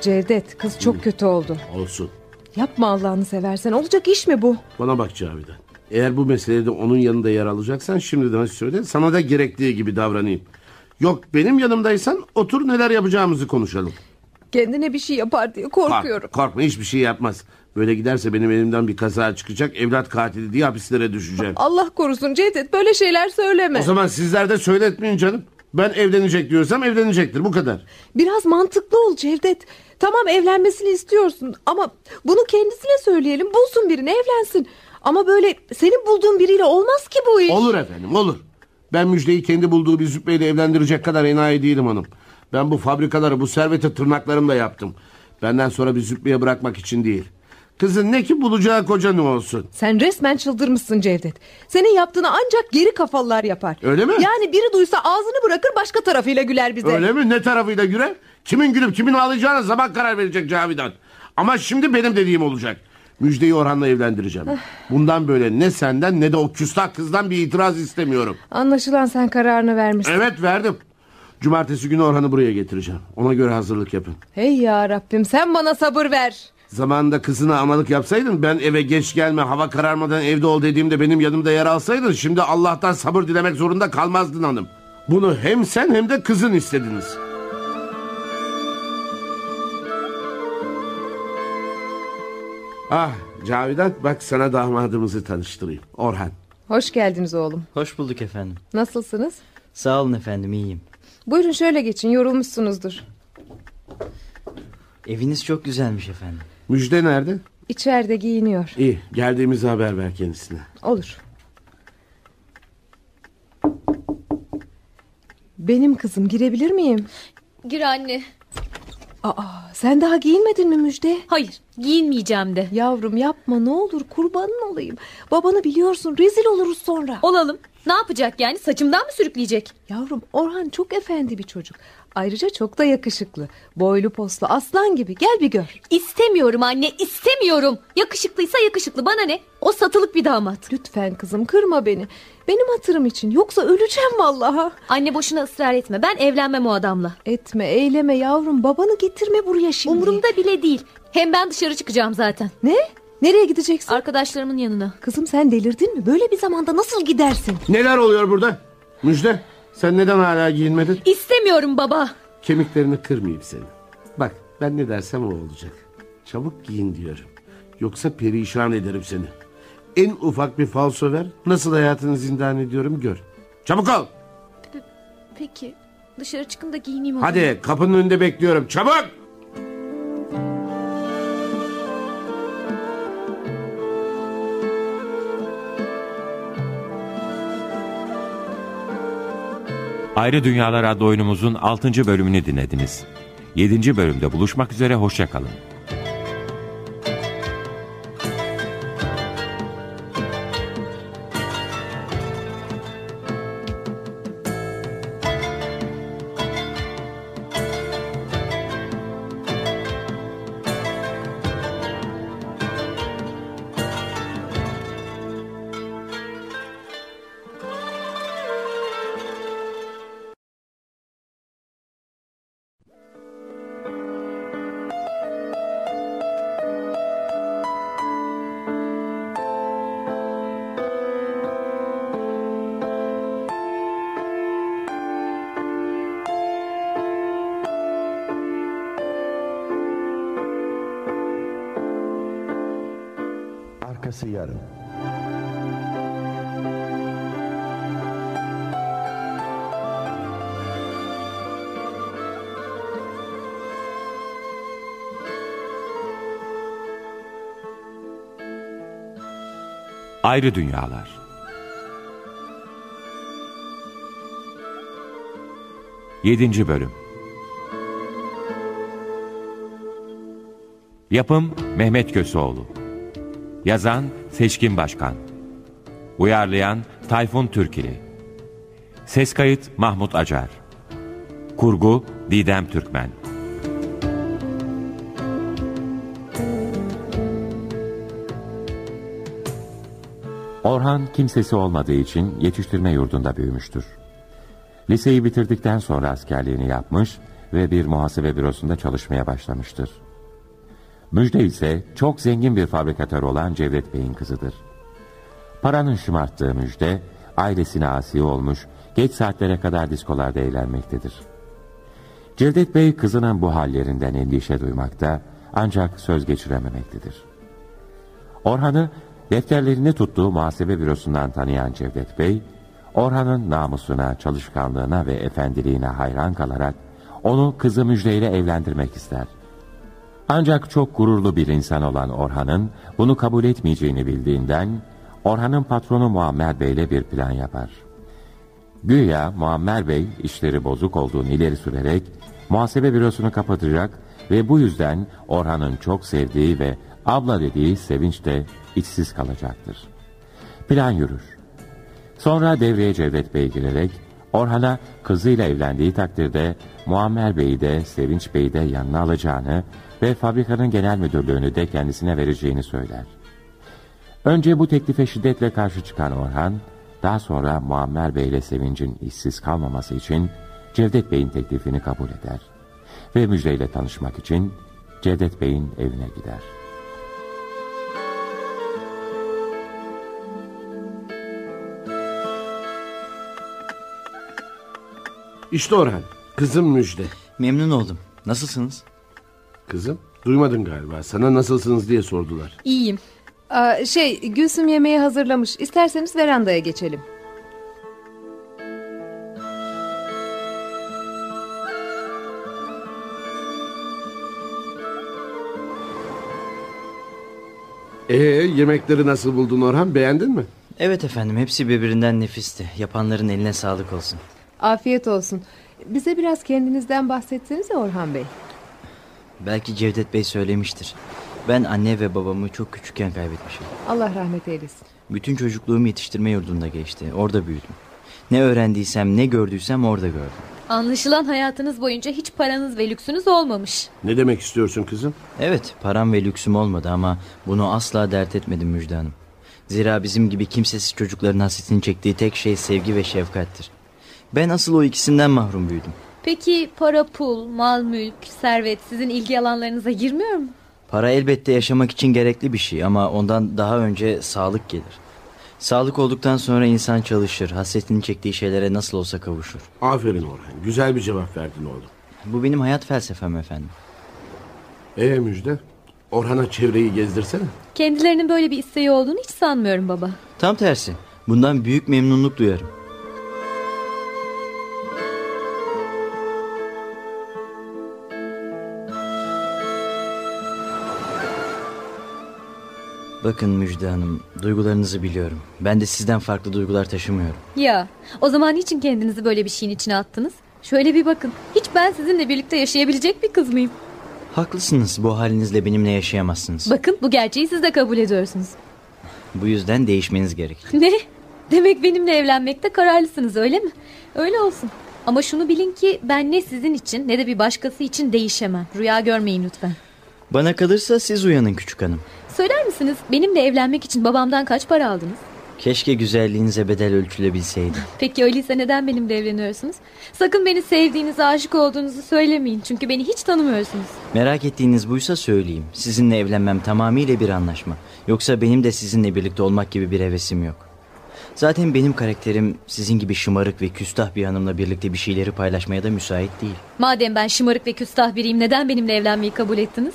Cevdet kız çok kötü oldu.
Olsun.
Yapma Allah'ını seversen. Olacak iş mi bu?
Bana bak Cavidan. Eğer bu meselede onun yanında yer alacaksan şimdiden söyle. Sana da gerektiği gibi davranayım. Yok benim yanımdaysan otur neler yapacağımızı konuşalım.
Kendine bir şey yapar diye
Kork-
korkuyorum.
korkma hiçbir şey yapmaz. Böyle giderse benim elimden bir kaza çıkacak. Evlat katili diye hapislere düşeceğim.
Allah korusun Cevdet böyle şeyler söyleme.
O zaman sizler de söyletmeyin canım. Ben evlenecek diyorsam evlenecektir bu kadar.
Biraz mantıklı ol Cevdet. Tamam evlenmesini istiyorsun ama bunu kendisine söyleyelim. Bulsun birini evlensin. Ama böyle senin bulduğun biriyle olmaz ki bu iş.
Olur efendim olur. Ben müjdeyi kendi bulduğu bir züppeyle evlendirecek kadar enayi değilim hanım. Ben bu fabrikaları bu serveti tırnaklarımla yaptım. Benden sonra bir züppeye bırakmak için değil. Kızın ne ki bulacağı koca ne olsun.
Sen resmen çıldırmışsın Cevdet. Senin yaptığını ancak geri kafalılar yapar.
Öyle mi?
Yani biri duysa ağzını bırakır başka tarafıyla güler bize.
Öyle mi? Ne tarafıyla güre? Kimin gülüp kimin ağlayacağına zaman karar verecek Cavidan. Ama şimdi benim dediğim olacak. Müjdeyi Orhan'la evlendireceğim.
Ah.
Bundan böyle ne senden ne de o küstah kızdan bir itiraz istemiyorum.
Anlaşılan sen kararını vermişsin.
Evet verdim. Cumartesi günü Orhan'ı buraya getireceğim. Ona göre hazırlık yapın.
Hey ya Rabbim sen bana sabır ver.
Zamanında kızına amalık yapsaydın ben eve geç gelme hava kararmadan evde ol dediğimde benim yanımda yer alsaydın şimdi Allah'tan sabır dilemek zorunda kalmazdın hanım. Bunu hem sen hem de kızın istediniz. Ah Cavidan bak sana damadımızı tanıştırayım. Orhan.
Hoş geldiniz oğlum.
Hoş bulduk efendim.
Nasılsınız?
Sağ olun efendim iyiyim.
Buyurun şöyle geçin yorulmuşsunuzdur.
Eviniz çok güzelmiş efendim.
Müjde nerede?
İçeride giyiniyor.
İyi geldiğimizi haber ver kendisine.
Olur. Benim kızım girebilir miyim?
Gir anne.
Aa, sen daha giyinmedin mi Müjde?
Hayır, giyinmeyeceğim de.
Yavrum yapma ne olur kurbanın olayım. Babanı biliyorsun rezil oluruz sonra.
Olalım. Ne yapacak yani? Saçımdan mı sürükleyecek?
Yavrum Orhan çok efendi bir çocuk. Ayrıca çok da yakışıklı. Boylu poslu aslan gibi gel bir gör.
İstemiyorum anne istemiyorum. Yakışıklıysa yakışıklı bana ne? O satılık bir damat.
Lütfen kızım kırma beni. Benim hatırım için yoksa öleceğim vallahi.
Anne boşuna ısrar etme ben evlenmem o adamla.
Etme eyleme yavrum babanı getirme buraya şimdi.
Umurumda bile değil. Hem ben dışarı çıkacağım zaten.
Ne? Nereye gideceksin?
Arkadaşlarımın yanına.
Kızım sen delirdin mi? Böyle bir zamanda nasıl gidersin?
Neler oluyor burada? Müjde sen neden hala giyinmedin?
İstemiyorum baba.
Kemiklerini kırmayayım seni. Bak ben ne dersem o olacak. Çabuk giyin diyorum. Yoksa perişan ederim seni. En ufak bir falso ver. Nasıl hayatını zindan ediyorum gör. Çabuk ol.
Peki dışarı çıkın da giyineyim o zaman.
Hadi kapının önünde bekliyorum. Çabuk.
Ayrı Dünyalar adlı oyunumuzun 6. bölümünü dinlediniz. 7. bölümde buluşmak üzere hoşça kalın.
Arkası yarın.
Ayrı Dünyalar Yedinci Bölüm Yapım Mehmet Köseoğlu Yazan Seçkin Başkan Uyarlayan Tayfun Türkili Ses kayıt Mahmut Acar Kurgu Didem Türkmen Orhan kimsesi olmadığı için yetiştirme yurdunda büyümüştür. Liseyi bitirdikten sonra askerliğini yapmış ve bir muhasebe bürosunda çalışmaya başlamıştır. Müjde ise çok zengin bir fabrikatör olan Cevdet Bey'in kızıdır. Paranın şımarttığı Müjde, ailesine asi olmuş, geç saatlere kadar diskolarda eğlenmektedir. Cevdet Bey kızının bu hallerinden endişe duymakta ancak söz geçirememektedir. Orhan'ı defterlerini tuttuğu muhasebe bürosundan tanıyan Cevdet Bey, Orhan'ın namusuna, çalışkanlığına ve efendiliğine hayran kalarak onu kızı Müjde ile evlendirmek ister. Ancak çok gururlu bir insan olan Orhan'ın bunu kabul etmeyeceğini bildiğinden Orhan'ın patronu Muammer Bey ile bir plan yapar. Güya Muammer Bey işleri bozuk olduğunu ileri sürerek muhasebe bürosunu kapatacak ve bu yüzden Orhan'ın çok sevdiği ve abla dediği sevinç de içsiz kalacaktır. Plan yürür. Sonra devreye Cevdet Bey girerek Orhan'a kızıyla evlendiği takdirde Muammer Bey'i de Sevinç Bey'i de yanına alacağını ve fabrikanın genel müdürlüğünü de kendisine vereceğini söyler. Önce bu teklife şiddetle karşı çıkan Orhan, daha sonra Muammer Bey ile Sevinç'in işsiz kalmaması için Cevdet Bey'in teklifini kabul eder. Ve Müjde ile tanışmak için Cevdet Bey'in evine gider.
İşte Orhan. Kızım Müjde.
Memnun oldum. Nasılsınız?
Kızım duymadın galiba. Sana nasılsınız diye sordular.
İyiyim. Aa, şey Gülsüm yemeği hazırlamış. İsterseniz verandaya geçelim.
Ee yemekleri nasıl buldun Orhan? Beğendin mi?
Evet efendim hepsi birbirinden nefisti. Yapanların eline sağlık olsun.
Afiyet olsun. Bize biraz kendinizden bahsetsenize Orhan Bey.
Belki Cevdet Bey söylemiştir. Ben anne ve babamı çok küçükken kaybetmişim.
Allah rahmet eylesin.
Bütün çocukluğum yetiştirme yurdunda geçti. Orada büyüdüm. Ne öğrendiysem ne gördüysem orada gördüm.
Anlaşılan hayatınız boyunca hiç paranız ve lüksünüz olmamış.
Ne demek istiyorsun kızım?
Evet param ve lüksüm olmadı ama bunu asla dert etmedim Müjde Hanım. Zira bizim gibi kimsesiz çocukların hasretini çektiği tek şey sevgi ve şefkattir. Ben asıl o ikisinden mahrum büyüdüm.
Peki para, pul, mal, mülk, servet sizin ilgi alanlarınıza girmiyor mu?
Para elbette yaşamak için gerekli bir şey ama ondan daha önce sağlık gelir. Sağlık olduktan sonra insan çalışır, hasretini çektiği şeylere nasıl olsa kavuşur.
Aferin Orhan. Güzel bir cevap verdin oğlum.
Bu benim hayat felsefem efendim.
Ee Müjde? Orhan'a çevreyi gezdirsene.
Kendilerinin böyle bir isteği olduğunu hiç sanmıyorum baba.
Tam tersi. Bundan büyük memnunluk duyarım. Bakın Müjde Hanım, duygularınızı biliyorum. Ben de sizden farklı duygular taşımıyorum.
Ya o zaman niçin kendinizi böyle bir şeyin içine attınız? Şöyle bir bakın. Hiç ben sizinle birlikte yaşayabilecek bir kız mıyım?
Haklısınız, bu halinizle benimle yaşayamazsınız.
Bakın bu gerçeği siz de kabul ediyorsunuz.
Bu yüzden değişmeniz gerek.
Ne? Demek benimle evlenmekte kararlısınız öyle mi? Öyle olsun. Ama şunu bilin ki ben ne sizin için ne de bir başkası için değişemem. Rüya görmeyin lütfen.
Bana kalırsa siz uyanın küçük hanım.
Söyler misiniz benimle evlenmek için babamdan kaç para aldınız?
Keşke güzelliğinize bedel ölçülebilseydi.
Peki öyleyse neden benimle evleniyorsunuz? Sakın beni sevdiğinizi, aşık olduğunuzu söylemeyin. Çünkü beni hiç tanımıyorsunuz.
Merak ettiğiniz buysa söyleyeyim. Sizinle evlenmem tamamıyla bir anlaşma. Yoksa benim de sizinle birlikte olmak gibi bir hevesim yok. Zaten benim karakterim sizin gibi şımarık ve küstah bir hanımla birlikte bir şeyleri paylaşmaya da müsait değil.
Madem ben şımarık ve küstah biriyim neden benimle evlenmeyi kabul ettiniz?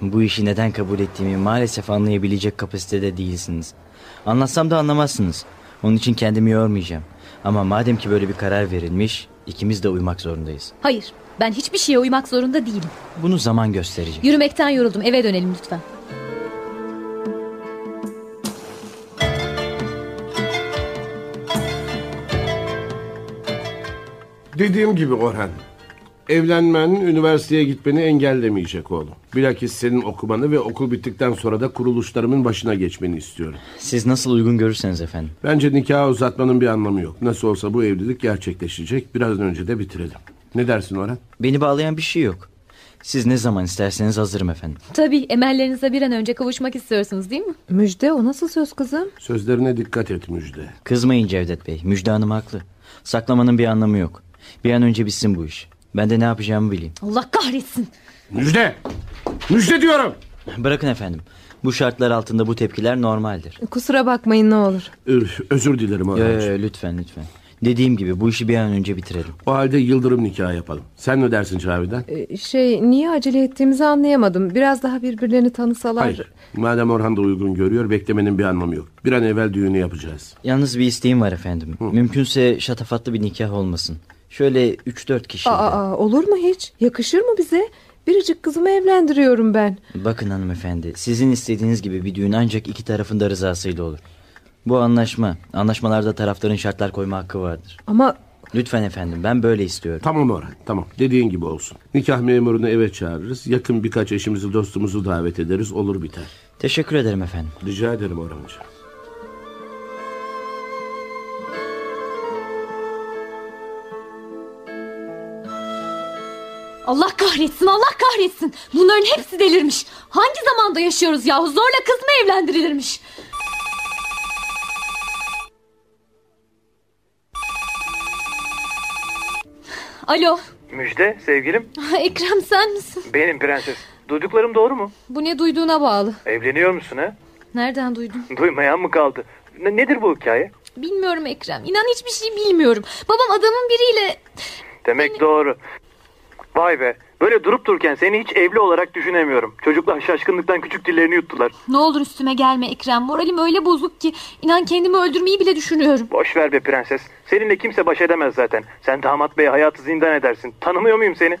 Bu işi neden kabul ettiğimi maalesef anlayabilecek kapasitede değilsiniz. Anlatsam da anlamazsınız. Onun için kendimi yormayacağım. Ama madem ki böyle bir karar verilmiş, ikimiz de uymak zorundayız.
Hayır ben hiçbir şeye uymak zorunda değilim.
Bunu zaman gösterecek.
Yürümekten yoruldum eve dönelim lütfen.
Dediğim gibi Orhan. Evlenmen üniversiteye gitmeni engellemeyecek oğlum. Bilakis senin okumanı ve okul bittikten sonra da kuruluşlarımın başına geçmeni istiyorum.
Siz nasıl uygun görürseniz efendim.
Bence nikahı uzatmanın bir anlamı yok. Nasıl olsa bu evlilik gerçekleşecek. Biraz önce de bitirelim. Ne dersin Orhan?
Beni bağlayan bir şey yok. Siz ne zaman isterseniz hazırım efendim.
Tabii emellerinize bir an önce kavuşmak istiyorsunuz değil mi?
Müjde o nasıl söz kızım?
Sözlerine dikkat et Müjde.
Kızmayın Cevdet Bey. Müjde Hanım haklı. Saklamanın bir anlamı yok. Bir an önce bitsin bu iş. Ben de ne yapacağımı bileyim.
Allah kahretsin.
Müjde! Müjde diyorum!
Bırakın efendim. Bu şartlar altında bu tepkiler normaldir.
Kusura bakmayın ne olur.
Özür dilerim
Yo, yo, yo, lütfen lütfen. Dediğim gibi bu işi bir an önce bitirelim.
O halde yıldırım nikahı yapalım. Sen ne dersin Cavidan?
Ee, Şey niye acele ettiğimizi anlayamadım. Biraz daha birbirlerini tanısalar.
Hayır. Madem Orhan da uygun görüyor beklemenin bir anlamı yok. Bir an evvel düğünü yapacağız.
Yalnız bir isteğim var efendim. Mümkünse şatafatlı bir nikah olmasın. Şöyle 3-4 kişi.
Aa, aa, olur mu hiç? Yakışır mı bize? Biricik kızımı evlendiriyorum ben.
Bakın hanımefendi sizin istediğiniz gibi bir düğün ancak iki tarafın da rızasıyla olur. Bu anlaşma. Anlaşmalarda tarafların şartlar koyma hakkı vardır.
Ama
Lütfen efendim ben böyle istiyorum.
Tamam Orhan tamam dediğin gibi olsun. Nikah memurunu eve çağırırız. Yakın birkaç eşimizi dostumuzu davet ederiz olur biter.
Teşekkür ederim efendim.
Rica ederim Orhan'cığım.
Allah kahretsin Allah kahretsin. Bunların hepsi delirmiş. Hangi zamanda yaşıyoruz yahu zorla kız mı evlendirilirmiş? Alo
Müjde sevgilim.
Ah, Ekrem sen misin?
Benim prenses. Duyduklarım doğru mu?
Bu ne duyduğuna bağlı.
Evleniyor musun ha?
Nereden duydun?
Duymayan mı kaldı? Ne- nedir bu hikaye?
Bilmiyorum Ekrem. İnan hiçbir şey bilmiyorum. Babam adamın biriyle...
Demek doğru. Vay be. Böyle durup dururken seni hiç evli olarak düşünemiyorum. Çocuklar şaşkınlıktan küçük dillerini yuttular.
Ne olur üstüme gelme Ekrem. Moralim öyle bozuk ki inan kendimi öldürmeyi bile düşünüyorum.
Boş ver be prenses. Seninle kimse baş edemez zaten. Sen damat beye hayatı zindan edersin. Tanımıyor muyum seni?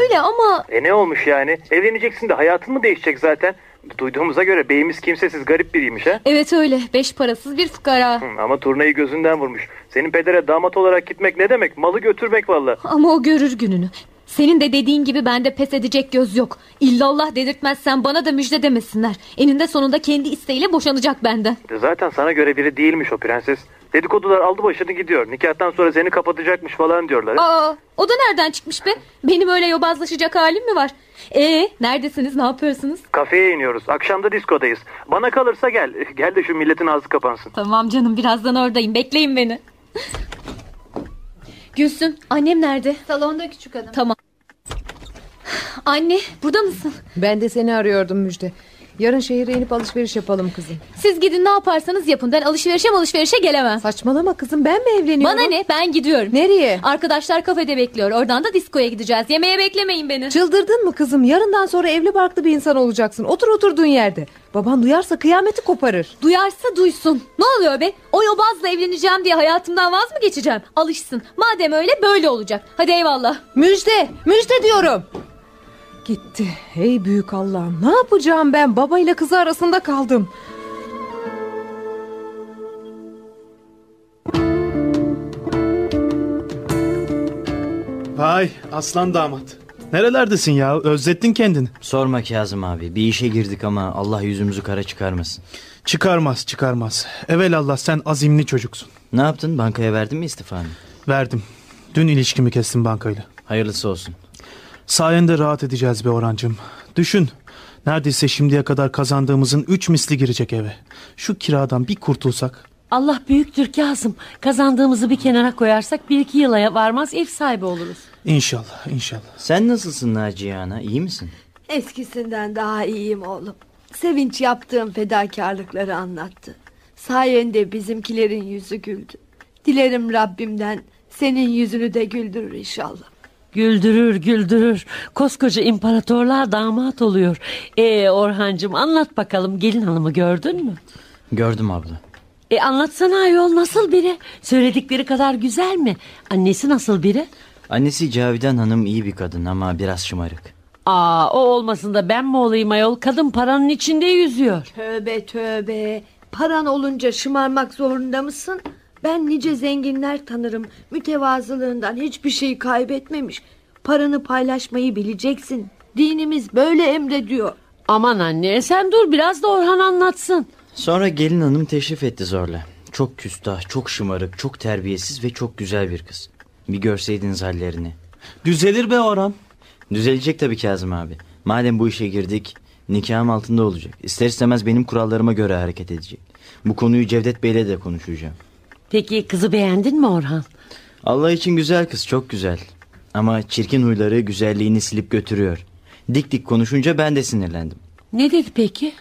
Öyle ama
E ne olmuş yani? Evleneceksin de hayatın mı değişecek zaten? Duyduğumuza göre beyimiz kimsesiz garip biriymiş ha?
evet öyle. Beş parasız bir fukara.
Hı, Ama turnayı gözünden vurmuş. Senin pedere damat olarak gitmek ne demek? Malı götürmek valla.
Ama o görür gününü. Senin de dediğin gibi bende pes edecek göz yok. İllallah dedirtmezsen bana da müjde demesinler. Eninde sonunda kendi isteğiyle boşanacak benden.
Zaten sana göre biri değilmiş o prenses. Dedikodular aldı başını gidiyor. Nikahtan sonra seni kapatacakmış falan diyorlar.
Aa, o da nereden çıkmış be? Benim öyle yobazlaşacak halim mi var? Ee, neredesiniz? Ne yapıyorsunuz?
Kafeye iniyoruz. Akşam da diskodayız. Bana kalırsa gel. Gel de şu milletin ağzı kapansın.
Tamam canım birazdan oradayım. Bekleyin beni. Gülsüm annem nerede?
Salonda küçük hanım.
Tamam. Anne burada mısın?
Ben de seni arıyordum Müjde. Yarın şehire inip alışveriş yapalım kızım.
Siz gidin ne yaparsanız yapın. Ben alışverişe alışverişe gelemem.
Saçmalama kızım ben mi evleniyorum?
Bana ne ben gidiyorum.
Nereye?
Arkadaşlar kafede bekliyor. Oradan da diskoya gideceğiz. Yemeğe beklemeyin beni.
Çıldırdın mı kızım? Yarından sonra evli barklı bir insan olacaksın. Otur oturduğun yerde. Baban duyarsa kıyameti koparır.
Duyarsa duysun. Ne oluyor be? O yobazla evleneceğim diye hayatımdan vaz mı geçeceğim? Alışsın. Madem öyle böyle olacak. Hadi eyvallah.
Müjde, müjde diyorum. Gitti. Hey büyük Allah'ım ne yapacağım ben? Babayla kızı arasında kaldım.
Vay aslan damat. Nerelerdesin ya? Özlettin kendini.
Sorma Kazım abi. Bir işe girdik ama Allah yüzümüzü kara çıkarmasın.
Çıkarmaz çıkarmaz. Evelallah sen azimli çocuksun.
Ne yaptın? Bankaya verdin mi istifanı?
Verdim. Dün ilişkimi kestim bankayla.
Hayırlısı olsun.
Sayende rahat edeceğiz be Orhancığım. Düşün. Neredeyse şimdiye kadar kazandığımızın üç misli girecek eve. Şu kiradan bir kurtulsak.
Allah büyüktür Kazım. Kazandığımızı bir kenara koyarsak bir iki yıla varmaz ev sahibi oluruz.
İnşallah inşallah.
Sen nasılsın Naciye Ana? İyi misin?
Eskisinden daha iyiyim oğlum. Sevinç yaptığım fedakarlıkları anlattı. Sayende bizimkilerin yüzü güldü. Dilerim Rabbimden senin yüzünü de güldürür inşallah.
Güldürür güldürür. Koskoca imparatorlar damat oluyor. E Orhancığım anlat bakalım gelin hanımı gördün mü?
Gördüm abla.
E anlatsana ayol nasıl biri? Söyledikleri kadar güzel mi? Annesi nasıl biri?
Annesi Cavidan Hanım iyi bir kadın ama biraz şımarık.
Aa o olmasın da ben mi olayım ayol? Kadın paranın içinde yüzüyor.
Tövbe tövbe. Paran olunca şımarmak zorunda mısın? Ben nice zenginler tanırım. Mütevazılığından hiçbir şey kaybetmemiş. Paranı paylaşmayı bileceksin. Dinimiz böyle emrediyor.
Aman anne e sen dur biraz da Orhan anlatsın.
Sonra gelin hanım teşrif etti zorla. Çok küstah, çok şımarık, çok terbiyesiz ve çok güzel bir kız. Bir görseydiniz hallerini. Düzelir be Orhan. Düzelecek tabii Kazım abi. Madem bu işe girdik, nikahım altında olacak. İster istemez benim kurallarıma göre hareket edecek. Bu konuyu Cevdet Bey'le de konuşacağım.
Peki kızı beğendin mi Orhan?
Allah için güzel kız, çok güzel. Ama çirkin huyları güzelliğini silip götürüyor. Dik dik konuşunca ben de sinirlendim.
Ne dedi peki?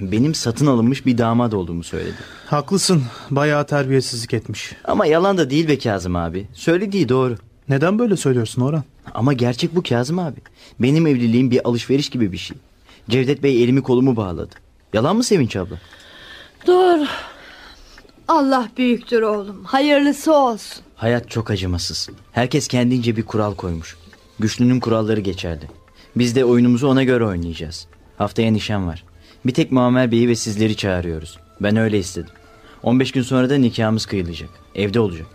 Benim satın alınmış bir damat olduğumu söyledi.
Haklısın. Bayağı terbiyesizlik etmiş.
Ama yalan da değil be Kazım abi. Söylediği doğru.
Neden böyle söylüyorsun Orhan?
Ama gerçek bu Kazım abi. Benim evliliğim bir alışveriş gibi bir şey. Cevdet Bey elimi kolumu bağladı. Yalan mı Sevinç abla?
Doğru. Allah büyüktür oğlum. Hayırlısı olsun.
Hayat çok acımasız. Herkes kendince bir kural koymuş. Güçlünün kuralları geçerli. Biz de oyunumuzu ona göre oynayacağız. Haftaya nişan var. Bir tek Muammer Bey'i ve sizleri çağırıyoruz. Ben öyle istedim. 15 gün sonra da nikahımız kıyılacak. Evde olacak.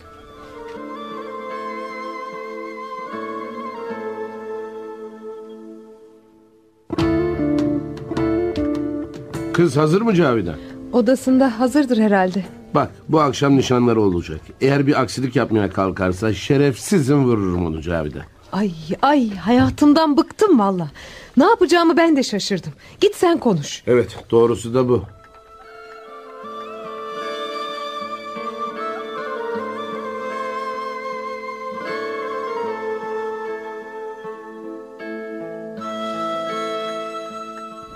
Kız hazır mı Cavidan?
Odasında hazırdır herhalde.
Bak bu akşam nişanları olacak. Eğer bir aksilik yapmaya kalkarsa şerefsizim vururum onu Cavidan.
Ay ay hayatımdan bıktım valla. Ne yapacağımı ben de şaşırdım. Git sen konuş.
Evet doğrusu da bu.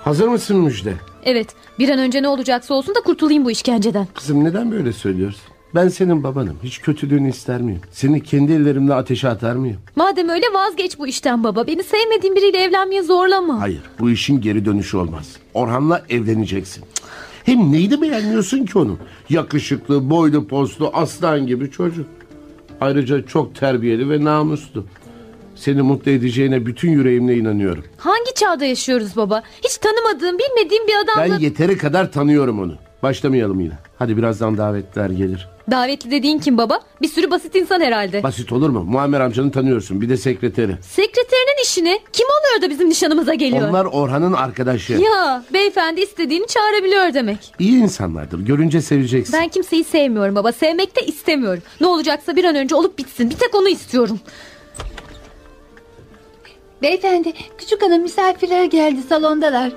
Hazır mısın Müjde?
Evet bir an önce ne olacaksa olsun da kurtulayım bu işkenceden.
Kızım neden böyle söylüyorsun? Ben senin babanım. Hiç kötülüğünü ister miyim? Seni kendi ellerimle ateşe atar mıyım?
Madem öyle vazgeç bu işten baba. Beni sevmediğin biriyle evlenmeye zorlama.
Hayır. Bu işin geri dönüşü olmaz. Orhan'la evleneceksin. Hem neydi beğenmiyorsun ki onu? Yakışıklı, boylu poslu, aslan gibi çocuk. Ayrıca çok terbiyeli ve namuslu. Seni mutlu edeceğine bütün yüreğimle inanıyorum.
Hangi çağda yaşıyoruz baba? Hiç tanımadığım bilmediğim bir adamla...
Ben yeteri kadar tanıyorum onu. Başlamayalım yine. Hadi birazdan davetler gelir.
Davetli dediğin kim baba? Bir sürü basit insan herhalde.
Basit olur mu? Muammer amcanı tanıyorsun. Bir de sekreteri.
Sekreterinin işini kim oluyor da bizim nişanımıza geliyor?
Onlar Orhan'ın arkadaşı.
Ya beyefendi istediğini çağırabiliyor demek.
İyi insanlardır. Görünce seveceksin.
Ben kimseyi sevmiyorum baba. Sevmek de istemiyorum. Ne olacaksa bir an önce olup bitsin. Bir tek onu istiyorum.
Beyefendi küçük hanım misafirler geldi salondalar.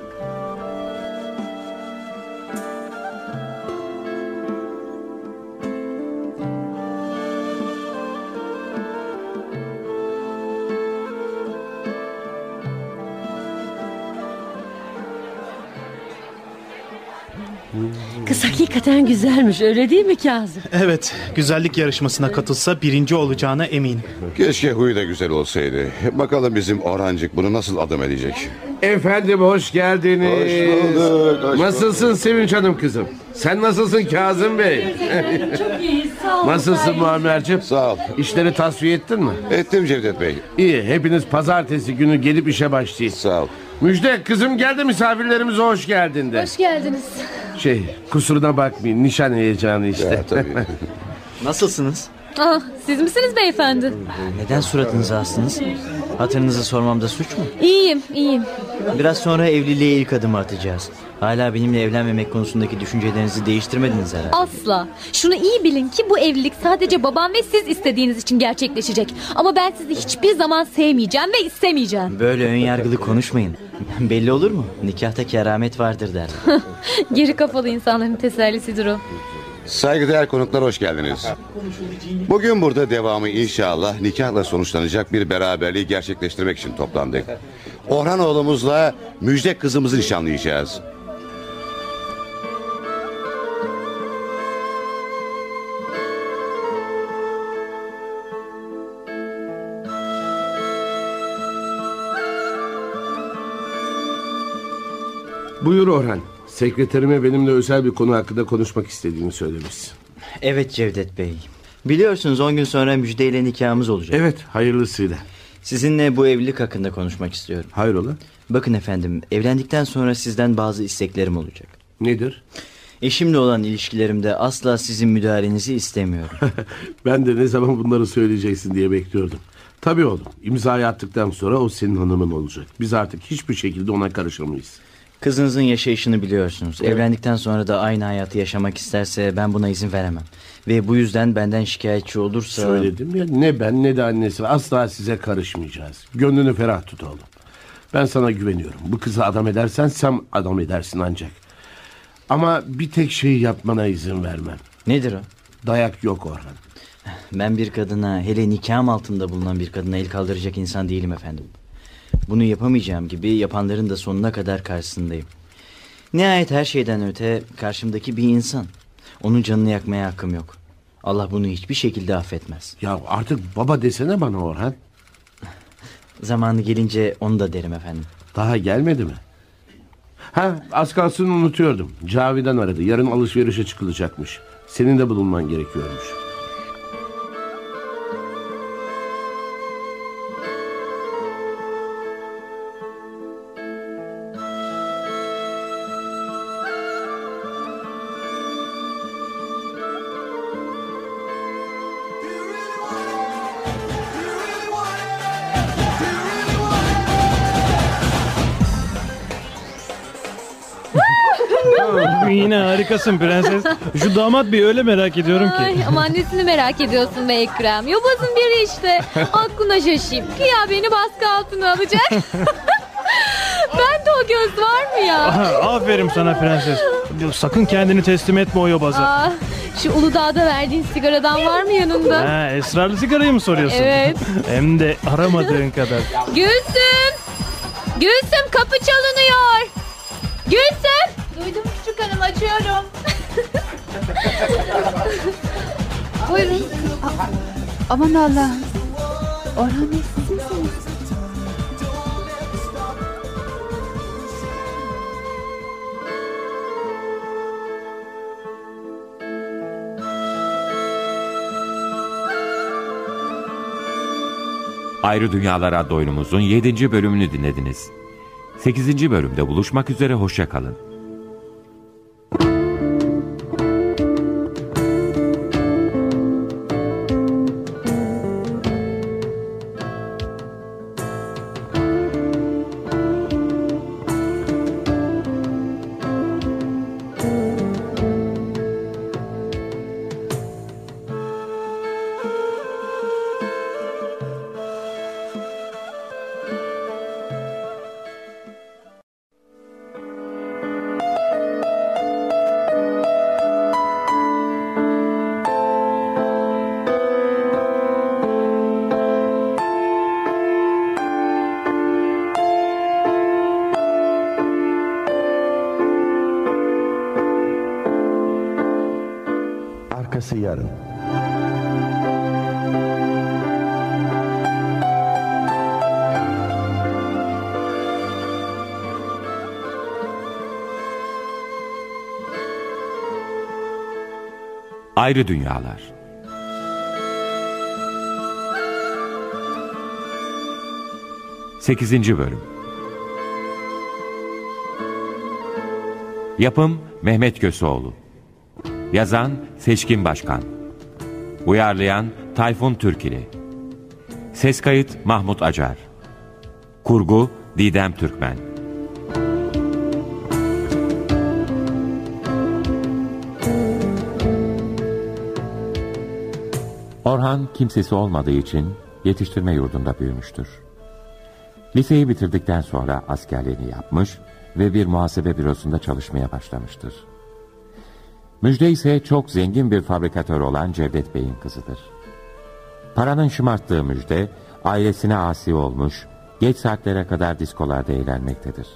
Hmm.
Kız hakikaten güzelmiş öyle değil mi Kazım?
Evet. Güzellik yarışmasına katılsa birinci olacağına eminim.
Keşke huyu da güzel olsaydı. Bakalım bizim Orhancık bunu nasıl adım edecek.
Efendim hoş geldiniz.
Hoş bulduk, hoş
nasılsın Sevinç Hanım kızım? Sen nasılsın Kazım Bey?
Çok iyi sağ olun.
nasılsın Muammer'cim? Sağ ol. İşleri tasfiye ettin mi?
Ettim Cevdet Bey.
İyi hepiniz pazartesi günü gelip işe başlayın. Sağ ol. Müjde kızım geldi misafirlerimize hoş geldin de.
Hoş geldiniz.
Şey kusuruna bakmayın nişan heyecanı işte.
Nasılsınız?
Ah, siz misiniz beyefendi?
Neden suratınızı astınız? Hatırınızı sormamda suç mu?
İyiyim, iyiyim.
Biraz sonra evliliğe ilk adımı atacağız. Hala benimle evlenmemek konusundaki düşüncelerinizi değiştirmediniz herhalde.
Asla. Şunu iyi bilin ki bu evlilik sadece babam ve siz istediğiniz için gerçekleşecek. Ama ben sizi hiçbir zaman sevmeyeceğim ve istemeyeceğim.
Böyle önyargılı konuşmayın. Belli olur mu? Nikahta keramet vardır derler.
Geri kafalı insanların tesellisidir o.
Saygıdeğer konuklar hoş geldiniz. Bugün burada devamı inşallah nikahla sonuçlanacak bir beraberliği gerçekleştirmek için toplandık. Orhan oğlumuzla Müjde kızımızı nişanlayacağız.
Buyur Orhan. Sekreterime benimle özel bir konu hakkında konuşmak istediğini söylemişsin.
Evet Cevdet Bey. Biliyorsunuz 10 gün sonra Müjde ile nikahımız olacak.
Evet hayırlısıyla.
Sizinle bu evlilik hakkında konuşmak istiyorum.
Hayrola?
Bakın efendim evlendikten sonra sizden bazı isteklerim olacak.
Nedir?
Eşimle olan ilişkilerimde asla sizin müdahalenizi istemiyorum.
Ben de ne zaman bunları söyleyeceksin diye bekliyordum. Tabii oğlum. İmzayı attıktan sonra o senin hanımın olacak. Biz artık hiçbir şekilde ona karışamayız.
Kızınızın yaşayışını biliyorsunuz. Evlendikten sonra da aynı hayatı yaşamak isterse ben buna izin veremem. Ve bu yüzden benden şikayetçi olursa...
Söyledim ya ne ben ne de annesi asla size karışmayacağız. Gönlünü ferah tut oğlum. Ben sana güveniyorum. Bu kızı adam edersen sen adam edersin ancak. Ama bir tek şeyi yapmana izin vermem.
Nedir o?
Dayak yok Orhan.
Ben bir kadına hele nikahım altında bulunan bir kadına el kaldıracak insan değilim efendim. Bunu yapamayacağım gibi yapanların da sonuna kadar karşısındayım. Nihayet her şeyden öte karşımdaki bir insan. Onun canını yakmaya hakkım yok. Allah bunu hiçbir şekilde affetmez.
Ya artık baba desene bana Orhan.
Zamanı gelince onu da derim efendim.
Daha gelmedi mi? Ha az kalsın unutuyordum. Cavidan aradı. Yarın alışverişe çıkılacakmış. Senin de bulunman gerekiyormuş.
Yine harikasın prenses. Şu damat bey öyle merak ediyorum ki.
Ay, ama annesini merak ediyorsun be Ekrem. Yobazın biri işte. Aklına şaşayım. Kıya beni baskı altına alacak. ben de o göz var mı ya?
Aha, aferin sana prenses. Sakın kendini teslim etme o yobaza.
Aa, şu Uludağ'da verdiğin sigaradan var mı yanında?
Ha, ısrarlı sigarayı mı soruyorsun?
Evet.
Hem de aramadığın kadar.
Gülsüm! Gülsüm kapı çalınıyor. Gülsüm!
Duydum küçük hanım açıyorum.
Buyurun. A- aman Allah'ım. Orhan Bey siz misiniz?
Ayrı Dünyalar adlı oyunumuzun 7. bölümünü dinlediniz. 8. bölümde buluşmak üzere hoşça kalın.
Arkası yarın.
Ayrı Dünyalar Sekizinci Bölüm Yapım Mehmet Köseoğlu Yazan Seçkin Başkan Uyarlayan Tayfun Türkili Ses kayıt Mahmut Acar Kurgu Didem Türkmen Orhan kimsesi olmadığı için yetiştirme yurdunda büyümüştür. Liseyi bitirdikten sonra askerliğini yapmış ve bir muhasebe bürosunda çalışmaya başlamıştır. Müjde ise çok zengin bir fabrikatör olan Cevdet Bey'in kızıdır. Paranın şımarttığı Müjde, ailesine asi olmuş, geç saatlere kadar diskolarda eğlenmektedir.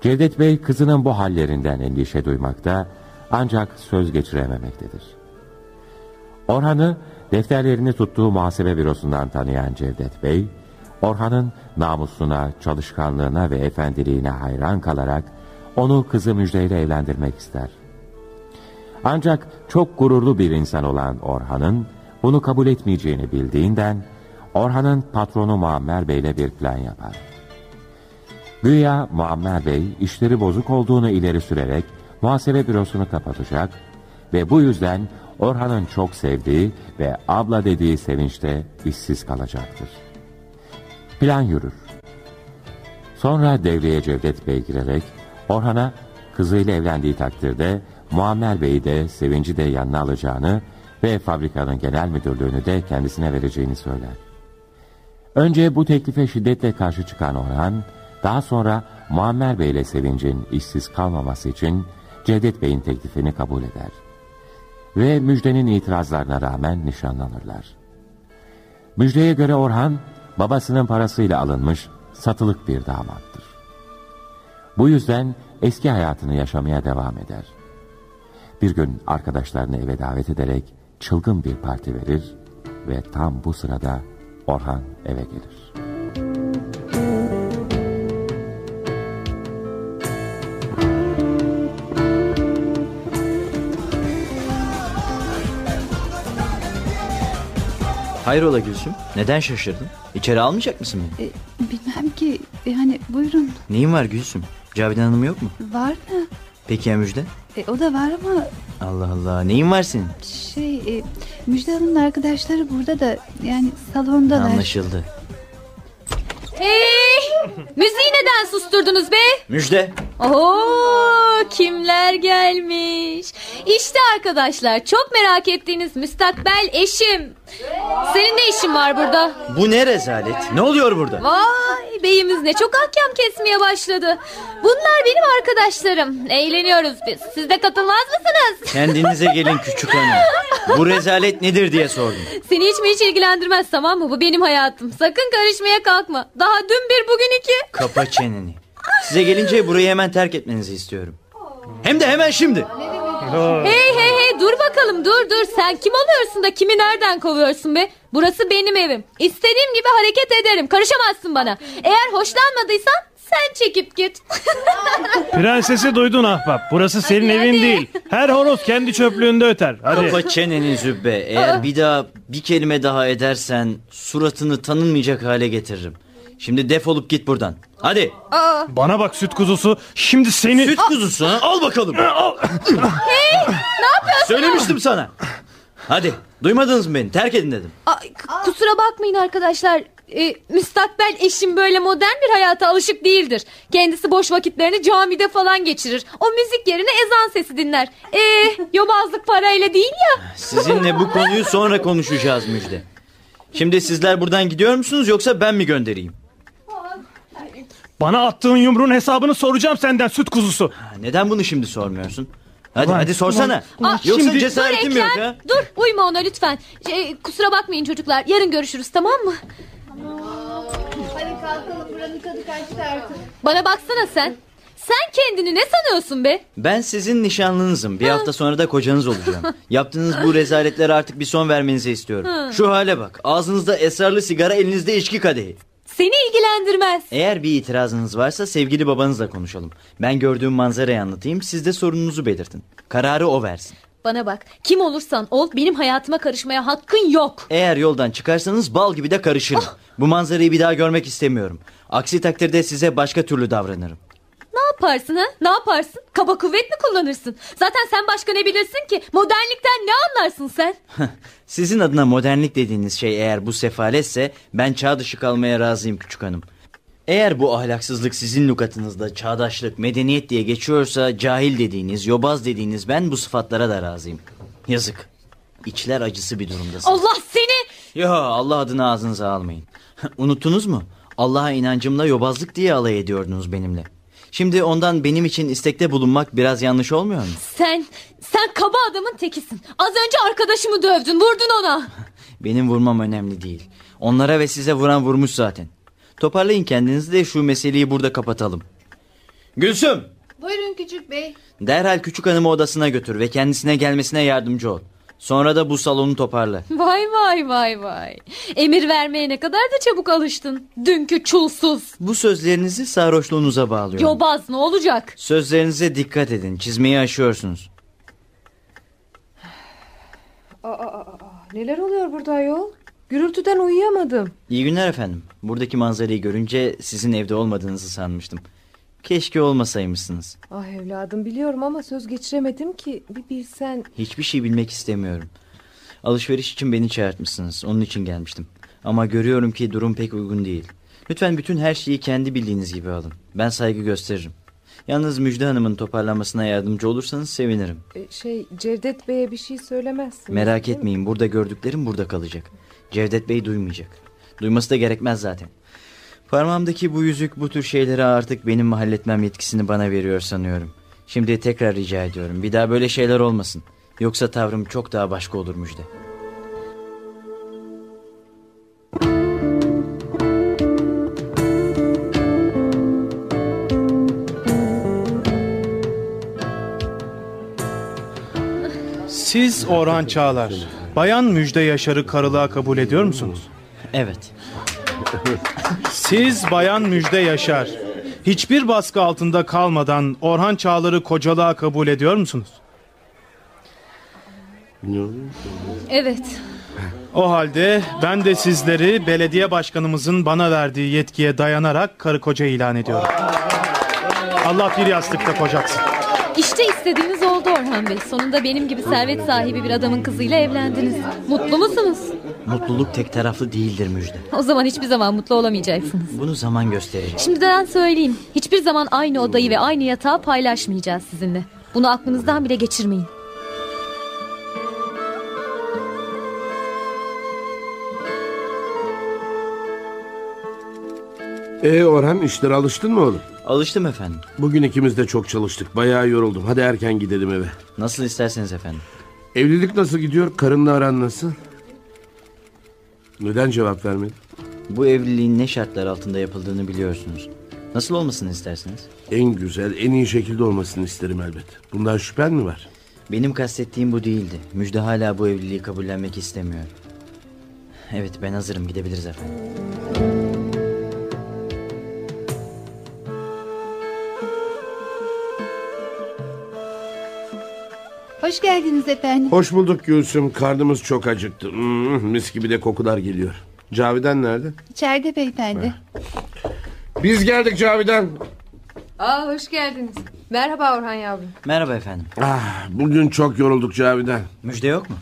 Cevdet Bey kızının bu hallerinden endişe duymakta ancak söz geçirememektedir. Orhan'ı defterlerini tuttuğu muhasebe bürosundan tanıyan Cevdet Bey, Orhan'ın namusuna, çalışkanlığına ve efendiliğine hayran kalarak Onu kızı Müjde ile evlendirmek ister. Ancak çok gururlu bir insan olan Orhan'ın bunu kabul etmeyeceğini bildiğinden Orhan'ın patronu Muammer Bey ile bir plan yapar. Güya Muammer Bey işleri bozuk olduğunu ileri sürerek muhasebe bürosunu kapatacak ve bu yüzden Orhan'ın çok sevdiği ve abla dediği sevinçte işsiz kalacaktır. Plan yürür. Sonra devreye Cevdet Bey girerek Orhan'a kızıyla evlendiği takdirde Muammer Bey'i de Sevinci de yanına alacağını ve fabrikanın genel müdürlüğünü de kendisine vereceğini söyler. Önce bu teklife şiddetle karşı çıkan Orhan, daha sonra Muammer Bey ile Sevinç'in işsiz kalmaması için Cevdet Bey'in teklifini kabul eder. Ve Müjde'nin itirazlarına rağmen nişanlanırlar. Müjde'ye göre Orhan, babasının parasıyla alınmış satılık bir damattır. Bu yüzden eski hayatını yaşamaya devam eder. Bir gün arkadaşlarını eve davet ederek çılgın bir parti verir ve tam bu sırada Orhan eve gelir.
Hayrola Gülsüm? Neden şaşırdın? İçeri almayacak mısın beni?
E, bilmem ki e, hani buyurun
Neyin var Gülsüm? Cavidan Hanım yok mu?
var mı?
Peki ya Müjde?
E, o da var ama
Allah Allah neyin var senin?
şey e, Müjde Hanım'ın arkadaşları burada da yani salondalar.
Anlaşıldı.
Hey! Müziği neden susturdunuz be?
Müjde!
Oo, kimler gelmiş? İşte arkadaşlar çok merak ettiğiniz müstakbel eşim. Senin ne işin var burada?
Bu ne rezalet? Ne oluyor burada?
Vay beyimiz ne çok ahkam kesmeye başladı. Bunlar benim arkadaşlarım. Eğleniyoruz biz. Siz de katılmaz mısınız?
Kendinize gelin küçük hanım. Bu rezalet nedir diye sordum.
Seni hiç mi hiç ilgilendirmez tamam mı? Bu benim hayatım. Sakın karışmaya kalkma. Daha dün bir bugün iki.
Kapa çeneni. Size gelince burayı hemen terk etmenizi istiyorum. Hem de hemen şimdi.
Hey hey hey dur bakalım dur dur sen kim oluyorsun da kimi nereden kovuyorsun be? Burası benim evim. İstediğim gibi hareket ederim. Karışamazsın bana. Eğer hoşlanmadıysan sen çekip git.
Prensesi duydun ahbap. Burası senin evin değil. Her horoz kendi çöplüğünde öter. Hadi.
Kapa çeneni zübbe. Eğer bir daha bir kelime daha edersen suratını tanınmayacak hale getiririm. Şimdi defolup git buradan. Hadi.
Aa.
Bana bak süt kuzusu. Şimdi seni...
Süt kuzusu ha? Al bakalım.
Al.
hey ne yapıyorsun?
Söylemiştim sana. Hadi. Duymadınız mı beni? Terk edin dedim.
Ay, k- kusura bakmayın arkadaşlar. Ee, müstakbel eşim böyle modern bir hayata alışık değildir. Kendisi boş vakitlerini camide falan geçirir. O müzik yerine ezan sesi dinler. Ee, yobazlık parayla değil ya.
Sizinle bu konuyu sonra konuşacağız Müjde. Şimdi sizler buradan gidiyor musunuz yoksa ben mi göndereyim?
Bana attığın yumruğun hesabını soracağım senden süt kuzusu.
Neden bunu şimdi sormuyorsun? Hadi
Ulan,
hadi sorsana.
ulan, ulan.
Yoksa
Şimdi-
cesaretim
dur,
yok
Ekrem,
ha.
Dur uyma ona lütfen. Şey, kusura bakmayın çocuklar. Yarın görüşürüz tamam mı?
Hadi kalkalım buranın kadı kaçtı artık.
Bana baksana sen. Sen kendini ne sanıyorsun be?
Ben sizin nişanlınızım. Bir hafta sonra da kocanız olacağım. Yaptığınız bu rezaletlere artık bir son vermenizi istiyorum.
Hı.
Şu hale bak. Ağzınızda esrarlı sigara, elinizde içki kadehi.
Seni ilgilendirmez.
Eğer bir itirazınız varsa sevgili babanızla konuşalım. Ben gördüğüm manzarayı anlatayım. Siz de sorununuzu belirtin. Kararı o versin.
Bana bak kim olursan ol benim hayatıma karışmaya hakkın yok.
Eğer yoldan çıkarsanız bal gibi de karışırım. Bu manzarayı bir daha görmek istemiyorum. Aksi takdirde size başka türlü davranırım.
Ne yaparsın ha? Ne yaparsın? Kaba kuvvet mi kullanırsın? Zaten sen başka ne bilirsin ki? Modernlikten ne anlarsın sen?
Sizin adına modernlik dediğiniz şey eğer bu sefaletse ben çağ dışı kalmaya razıyım küçük hanım. Eğer bu ahlaksızlık sizin lukatınızda çağdaşlık, medeniyet diye geçiyorsa cahil dediğiniz, yobaz dediğiniz ben bu sıfatlara da razıyım. Yazık. İçler acısı bir durumdasınız.
Allah seni!
Ya Allah adını ağzınıza almayın. Unuttunuz mu? Allah'a inancımla yobazlık diye alay ediyordunuz benimle. Şimdi ondan benim için istekte bulunmak biraz yanlış olmuyor mu?
Sen, sen kaba adamın tekisin. Az önce arkadaşımı dövdün, vurdun ona.
Benim vurmam önemli değil. Onlara ve size vuran vurmuş zaten. Toparlayın kendinizi de şu meseleyi burada kapatalım. Gülsüm!
Buyurun küçük bey.
Derhal küçük hanımı odasına götür ve kendisine gelmesine yardımcı ol. Sonra da bu salonu toparla.
Vay vay vay vay. Emir vermeye ne kadar da çabuk alıştın. Dünkü çulsuz.
Bu sözlerinizi sarhoşluğunuza bağlıyorum.
Yobaz ne olacak?
Sözlerinize dikkat edin. Çizmeyi aşıyorsunuz.
Aa, aa, aa, neler oluyor burada ayol? Gürültüden uyuyamadım.
İyi günler efendim. Buradaki manzarayı görünce sizin evde olmadığınızı sanmıştım. Keşke olmasaymışsınız.
Ah evladım biliyorum ama söz geçiremedim ki. Bir bilsen
Hiçbir şey bilmek istemiyorum. Alışveriş için beni çağırtmışsınız. Onun için gelmiştim. Ama görüyorum ki durum pek uygun değil. Lütfen bütün her şeyi kendi bildiğiniz gibi alın. Ben saygı gösteririm. Yalnız Müjde Hanım'ın toparlanmasına yardımcı olursanız sevinirim.
e, şey Cevdet Bey'e bir şey söylemezsin.
Merak etmeyin burada gördüklerim burada kalacak. Cevdet Bey duymayacak. Duyması da gerekmez zaten. Parmağımdaki bu yüzük bu tür şeyleri artık benim halletmem yetkisini bana veriyor sanıyorum. Şimdi tekrar rica ediyorum bir daha böyle şeyler olmasın. Yoksa tavrım çok daha başka olur Müjde.
Siz Orhan Çağlar, Bayan Müjde Yaşar'ı karılığa kabul ediyor musunuz?
Evet.
Siz Bayan Müjde Yaşar, hiçbir baskı altında kalmadan Orhan Çağlar'ı kocalığa kabul ediyor musunuz?
Evet.
O halde ben de sizleri belediye başkanımızın bana verdiği yetkiye dayanarak karı koca ilan ediyorum. Allah bir yastıkta kocaksın.
İşte istediğiniz oldu Orhan Bey. Sonunda benim gibi servet sahibi bir adamın kızıyla evlendiniz. Mutlu musunuz?
Mutluluk tek taraflı değildir Müjde.
O zaman hiçbir zaman mutlu olamayacaksınız.
Bunu zaman gösterecek.
Şimdiden söyleyeyim. Hiçbir zaman aynı odayı ve aynı yatağı paylaşmayacağız sizinle. Bunu aklınızdan bile geçirmeyin.
Ee Orhan işlere alıştın mı oğlum?
Alıştım efendim.
Bugün ikimiz de çok çalıştık. Bayağı yoruldum. Hadi erken gidelim eve.
Nasıl isterseniz efendim.
Evlilik nasıl gidiyor? Karınla aran nasıl? Neden cevap vermedin?
Bu evliliğin ne şartlar altında yapıldığını biliyorsunuz. Nasıl olmasını istersiniz?
En güzel, en iyi şekilde olmasını isterim elbet. Bundan şüphen mi var?
Benim kastettiğim bu değildi. Müjde hala bu evliliği kabullenmek istemiyor. Evet ben hazırım gidebiliriz efendim.
Hoş geldiniz efendim.
Hoş bulduk Gülsüm. Karnımız çok acıktı. Hmm, mis gibi de kokular geliyor. Cavidan nerede?
İçeride beyefendi.
Biz geldik Cavidan.
Aa hoş geldiniz. Merhaba Orhan yavrum.
Merhaba efendim.
Ah, bugün çok yorulduk Cavidan.
Müjde yok mu?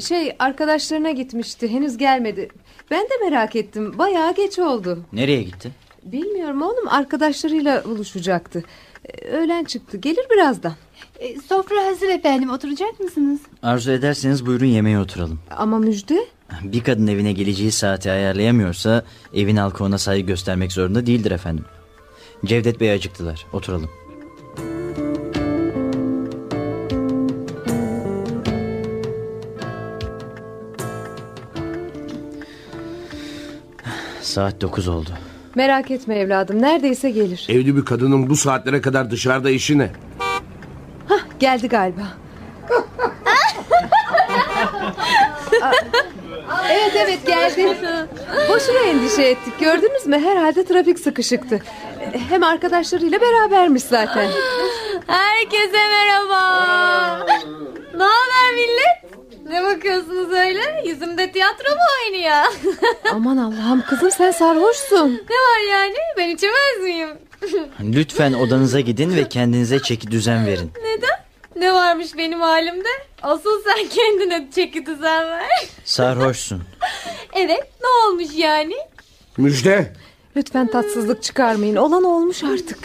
Şey arkadaşlarına gitmişti henüz gelmedi. Ben de merak ettim bayağı geç oldu.
Nereye gitti?
Bilmiyorum oğlum arkadaşlarıyla buluşacaktı. Ee, Öğlen çıktı gelir birazdan.
Ee, sofra hazır efendim oturacak mısınız?
Arzu ederseniz buyurun yemeğe oturalım.
Ama müjde
Bir kadın evine geleceği saati ayarlayamıyorsa evin halkı ona saygı göstermek zorunda değildir efendim. Cevdet Bey acıktılar. Oturalım. Saat 9 oldu.
merak etme evladım neredeyse gelir.
Evli bir kadının bu saatlere kadar dışarıda işi ne?
Hah geldi galiba. Aa, evet evet geldi. Boşuna endişe ettik gördünüz mü herhalde trafik sıkışıktı. Hem arkadaşlarıyla berabermiş zaten.
Herkese merhaba. ne haber millet? Ne bakıyorsunuz öyle? Yüzümde tiyatro mu oynuyor?
Aman Allah'ım kızım sen sarhoşsun.
ne var yani? Ben içemez miyim?
Lütfen odanıza gidin ve kendinize çeki düzen verin.
Neden? Ne varmış benim halimde? Asıl sen kendine çeki düzen ver.
Sarhoşsun.
evet ne olmuş yani?
Müjde.
Lütfen tatsızlık çıkarmayın. Olan olmuş artık.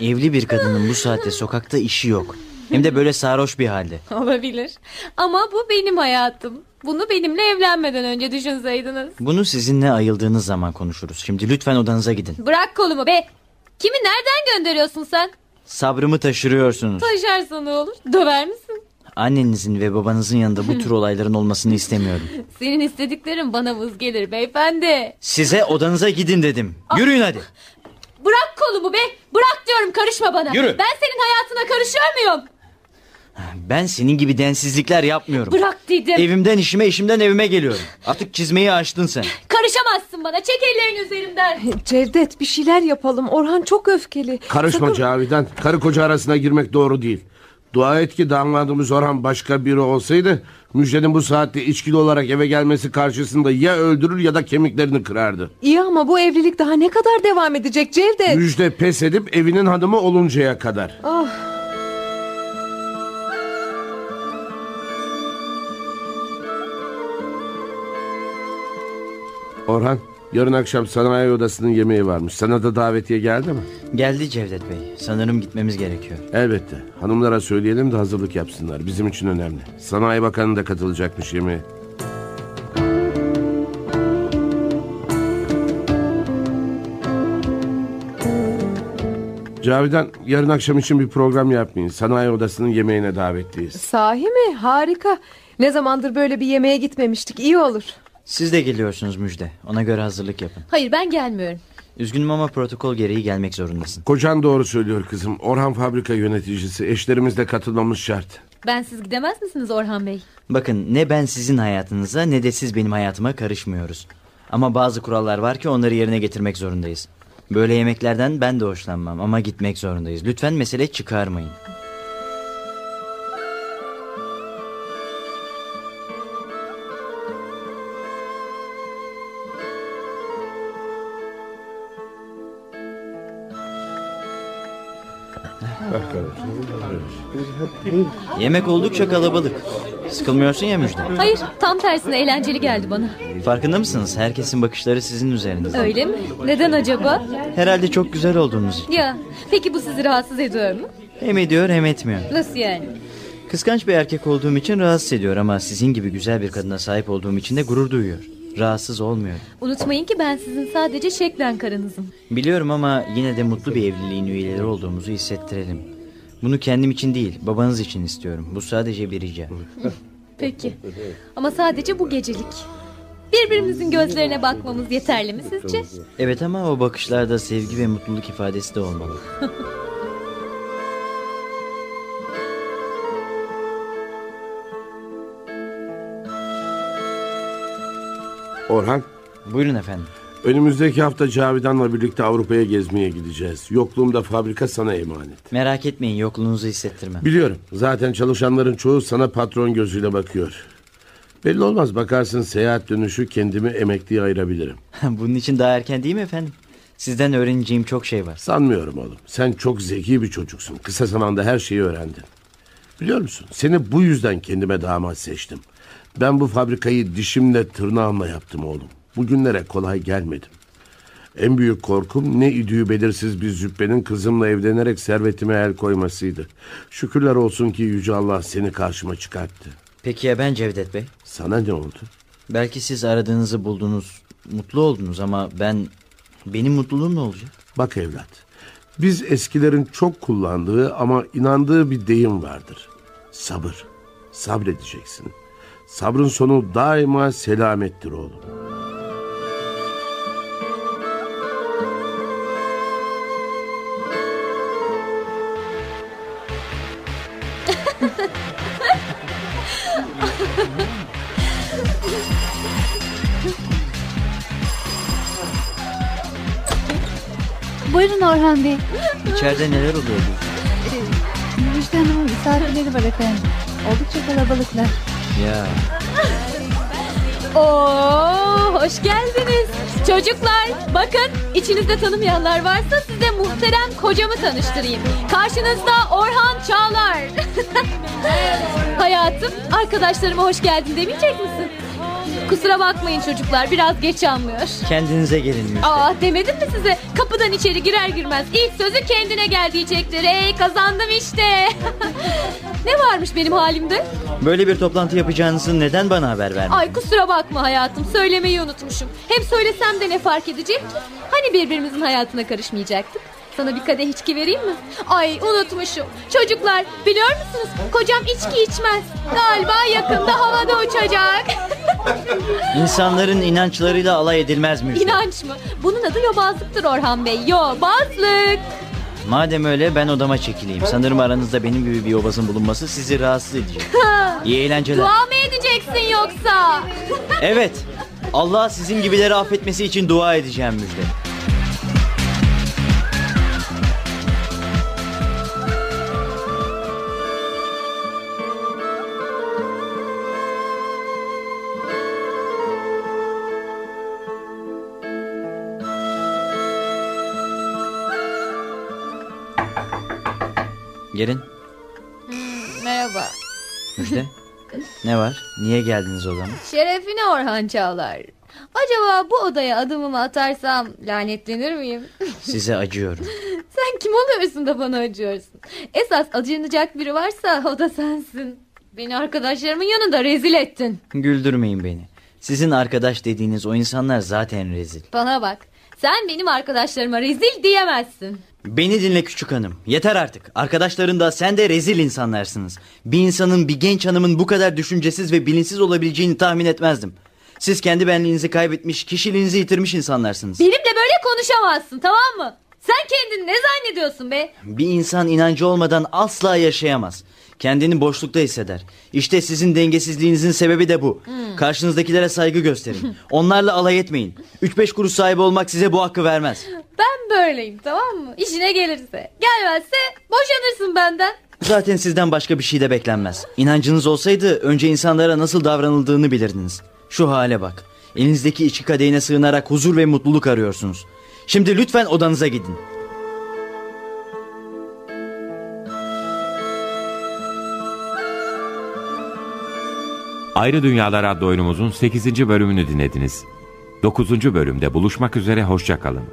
Evli bir kadının bu saatte sokakta işi yok. Hem de böyle sarhoş bir halde.
Olabilir. Ama bu benim hayatım. Bunu benimle evlenmeden önce düşünseydiniz.
Bunu sizinle ayıldığınız zaman konuşuruz. Şimdi lütfen odanıza gidin.
Bırak kolumu be. Kimi nereden gönderiyorsun sen?
Sabrımı taşırıyorsunuz.
Taşarsan ne olur? Döver misin?
Annenizin ve babanızın yanında bu tür olayların olmasını istemiyorum.
Senin istediklerin bana vız gelir beyefendi.
Size odanıza gidin dedim. Yürüyün hadi.
Bırak kolumu be. Bırak diyorum karışma bana.
Yürü.
Ben senin hayatına karışıyor muyum?
Ben senin gibi densizlikler yapmıyorum.
Bırak dedim.
Evimden işime, işimden evime geliyorum. Artık çizmeyi aştın sen.
Karışamazsın bana. Çek ellerini üzerimden.
Cevdet bir şeyler yapalım. Orhan çok öfkeli.
Karışma Cavidan. Karı koca arasına girmek doğru değil. Dua et ki damadımız Orhan başka biri olsaydı Müjde'nin bu saatte içkili olarak eve gelmesi karşısında ya öldürür ya da kemiklerini kırardı.
İyi ama bu evlilik daha ne kadar devam edecek Cevdet?
Müjde pes edip evinin hanımı oluncaya kadar.
Ah.
Orhan yarın akşam sanayi odasının yemeği varmış. Sana da davetiye geldi mi?
Geldi Cevdet Bey. Sanırım gitmemiz gerekiyor.
Elbette. Hanımlara söyleyelim de hazırlık yapsınlar. Bizim için önemli. Sanayi Bakanı da katılacakmış yemeğe. Cavidan yarın akşam için bir program yapmayın. Sanayi odasının yemeğine davetliyiz.
Sahi mi? Harika. Ne zamandır böyle bir yemeğe gitmemiştik. İyi olur.
Siz de geliyorsunuz Müjde. Ona göre hazırlık yapın.
Hayır ben gelmiyorum.
Üzgünüm ama protokol gereği gelmek zorundasın.
Kocan doğru söylüyor kızım. Orhan fabrika yöneticisi. Eşlerimiz de katılmamız şart.
Ben siz gidemez misiniz Orhan Bey?
Bakın ne ben sizin hayatınıza ne de siz benim hayatıma karışmıyoruz. Ama bazı kurallar var ki onları yerine getirmek zorundayız. Böyle yemeklerden ben de hoşlanmam ama gitmek zorundayız. Lütfen mesele çıkarmayın. Yemek oldukça kalabalık. Sıkılmıyorsun ya Müjde.
Hayır tam tersine eğlenceli geldi bana.
Farkında mısınız? Herkesin bakışları sizin üzerinizde.
Öyle mi? Neden acaba?
Herhalde çok güzel olduğunuz için.
Ya peki bu sizi rahatsız ediyor mu?
Hem ediyor hem etmiyor.
Nasıl yani?
Kıskanç bir erkek olduğum için rahatsız ediyor ama sizin gibi güzel bir kadına sahip olduğum için de gurur duyuyor. Rahatsız olmuyor.
Unutmayın ki ben sizin sadece şeklen karınızım.
Biliyorum ama yine de mutlu bir evliliğin üyeleri olduğumuzu hissettirelim. Bunu kendim için değil, babanız için istiyorum. Bu sadece bir rica.
Peki. Ama sadece bu gecelik. Birbirimizin gözlerine bakmamız yeterli mi sizce?
Evet ama o bakışlarda sevgi ve mutluluk ifadesi de olmalı.
Orhan.
Buyurun efendim.
Önümüzdeki hafta Cavidan'la birlikte Avrupa'ya gezmeye gideceğiz. Yokluğumda fabrika sana emanet.
Merak etmeyin yokluğunuzu hissettirmem.
Biliyorum. Zaten çalışanların çoğu sana patron gözüyle bakıyor. Belli olmaz bakarsın seyahat dönüşü kendimi emekliye ayırabilirim.
Bunun için daha erken değil mi efendim? Sizden öğreneceğim çok şey var.
Sanmıyorum oğlum. Sen çok zeki bir çocuksun. Kısa zamanda her şeyi öğrendin. Biliyor musun? Seni bu yüzden kendime damat seçtim. Ben bu fabrikayı dişimle tırnağımla yaptım oğlum. Bugünlere kolay gelmedim. En büyük korkum ne idüğü belirsiz bir züppenin kızımla evlenerek servetime el koymasıydı. Şükürler olsun ki Yüce Allah seni karşıma çıkarttı.
Peki ya ben Cevdet Bey?
Sana ne oldu?
Belki siz aradığınızı buldunuz, mutlu oldunuz ama ben... Benim mutluluğum ne olacak?
Bak evlat, biz eskilerin çok kullandığı ama inandığı bir deyim vardır. Sabır. Sabredeceksin. Sabrın sonu daima selamettir oğlum.
Buyurun Orhan Bey.
İçeride neler oluyor?
Müjde Hanım'ın misafirleri var efendim. Oldukça kalabalıklar.
Ya
Oo, hoş geldiniz. Çocuklar bakın içinizde tanımayanlar varsa size muhterem kocamı tanıştırayım. Karşınızda Orhan Çağlar. Hayatım arkadaşlarıma hoş geldin demeyecek misin? Kusura bakmayın çocuklar biraz geç anlıyor.
kendinize gelin Müjde.
Aa demedim mi size? Kapıdan içeri girer girmez ilk sözü kendine gel diyecektir. Ey kazandım işte. ne varmış benim halimde?
Böyle bir toplantı yapacağınızı neden bana haber vermediniz?
Ay kusura bakma hayatım söylemeyi unutmuşum. Hem söylesem de ne fark edecek ki? Hani birbirimizin hayatına karışmayacaktık? Sana bir kadeh içki vereyim mi? Ay unutmuşum. Çocuklar biliyor musunuz? Kocam içki içmez. Galiba yakında havada uçacak.
İnsanların inançlarıyla alay edilmez Müjde.
İnanç mı? Bunun adı yobazlıktır Orhan Bey. Yobazlık.
Madem öyle ben odama çekileyim. Sanırım aranızda benim gibi bir yobazın bulunması sizi rahatsız edecek. İyi eğlenceler.
Dua mı edeceksin yoksa?
Evet. Allah sizin gibileri affetmesi için dua edeceğim müjde. Gelin.
Hmm, Merhaba.
Müjde. ne var? Niye geldiniz odama?
Şerefine Orhan Çağlar. Acaba bu odaya adımımı atarsam lanetlenir miyim?
Size acıyorum.
Sen kim oluyorsun da bana acıyorsun? Esas acınacak biri varsa o da sensin. Beni arkadaşlarımın yanında rezil ettin.
Güldürmeyin beni. Sizin arkadaş dediğiniz o insanlar zaten rezil.
Bana bak. Sen benim arkadaşlarıma rezil diyemezsin.
Beni dinle küçük hanım. Yeter artık. Arkadaşların da sen de rezil insanlarsınız. Bir insanın bir genç hanımın bu kadar düşüncesiz ve bilinçsiz olabileceğini tahmin etmezdim. Siz kendi benliğinizi kaybetmiş, kişiliğinizi yitirmiş insanlarsınız.
Benimle böyle konuşamazsın tamam mı? Sen kendini ne zannediyorsun be?
Bir insan inancı olmadan asla yaşayamaz. Kendini boşlukta hisseder. İşte sizin dengesizliğinizin sebebi de bu.
Hmm.
Karşınızdakilere saygı gösterin. Onlarla alay etmeyin. 3-5 kuruş sahibi olmak size bu hakkı vermez.
Ben böyleyim tamam mı? İşine gelirse. Gelmezse boşanırsın benden.
Zaten sizden başka bir şey de beklenmez. İnancınız olsaydı önce insanlara nasıl davranıldığını bilirdiniz. Şu hale bak. Elinizdeki içki kadehine sığınarak huzur ve mutluluk arıyorsunuz. Şimdi lütfen odanıza gidin.
Ayrı Dünyalar adlı oyunumuzun 8. bölümünü dinlediniz. 9. bölümde buluşmak üzere hoşça kalın.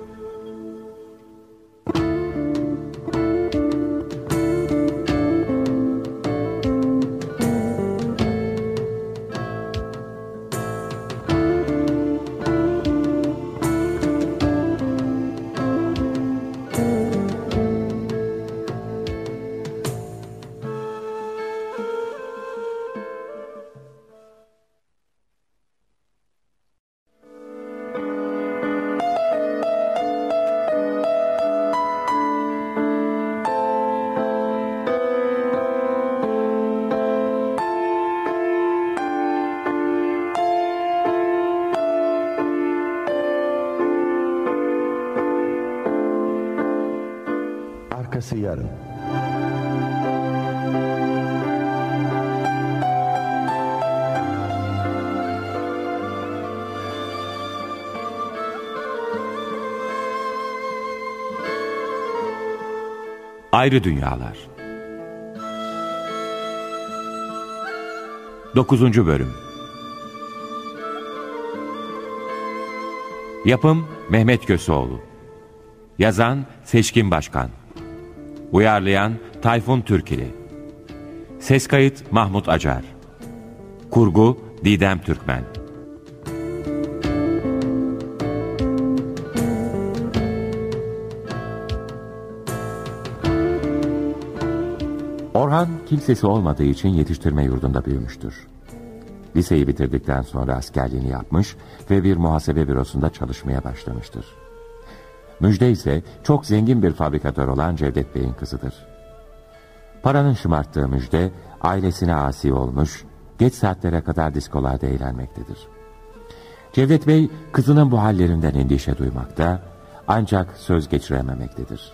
Arkası yarın.
Ayrı Dünyalar 9. Bölüm Yapım Mehmet Köseoğlu Yazan Seçkin Başkan Uyarlayan Tayfun Türkili Ses kayıt Mahmut Acar Kurgu Didem Türkmen Orhan kimsesi olmadığı için yetiştirme yurdunda büyümüştür. Liseyi bitirdikten sonra askerliğini yapmış ve bir muhasebe bürosunda çalışmaya başlamıştır. Müjde ise çok zengin bir fabrikatör olan Cevdet Bey'in kızıdır. Paranın şımarttığı Müjde ailesine asi olmuş, geç saatlere kadar diskolarda eğlenmektedir. Cevdet Bey kızının bu hallerinden endişe duymakta ancak söz geçirememektedir.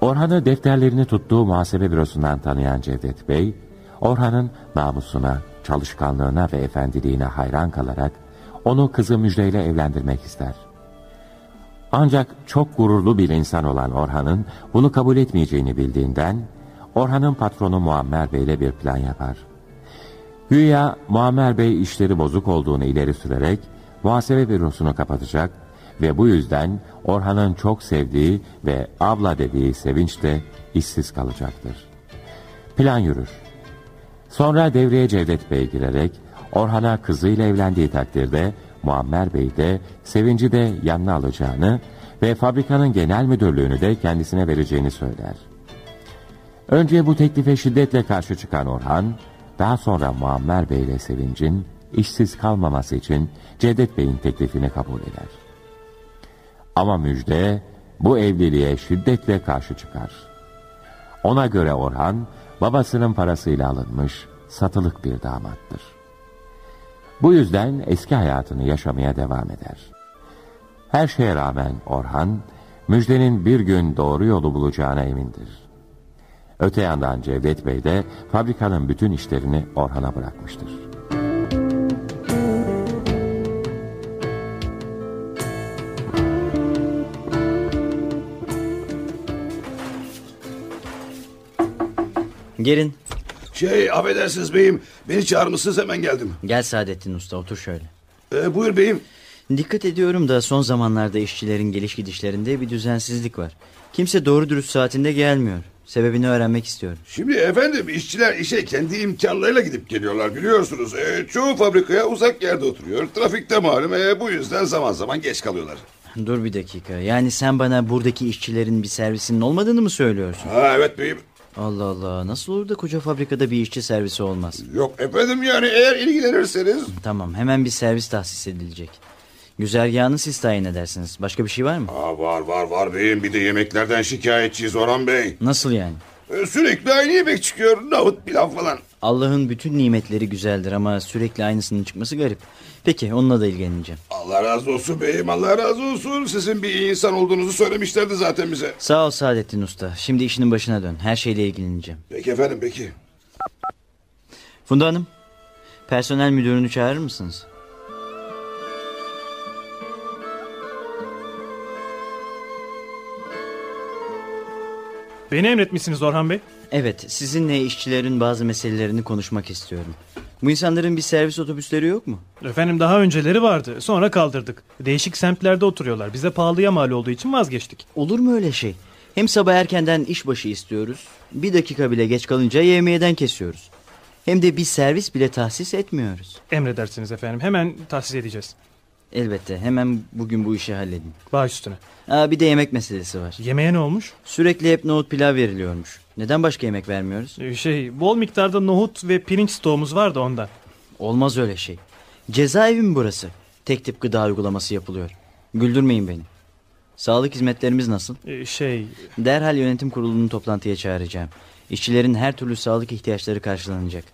Orhan'ı defterlerini tuttuğu muhasebe bürosundan tanıyan Cevdet Bey, Orhan'ın namusuna, çalışkanlığına ve efendiliğine hayran kalarak onu kızı Müjde ile evlendirmek ister. Ancak çok gururlu bir insan olan Orhan'ın bunu kabul etmeyeceğini bildiğinden Orhan'ın patronu Muammer Bey ile bir plan yapar. Güya Muammer Bey işleri bozuk olduğunu ileri sürerek muhasebe bürosunu kapatacak ve bu yüzden Orhan'ın çok sevdiği ve abla dediği Sevinç de işsiz kalacaktır. Plan yürür. Sonra devreye Cevdet Bey girerek Orhan'a kızıyla evlendiği takdirde Muammer Bey de Sevinci de yanına alacağını ve fabrikanın genel müdürlüğünü de kendisine vereceğini söyler. Önce bu teklife şiddetle karşı çıkan Orhan, daha sonra Muammer Bey ile Sevinç'in işsiz kalmaması için Cevdet Bey'in teklifini kabul eder. Ama müjde bu evliliğe şiddetle karşı çıkar. Ona göre Orhan babasının parasıyla alınmış satılık bir damattır. Bu yüzden eski hayatını yaşamaya devam eder. Her şeye rağmen Orhan, Müjde'nin bir gün doğru yolu bulacağına emindir. Öte yandan Cevdet Bey de fabrikanın bütün işlerini Orhan'a bırakmıştır.
Gelin.
Şey affedersiniz beyim beni çağırmışsınız hemen geldim.
Gel Saadettin Usta otur şöyle.
Ee, buyur beyim.
Dikkat ediyorum da son zamanlarda işçilerin geliş gidişlerinde bir düzensizlik var. Kimse doğru dürüst saatinde gelmiyor. Sebebini öğrenmek istiyorum.
Şimdi efendim işçiler işe kendi imkanlarıyla gidip geliyorlar biliyorsunuz. E, çoğu fabrikaya uzak yerde oturuyor. Trafikte malum e, bu yüzden zaman zaman geç kalıyorlar.
Dur bir dakika. Yani sen bana buradaki işçilerin bir servisinin olmadığını mı söylüyorsun?
Ha evet beyim.
Allah Allah. Nasıl olur da koca fabrikada bir işçi servisi olmaz?
Yok efendim yani eğer ilgilenirseniz.
Tamam. Hemen bir servis tahsis edilecek. Güzergahını siz tayin edersiniz. Başka bir şey var mı?
Aa, var var var beyim bir de yemeklerden şikayetçiyiz Orhan Bey.
Nasıl yani?
E, sürekli aynı yemek çıkıyor nahut pilav falan.
Allah'ın bütün nimetleri güzeldir ama sürekli aynısının çıkması garip. Peki onunla da ilgileneceğim.
Allah razı olsun beyim Allah razı olsun. Sizin bir iyi insan olduğunuzu söylemişlerdi zaten bize.
Sağ ol Saadettin Usta. Şimdi işinin başına dön. Her şeyle ilgileneceğim.
Peki efendim peki.
Funda Hanım, personel müdürünü çağırır mısınız?
Beni emretmişsiniz Orhan Bey.
Evet, sizinle işçilerin bazı meselelerini konuşmak istiyorum. Bu insanların bir servis otobüsleri yok mu?
Efendim daha önceleri vardı. Sonra kaldırdık. Değişik semtlerde oturuyorlar. Bize pahalıya mal olduğu için vazgeçtik.
Olur mu öyle şey? Hem sabah erkenden işbaşı istiyoruz. Bir dakika bile geç kalınca yemeğden kesiyoruz. Hem de bir servis bile tahsis etmiyoruz.
Emredersiniz efendim. Hemen tahsis edeceğiz.
Elbette hemen bugün bu işi halledin.
Baş üstüne.
Aa, bir de yemek meselesi var.
Yemeğe ne olmuş?
Sürekli hep nohut pilav veriliyormuş. Neden başka yemek vermiyoruz?
Ee, Şey, bol miktarda nohut ve pirinç stoğumuz vardı ondan.
Olmaz öyle şey. Cezaevi mi burası? Tek tip gıda uygulaması yapılıyor. Güldürmeyin beni. Sağlık hizmetlerimiz nasıl?
Ee, Şey,
Derhal yönetim kurulunu toplantıya çağıracağım. İşçilerin her türlü sağlık ihtiyaçları karşılanacak.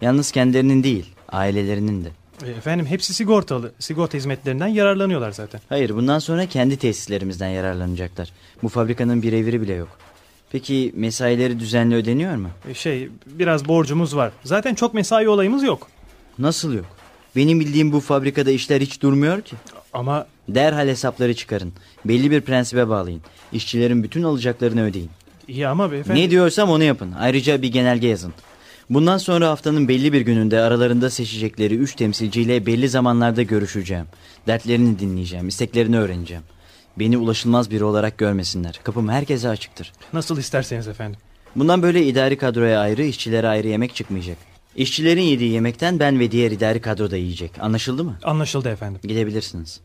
Yalnız kendilerinin değil, ailelerinin de.
e, efendim hepsi sigortalı. Sigorta hizmetlerinden yararlanıyorlar zaten.
Hayır, bundan sonra kendi tesislerimizden yararlanacaklar. Bu fabrikanın bir eviri bile yok. Peki mesaileri düzenli ödeniyor mu?
Ee, Şey, biraz borcumuz var. Zaten çok mesai olayımız yok.
Nasıl yok? Benim bildiğim bu fabrikada işler hiç durmuyor ki.
Ama
Derhal hesapları çıkarın. Belli bir prensibe bağlayın. İşçilerin bütün alacaklarını ödeyin.
iyi ama beyefendi.
Ne diyorsam onu yapın. Ayrıca bir genelge yazın. Bundan sonra haftanın belli bir gününde aralarında seçecekleri 3 temsilciyle belli zamanlarda görüşeceğim. Dertlerini dinleyeceğim, isteklerini öğreneceğim. Beni ulaşılmaz biri olarak görmesinler. Kapım herkese açıktır.
Nasıl isterseniz efendim.
Bundan böyle idari kadroya ayrı, işçilere ayrı yemek çıkmayacak. İşçilerin yediği yemekten ben ve diğer idari kadro da yiyecek. Anlaşıldı mı?
Anlaşıldı efendim.
Gidebilirsiniz.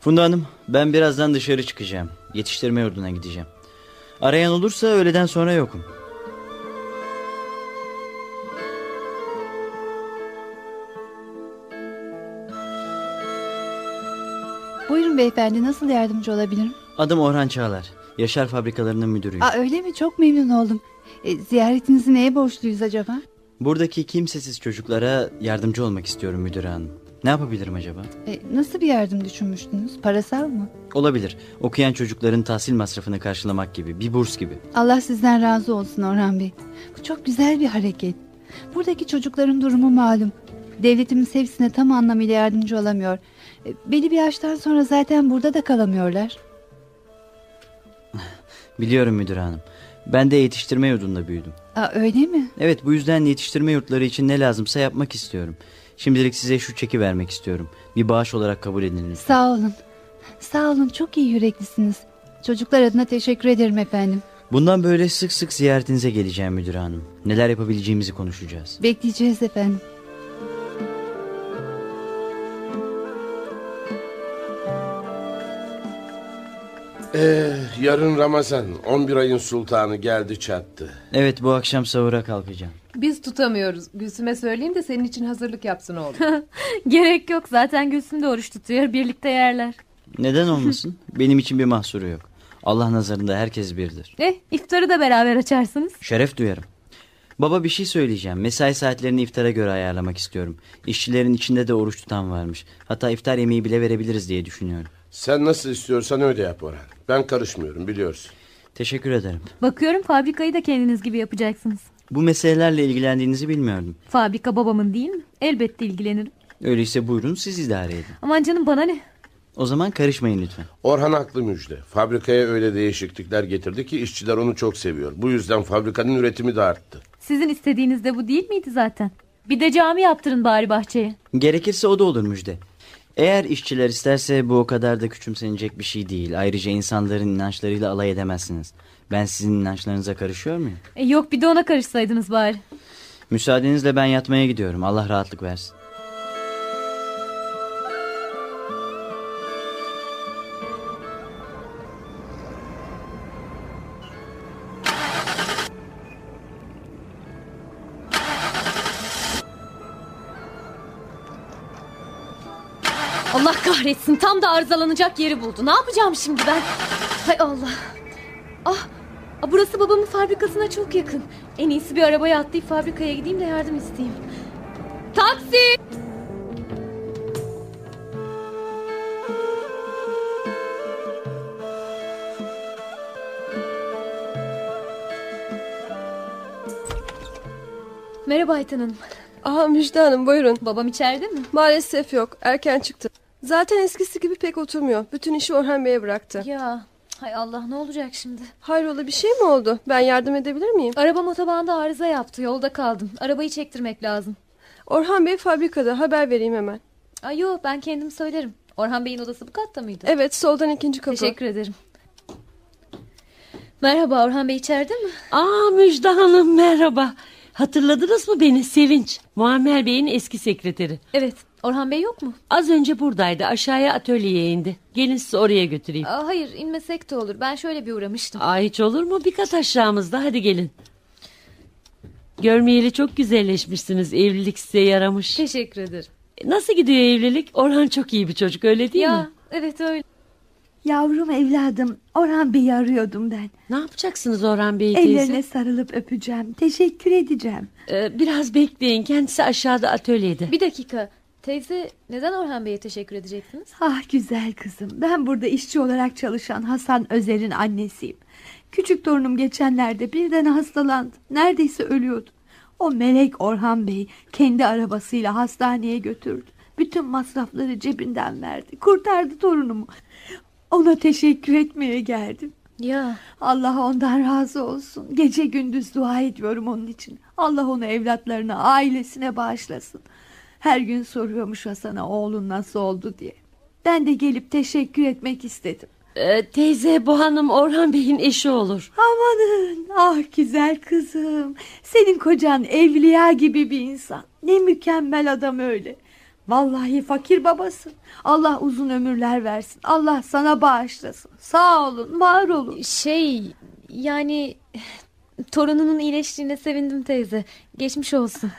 Funda Hanım, ben birazdan dışarı çıkacağım. Yetiştirme yurduna gideceğim. Arayan olursa öğleden sonra yokum.
Buyurun beyefendi nasıl yardımcı olabilirim?
Adım Orhan Çağlar. Yaşar Fabrikalarının müdürüyüm.
Aa, öyle mi çok memnun oldum. E, ziyaretinizi neye borçluyuz acaba?
Buradaki kimsesiz çocuklara yardımcı olmak istiyorum müdür hanım. Ne yapabilirim acaba?
E, nasıl bir yardım düşünmüştünüz? Parasal mı?
Olabilir. Okuyan çocukların tahsil masrafını karşılamak gibi. Bir burs gibi.
Allah sizden razı olsun Orhan Bey. Bu çok güzel bir hareket. Buradaki çocukların durumu malum. Devletimiz hepsine tam anlamıyla yardımcı olamıyor. E, Belli bir yaştan sonra zaten burada da kalamıyorlar.
Biliyorum müdür hanım. Ben de yetiştirme yurdunda büyüdüm.
Aa, öyle mi?
Evet bu yüzden yetiştirme yurtları için ne lazımsa yapmak istiyorum. Şimdilik size şu çeki vermek istiyorum. Bir bağış olarak kabul edin lütfen.
Sağ olun. Sağ olun çok iyi yüreklisiniz. Çocuklar adına teşekkür ederim efendim.
Bundan böyle sık sık ziyaretinize geleceğim müdür hanım. Neler yapabileceğimizi konuşacağız.
Bekleyeceğiz efendim.
Ee, yarın Ramazan 11 ayın sultanı geldi çattı.
Evet bu akşam sahura kalkacağım.
Biz tutamıyoruz. Gülsüm'e söyleyeyim de senin için hazırlık yapsın oğlum.
Gerek yok zaten Gülsüm de oruç tutuyor birlikte yerler.
Neden olmasın? Benim için bir mahsuru yok. Allah nazarında herkes birdir.
Eh iftarı da beraber açarsınız.
Şeref duyarım. Baba bir şey söyleyeceğim. Mesai saatlerini iftara göre ayarlamak istiyorum. İşçilerin içinde de oruç tutan varmış. Hatta iftar yemeği bile verebiliriz diye düşünüyorum.
Sen nasıl istiyorsan öyle yap Orhan. Ben karışmıyorum biliyorsun.
Teşekkür ederim.
Bakıyorum fabrikayı da kendiniz gibi yapacaksınız.
Bu meselelerle ilgilendiğinizi bilmiyordum.
Fabrika babamın değil mi? Elbette ilgilenirim.
Öyleyse buyurun siz idare edin.
Aman canım bana ne?
O zaman karışmayın lütfen.
Orhan haklı müjde. Fabrikaya öyle değişiklikler getirdi ki işçiler onu çok seviyor. Bu yüzden fabrikanın üretimi de arttı.
Sizin istediğiniz de bu değil miydi zaten? Bir de cami yaptırın bari bahçeye.
Gerekirse o da olur müjde. Eğer işçiler isterse bu o kadar da küçümsenecek bir şey değil. Ayrıca insanların inançlarıyla alay edemezsiniz. Ben sizin inançlarınıza karışıyor muyum?
E yok bir de ona karışsaydınız bari.
Müsaadenizle ben yatmaya gidiyorum. Allah rahatlık versin.
Allah kahretsin tam da arızalanacak yeri buldu. Ne yapacağım şimdi ben? Hay Allah. Ah, ah, burası babamın fabrikasına çok yakın. En iyisi bir arabaya atlayıp fabrikaya gideyim de yardım isteyeyim. Taksi! Merhaba Ayten Hanım.
Aha Müjde Hanım buyurun.
Babam içeride mi?
Maalesef yok. Erken çıktı. Zaten eskisi gibi pek oturmuyor. Bütün işi Orhan Bey'e bıraktı.
Ya hay Allah ne olacak şimdi?
Hayrola bir şey mi oldu? Ben yardım edebilir miyim?
Arabam otobanda arıza yaptı. Yolda kaldım. Arabayı çektirmek lazım.
Orhan Bey fabrikada. Haber vereyim hemen.
Ay yo ben kendim söylerim. Orhan Bey'in odası bu katta mıydı?
Evet soldan ikinci kapı.
Teşekkür ederim. Merhaba Orhan Bey içeride mi?
Aa Müjde Hanım merhaba. Hatırladınız mı beni Sevinç? Muammer Bey'in eski sekreteri.
Evet Orhan Bey yok mu?
Az önce buradaydı aşağıya atölyeye indi. Gelin sizi oraya götüreyim.
Aa, hayır inmesek de olur. Ben şöyle bir uğramıştım.
Aa, hiç olur mu? Bir kat aşağımızda hadi gelin. Görmeyeli çok güzelleşmişsiniz. Evlilik size yaramış.
Teşekkür ederim.
Nasıl gidiyor evlilik? Orhan çok iyi bir çocuk öyle değil
ya
mi?
evet öyle.
Yavrum evladım Orhan Bey'i arıyordum ben.
Ne yapacaksınız Orhan Bey'i teyze?
Ellerine sarılıp öpeceğim. Teşekkür edeceğim.
Ee, biraz bekleyin. Kendisi aşağıda atölyede.
Bir dakika. Teyze neden Orhan Bey'e teşekkür edeceksiniz?
Ah güzel kızım. Ben burada işçi olarak çalışan Hasan Özer'in annesiyim. Küçük torunum geçenlerde birden hastalandı. Neredeyse ölüyordu. O melek Orhan Bey kendi arabasıyla hastaneye götürdü. Bütün masrafları cebinden verdi. Kurtardı torunumu. Ona teşekkür etmeye geldim.
Ya
Allah ondan razı olsun. Gece gündüz dua ediyorum onun için. Allah onu evlatlarına, ailesine bağışlasın. Her gün soruyormuş Hasan'a oğlun nasıl oldu diye. Ben de gelip teşekkür etmek istedim.
Ee, teyze bu hanım Orhan Bey'in eşi olur.
Amanın ah güzel kızım. Senin kocan evliya gibi bir insan. Ne mükemmel adam öyle. Vallahi fakir babasın. Allah uzun ömürler versin. Allah sana bağışlasın. Sağ olun, var olun.
Şey yani torununun iyileştiğine sevindim teyze. Geçmiş olsun.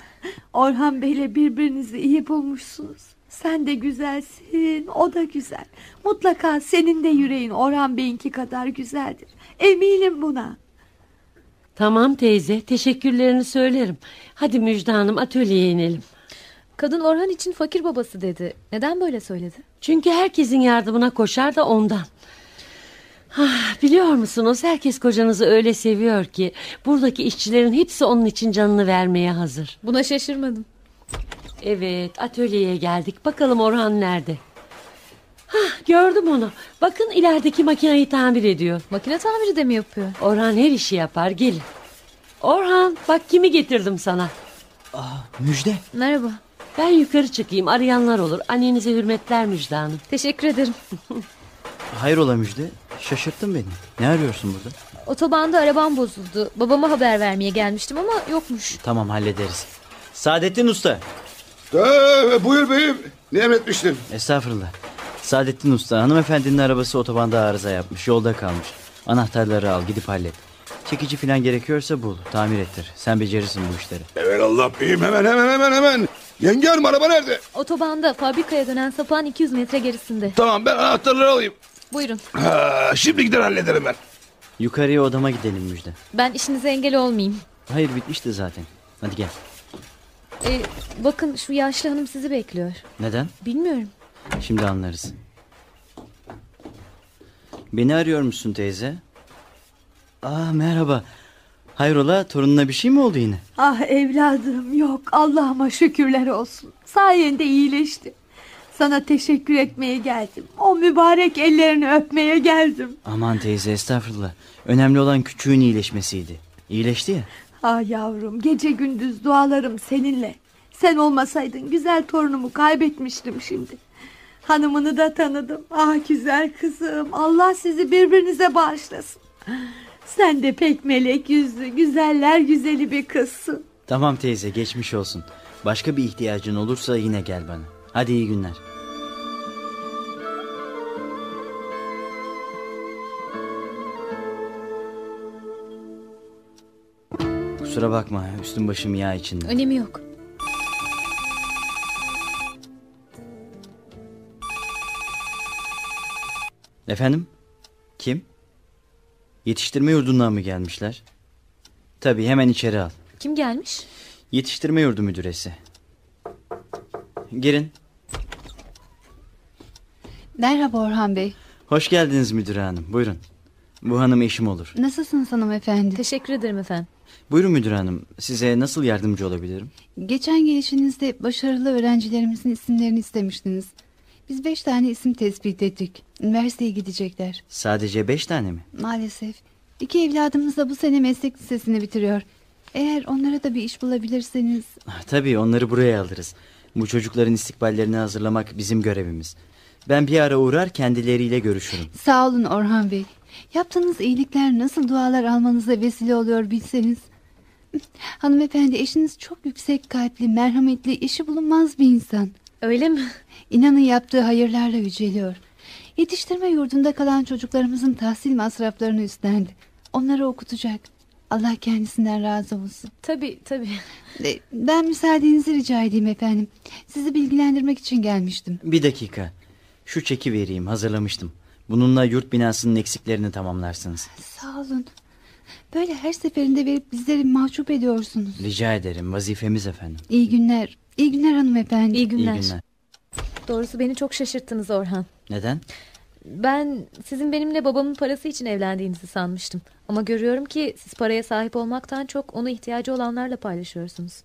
Orhan Bey'le birbirinizi iyi bulmuşsunuz. Sen de güzelsin, o da güzel. Mutlaka senin de yüreğin Orhan Bey'inki kadar güzeldir. Eminim buna.
Tamam teyze teşekkürlerini söylerim. Hadi Müjde Hanım atölyeye inelim.
Kadın Orhan için fakir babası dedi. Neden böyle söyledi?
Çünkü herkesin yardımına koşar da ondan. Ah, biliyor musunuz herkes kocanızı öyle seviyor ki buradaki işçilerin hepsi onun için canını vermeye hazır.
Buna şaşırmadım.
Evet atölyeye geldik bakalım Orhan nerede? Hah, gördüm onu. Bakın ilerideki makineyi tamir ediyor.
Makine tamiri de mi yapıyor?
Orhan her işi yapar gelin. Orhan bak kimi getirdim sana.
Müjde.
Merhaba.
Ben yukarı çıkayım arayanlar olur. Annenize hürmetler Müjde Hanım.
Teşekkür ederim.
Hayrola Müjde? Şaşırttın beni. Ne arıyorsun burada?
Otobanda arabam bozuldu. Babama haber vermeye gelmiştim ama yokmuş.
Tamam hallederiz. Saadettin Usta.
Ee, buyur beyim. Ne emretmiştin?
Estağfurullah. Saadettin Usta hanımefendinin arabası otobanda arıza yapmış. Yolda kalmış. Anahtarları al gidip hallet. Çekici falan gerekiyorsa bul. Tamir ettir. Sen becerirsin bu işleri.
Evvel Allah beyim hemen hemen hemen hemen. Yenge hanım araba nerede?
Otobanda fabrikaya dönen sapağın 200 metre gerisinde.
Tamam ben anahtarları alayım.
Buyurun.
Ha, şimdi gider hallederim ben.
Yukarıya odama gidelim Müjde.
Ben işinize engel olmayayım.
Hayır bitmişti zaten. Hadi gel.
Ee, bakın şu yaşlı hanım sizi bekliyor.
Neden?
Bilmiyorum.
Şimdi anlarız. Beni arıyor musun teyze? Aa merhaba. Hayrola torununa bir şey mi oldu yine?
Ah evladım yok Allah'ıma şükürler olsun. Sayende iyileşti. Sana teşekkür etmeye geldim. O mübarek ellerini öpmeye geldim.
Aman teyze estağfurullah. Önemli olan küçüğün iyileşmesiydi. İyileşti ya.
Ah yavrum gece gündüz dualarım seninle. Sen olmasaydın güzel torunumu kaybetmiştim şimdi. Hanımını da tanıdım. Ah güzel kızım Allah sizi birbirinize bağışlasın. Sen de pek melek yüzlü güzeller güzeli bir kızsın.
Tamam teyze geçmiş olsun. Başka bir ihtiyacın olursa yine gel bana. Hadi iyi günler. Kusura bakma üstüm başım yağ içinde.
Önemi yok.
Efendim? Kim? Yetiştirme yurdundan mı gelmişler? Tabii hemen içeri al.
Kim gelmiş?
Yetiştirme yurdu müdüresi. Girin.
Merhaba Orhan Bey.
Hoş geldiniz müdür hanım. Buyurun. Bu hanım eşim olur.
Nasılsınız hanımefendi?
Teşekkür ederim efendim.
Buyurun müdür hanım. Size nasıl yardımcı olabilirim?
Geçen gelişinizde başarılı öğrencilerimizin isimlerini istemiştiniz. Biz beş tane isim tespit ettik. Üniversiteye gidecekler.
Sadece beş tane mi?
Maalesef. İki evladımız da bu sene meslek lisesini bitiriyor. Eğer onlara da bir iş bulabilirseniz...
Ah, Tabii onları buraya alırız. Bu çocukların istikballerini hazırlamak bizim görevimiz. Ben bir ara uğrar kendileriyle görüşürüm.
Sağ olun Orhan Bey. Yaptığınız iyilikler nasıl dualar almanıza vesile oluyor bilseniz. Hanımefendi eşiniz çok yüksek kalpli, merhametli, işi bulunmaz bir insan.
Öyle mi?
İnanın yaptığı hayırlarla yüceliyor. Yetiştirme yurdunda kalan çocuklarımızın tahsil masraflarını üstlendi. Onları okutacak. Allah kendisinden razı olsun.
Tabii tabii.
E, Ben müsaadenizi rica edeyim efendim. Sizi bilgilendirmek için gelmiştim.
Bir dakika. Şu çeki vereyim hazırlamıştım. Bununla yurt binasının eksiklerini tamamlarsınız.
Sağ olun. Böyle her seferinde verip bizleri mahcup ediyorsunuz.
Rica ederim vazifemiz efendim.
İyi günler. İyi günler hanımefendi. İyi
İyi günler.
Doğrusu beni çok şaşırttınız Orhan.
Neden?
Ben sizin benimle babamın parası için evlendiğinizi sanmıştım. Ama görüyorum ki siz paraya sahip olmaktan çok onu ihtiyacı olanlarla paylaşıyorsunuz.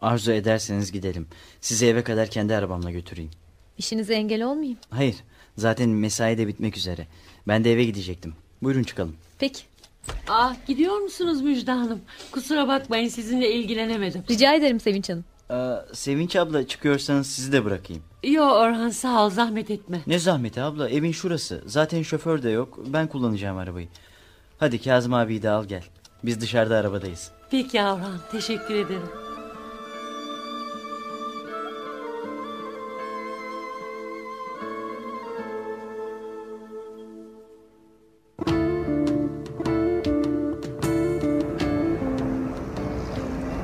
Arzu ederseniz gidelim. Sizi eve kadar kendi arabamla götüreyim.
İşinize engel olmayayım.
Hayır zaten mesai de bitmek üzere. Ben de eve gidecektim. Buyurun çıkalım.
Peki.
Ah gidiyor musunuz Müjde Hanım? Kusura bakmayın sizinle ilgilenemedim.
Rica ederim Sevinç Hanım.
Aa, Ee, Sevinç abla çıkıyorsanız sizi de bırakayım.
Yo Orhan sağ ol zahmet etme.
Ne zahmeti abla evin şurası. Zaten şoför de yok. Ben kullanacağım arabayı. Hadi Kazım abiyi de al gel. Biz dışarıda arabadayız.
Peki Orhan teşekkür ederim.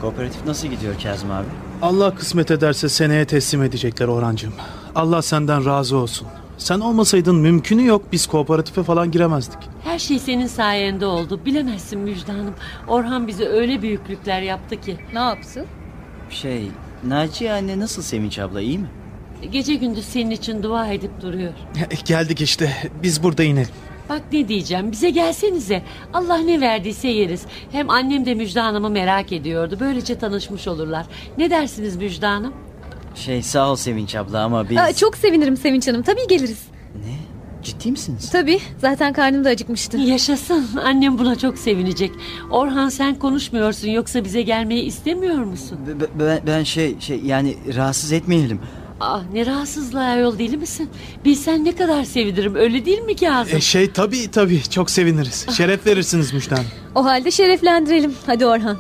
Kooperatif nasıl gidiyor Kazım abi?
Allah kısmet ederse seneye teslim edecekler Orhancığım. Allah senden razı olsun. Sen olmasaydın mümkünü yok biz kooperatife falan giremezdik.
Her şey senin sayende oldu. Bilemezsin Müjde Hanım. Orhan bize öyle büyüklükler yaptı ki.
Ne yapsın?
Şey Naciye anne nasıl Sevinç abla iyi mi?
Gece gündüz senin için dua edip duruyor.
E, Geldik işte biz burada inelim.
Bak ne diyeceğim bize gelsenize. Allah ne verdiyse yeriz. Hem annem de Müjde Hanım'ı merak ediyordu. Böylece tanışmış olurlar. Ne dersiniz Müjde Hanım?
Şey sağ ol Sevinç abla ama biz...
Aa, çok sevinirim Sevinç Hanım. Tabii geliriz.
Ciddi misiniz?
Tabii. Zaten karnım da acıkmıştı.
Yaşasın. Annem buna çok sevinecek. Orhan sen konuşmuyorsun yoksa bize gelmeyi istemiyor musun?
B- b- ben, ben şey şey yani rahatsız etmeyelim.
Ah ne rahatsızlığa yol deli misin? Bilsen ne kadar sevinirim öyle değil mi Kazım?
E şey tabii tabii çok seviniriz. Şeref verirsiniz Müjde Hanım.
O halde şereflendirelim. Hadi Orhan.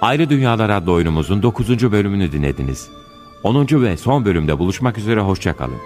Ayrı Dünyalar adlı oyunumuzun 9. bölümünü dinlediniz. 10. ve son bölümde buluşmak üzere hoşçakalın.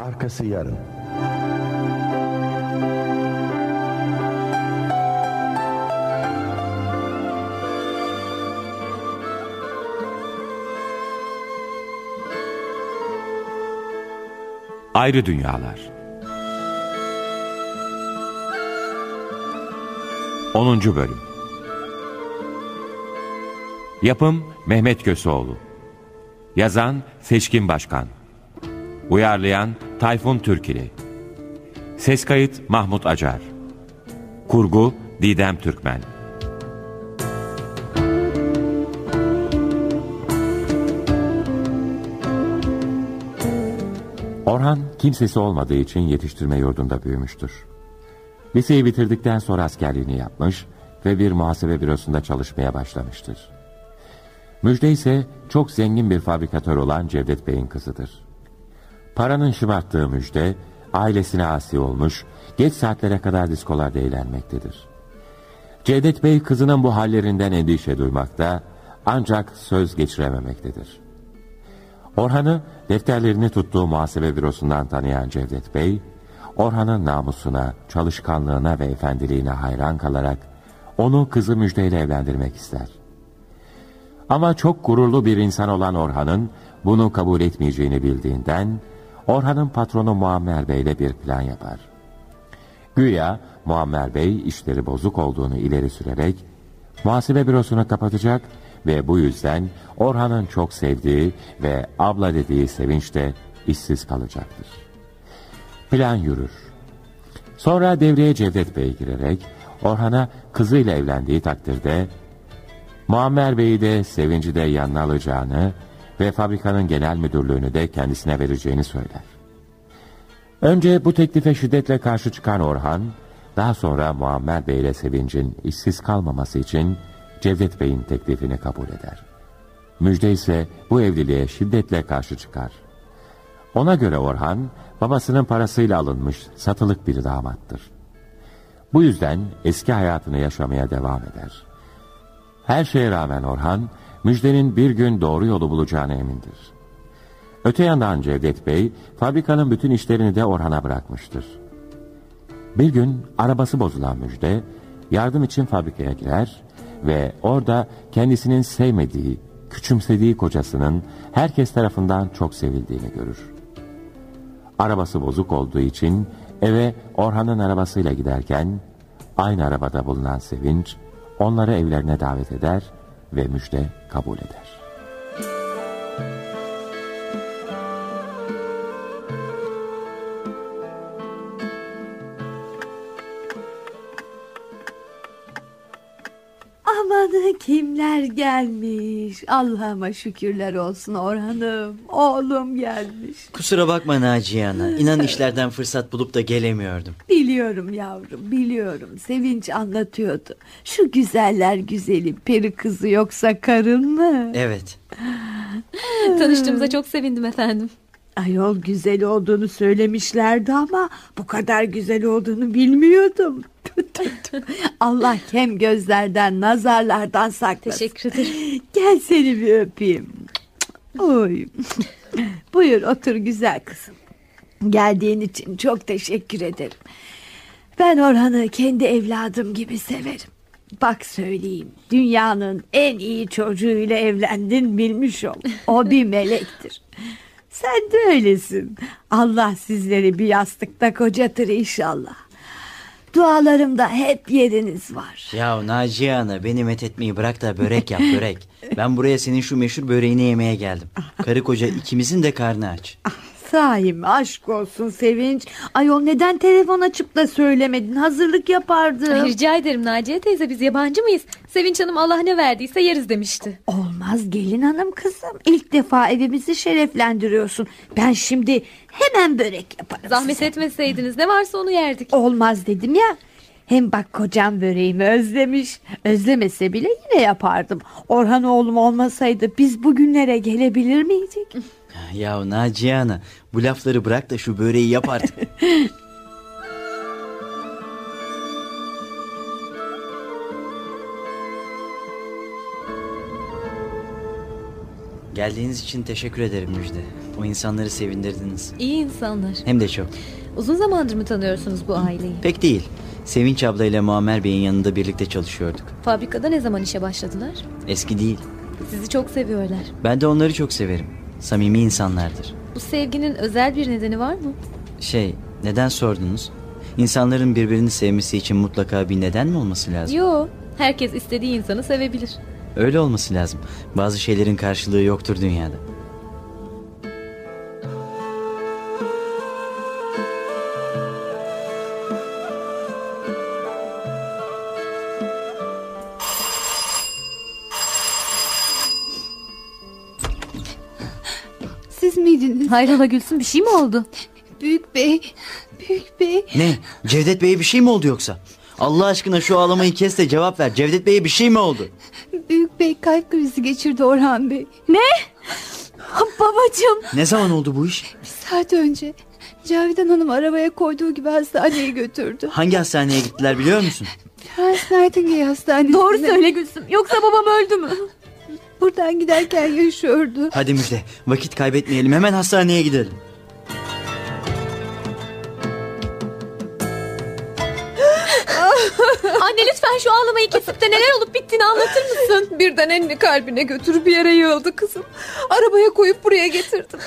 Arkası yarın.
Ayrı Dünyalar 10. Bölüm Yapım Mehmet Köseoğlu Yazan Seçkin Başkan Uyarlayan Tayfun Türkili Ses kayıt Mahmut Acar Kurgu Didem Türkmen Orhan kimsesi olmadığı için yetiştirme yurdunda büyümüştür. Liseyi bitirdikten sonra askerliğini yapmış ve bir muhasebe bürosunda çalışmaya başlamıştır. Müjde ise çok zengin bir fabrikatör olan Cevdet Bey'in kızıdır. Paranın şımarttığı Müjde, ailesine asi olmuş, geç saatlere kadar diskolarda eğlenmektedir. Cevdet Bey kızının bu hallerinden endişe duymakta, ancak söz geçirememektedir. Orhan'ı defterlerini tuttuğu muhasebe bürosundan tanıyan Cevdet Bey, Orhan'ın namusuna, çalışkanlığına ve efendiliğine hayran kalarak onu kızı Müjde ile evlendirmek ister. Ama çok gururlu bir insan olan Orhan'ın bunu kabul etmeyeceğini bildiğinden Orhan'ın patronu Muammer Bey ile bir plan yapar. Güya Muammer Bey işleri bozuk olduğunu ileri sürerek muhasebe bürosunu kapatacak ve bu yüzden Orhan'ın çok sevdiği ve abla dediği Sevinç de işsiz kalacaktır. Plan yürür. Sonra devreye Cevdet Bey girerek Orhan'a kızıyla evlendiği takdirde Muammer Bey'i de Sevinç'i de yanına alacağını ve fabrikanın genel müdürlüğünü de kendisine vereceğini söyler. Önce bu teklife şiddetle karşı çıkan Orhan, daha sonra Muammer Bey ile Sevinç'in işsiz kalmaması için Cevdet Bey'in teklifini kabul eder. Müjde ise bu evliliğe şiddetle karşı çıkar. Ona göre Orhan, babasının parasıyla alınmış satılık bir damattır. Bu yüzden eski hayatını yaşamaya devam eder. Her şeye rağmen Orhan, Müjde'nin bir gün doğru yolu bulacağına emindir. Öte yandan Cevdet Bey, fabrikanın bütün işlerini de Orhan'a bırakmıştır. Bir gün arabası bozulan Müjde, yardım için fabrikaya girer ve orada kendisinin sevmediği, küçümsediği kocasının herkes tarafından çok sevildiğini görür. Arabası bozuk olduğu için eve Orhan'ın arabasıyla giderken aynı arabada bulunan Sevinç onları evlerine davet eder ve müjde kabul eder.
Aman kimler gelmiş. Allah'ıma şükürler olsun Orhan'ım. Oğlum gelmiş.
Kusura bakma Naciye Ana. İnan işlerden fırsat bulup da gelemiyordum.
Biliyorum yavrum biliyorum. Sevinç anlatıyordu. Şu güzeller güzeli peri kızı yoksa karın mı?
Evet.
Hmm.
Tanıştığımıza çok sevindim efendim.
Ayol güzel olduğunu söylemişlerdi ama bu kadar güzel olduğunu bilmiyordum. Allah hem gözlerden nazarlardan saklasın.
Teşekkür ederim.
Gel seni bir öpeyim. Oy. Buyur otur güzel kızım. Geldiğin için çok teşekkür ederim. Ben Orhan'ı kendi evladım gibi severim. Bak söyleyeyim dünyanın en iyi çocuğuyla evlendin bilmiş ol. O bir melektir. Sen de öylesin. Allah sizleri bir yastıkta kocatır inşallah. Dualarımda hep yeriniz var.
Ya Naciye Ana beni met etmeyi bırak da börek yap börek. Ben buraya senin şu meşhur böreğini yemeye geldim. Karı koca ikimizin de karnı aç.
Sahi mi? Aşk olsun Sevinç. Ayol neden telefon açıp da söylemedin? Hazırlık yapardım.
Ay, Rica ederim Naciye teyze biz yabancı mıyız? Sevinç Hanım Allah ne verdiyse yeriz demişti.
Olmaz gelin hanım kızım. İlk defa evimizi şereflendiriyorsun. Ben şimdi hemen börek yaparım.
Zahmet etmeseydiniz ne varsa onu yerdik.
Olmaz dedim ya. Hem bak kocam böreğimi özlemiş. Özlemese bile yine yapardım. Orhan oğlum olmasaydı biz bugünlere gelebilir miydik?
Ya Naciye Ana bu lafları bırak da şu böreği yap artık. Geldiğiniz için teşekkür ederim Müjde. O insanları sevindirdiniz.
İyi insanlar.
Hem de çok.
Uzun zamandır mı tanıyorsunuz bu aileyi?
Pek değil. Sevinç ablayla Muammer Bey'in yanında birlikte çalışıyorduk.
Fabrikada ne zaman işe başladılar?
Eski değil.
Sizi çok seviyorlar.
Ben de onları çok severim. Samimi insanlardır.
Bu sevginin özel bir nedeni var mı?
Şey, neden sordunuz? İnsanların birbirini sevmesi için mutlaka bir neden mi olması lazım?
Yo, herkes istediği insanı sevebilir.
Öyle olması lazım. Bazı şeylerin karşılığı yoktur dünyada.
Siz miydiniz?
Hayrola Gülsün bir şey mi oldu?
Büyük bey, büyük bey.
Ne? Cevdet Bey'e bir şey mi oldu yoksa? Allah aşkına şu ağlamayı kes de cevap ver. Cevdet Bey'e bir şey mi oldu?
Büyük bey kalp krizi geçirdi Orhan bey.
Ne? Babacığım.
Ne zaman oldu bu iş?
Bir saat önce Cavidan Hanım arabaya koyduğu gibi hastaneye götürdü.
Hangi hastaneye gittiler biliyor musun?
Prens Nightingale Hastanesi'ne.
Doğru söyle Gülsüm. Yoksa babam öldü mü?
Buradan giderken yaşıyordu.
Hadi Müjde vakit kaybetmeyelim hemen hastaneye gidelim.
Anne lütfen şu ağlamayı kesip de neler olup bittiğini anlatır mısın?
Birden elini kalbine götürüp bir yere yığıldı kızım. Arabaya koyup buraya getirdim.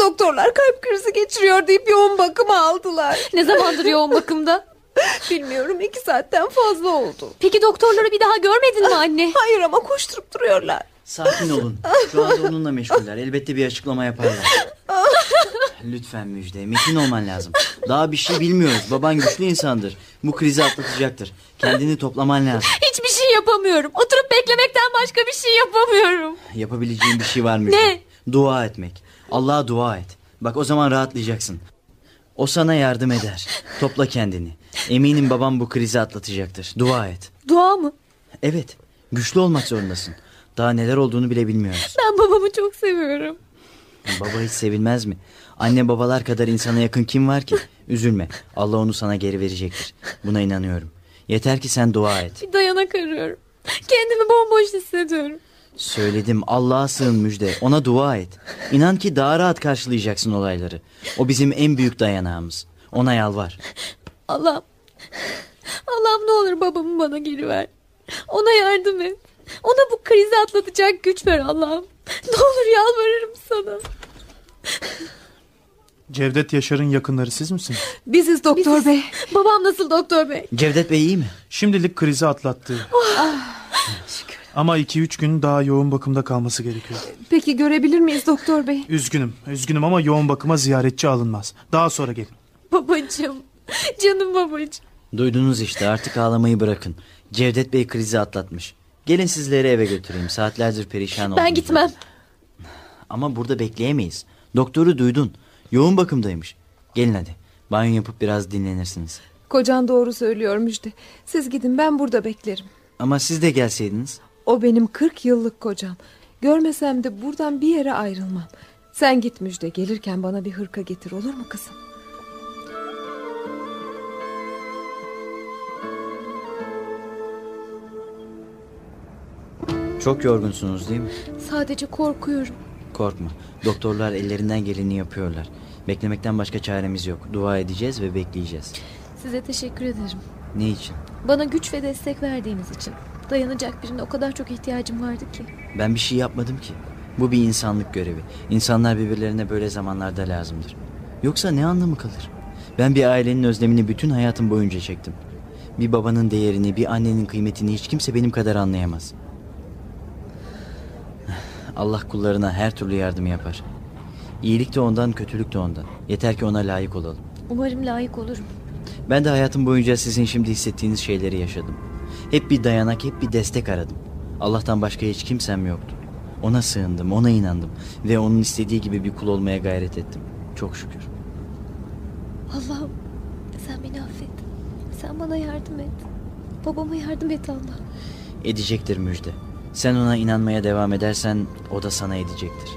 Doktorlar kalp krizi geçiriyor deyip yoğun bakıma aldılar.
Ne zamandır yoğun bakımda?
Bilmiyorum iki saatten fazla oldu.
Peki doktorları bir daha görmedin mi anne?
Hayır ama koşturup duruyorlar.
Sakin olun. Şu anda onunla meşguller. Elbette bir açıklama yaparlar. Lütfen Müjde, metin olman lazım. Daha bir şey bilmiyoruz. Baban güçlü insandır. Bu krizi atlatacaktır. Kendini toplaman lazım.
Hiçbir şey yapamıyorum. Oturup beklemekten başka bir şey yapamıyorum.
Yapabileceğin bir şey var Müjde.
Ne?
Dua etmek. Allah'a dua et. Bak o zaman rahatlayacaksın. O sana yardım eder. Topla kendini. Eminim babam bu krizi atlatacaktır. Dua et.
Dua mı?
Evet, güçlü olmak zorundasın. Daha neler olduğunu bile bilmiyoruz.
Ben babamı çok seviyorum.
Baba hiç sevilmez mi? Anne babalar kadar insana yakın kim var ki? Üzülme. Allah onu sana geri verecektir. Buna inanıyorum. Yeter ki sen dua et.
Bir dayanak arıyorum. Kendimi bomboş hissediyorum.
Söyledim Allah'a sığın müjde. Ona dua et. İnan ki daha rahat karşılayacaksın olayları. O bizim en büyük dayanağımız. Ona yalvar.
Allah'ım. Allah'ım ne olur babamı bana geri ver. Ona yardım et. Ona bu krizi atlatacak güç ver Allah'ım. Ne olur yalvarırım sana.
Cevdet Yaşar'ın yakınları siz misiniz?
Biziz doktor bey.
Babam nasıl doktor bey?
Cevdet Bey iyi mi?
Şimdilik krizi atlattı.
Ah,
Ah.
Ama 2-3 gün daha yoğun bakımda kalması gerekiyor.
Peki görebilir miyiz doktor bey?
Üzgünüm, üzgünüm ama yoğun bakıma ziyaretçi alınmaz. Daha sonra gelin.
Babacığım. Canım babacığım.
Duydunuz işte artık ağlamayı bırakın. Cevdet Bey krizi atlatmış. Gelin sizleri eve götüreyim. Saatlerdir perişan oldum.
Ben gitmem.
Ama burada bekleyemeyiz. Doktoru duydun. Yoğun bakımdaymış. Gelin hadi. Banyo yapıp biraz dinlenirsiniz.
Kocan doğru söylüyor Müjde. Siz gidin ben burada beklerim.
Ama siz de gelseydiniz.
O benim 40 yıllık kocam. Görmesem de buradan bir yere ayrılmam. Sen git Müjde gelirken bana bir hırka getir olur mu kızım?
Çok yorgunsunuz değil mi?
Sadece korkuyorum.
Korkma. Doktorlar ellerinden geleni yapıyorlar. Beklemekten başka çaremiz yok. Dua edeceğiz ve bekleyeceğiz.
Size teşekkür ederim.
Ne için?
Bana güç ve destek verdiğiniz için. Dayanacak birine o kadar çok ihtiyacım vardı ki.
Ben bir şey yapmadım ki. Bu bir insanlık görevi. İnsanlar birbirlerine böyle zamanlarda lazımdır. Yoksa ne anlamı kalır? Ben bir ailenin özlemini bütün hayatım boyunca çektim. Bir babanın değerini, bir annenin kıymetini hiç kimse benim kadar anlayamaz. Allah kullarına her türlü yardımı yapar. İyilik de ondan, kötülük de ondan. Yeter ki ona layık olalım.
Umarım layık olurum.
Ben de hayatım boyunca sizin şimdi hissettiğiniz şeyleri yaşadım. Hep bir dayanak, hep bir destek aradım. Allah'tan başka hiç kimsem yoktu. Ona sığındım, ona inandım ve onun istediği gibi bir kul olmaya gayret ettim. Çok şükür.
Allah'ım sen beni affet. Sen bana yardım et. Babama yardım et Allah.
Edecektir müjde. Sen ona inanmaya devam edersen o da sana edecektir.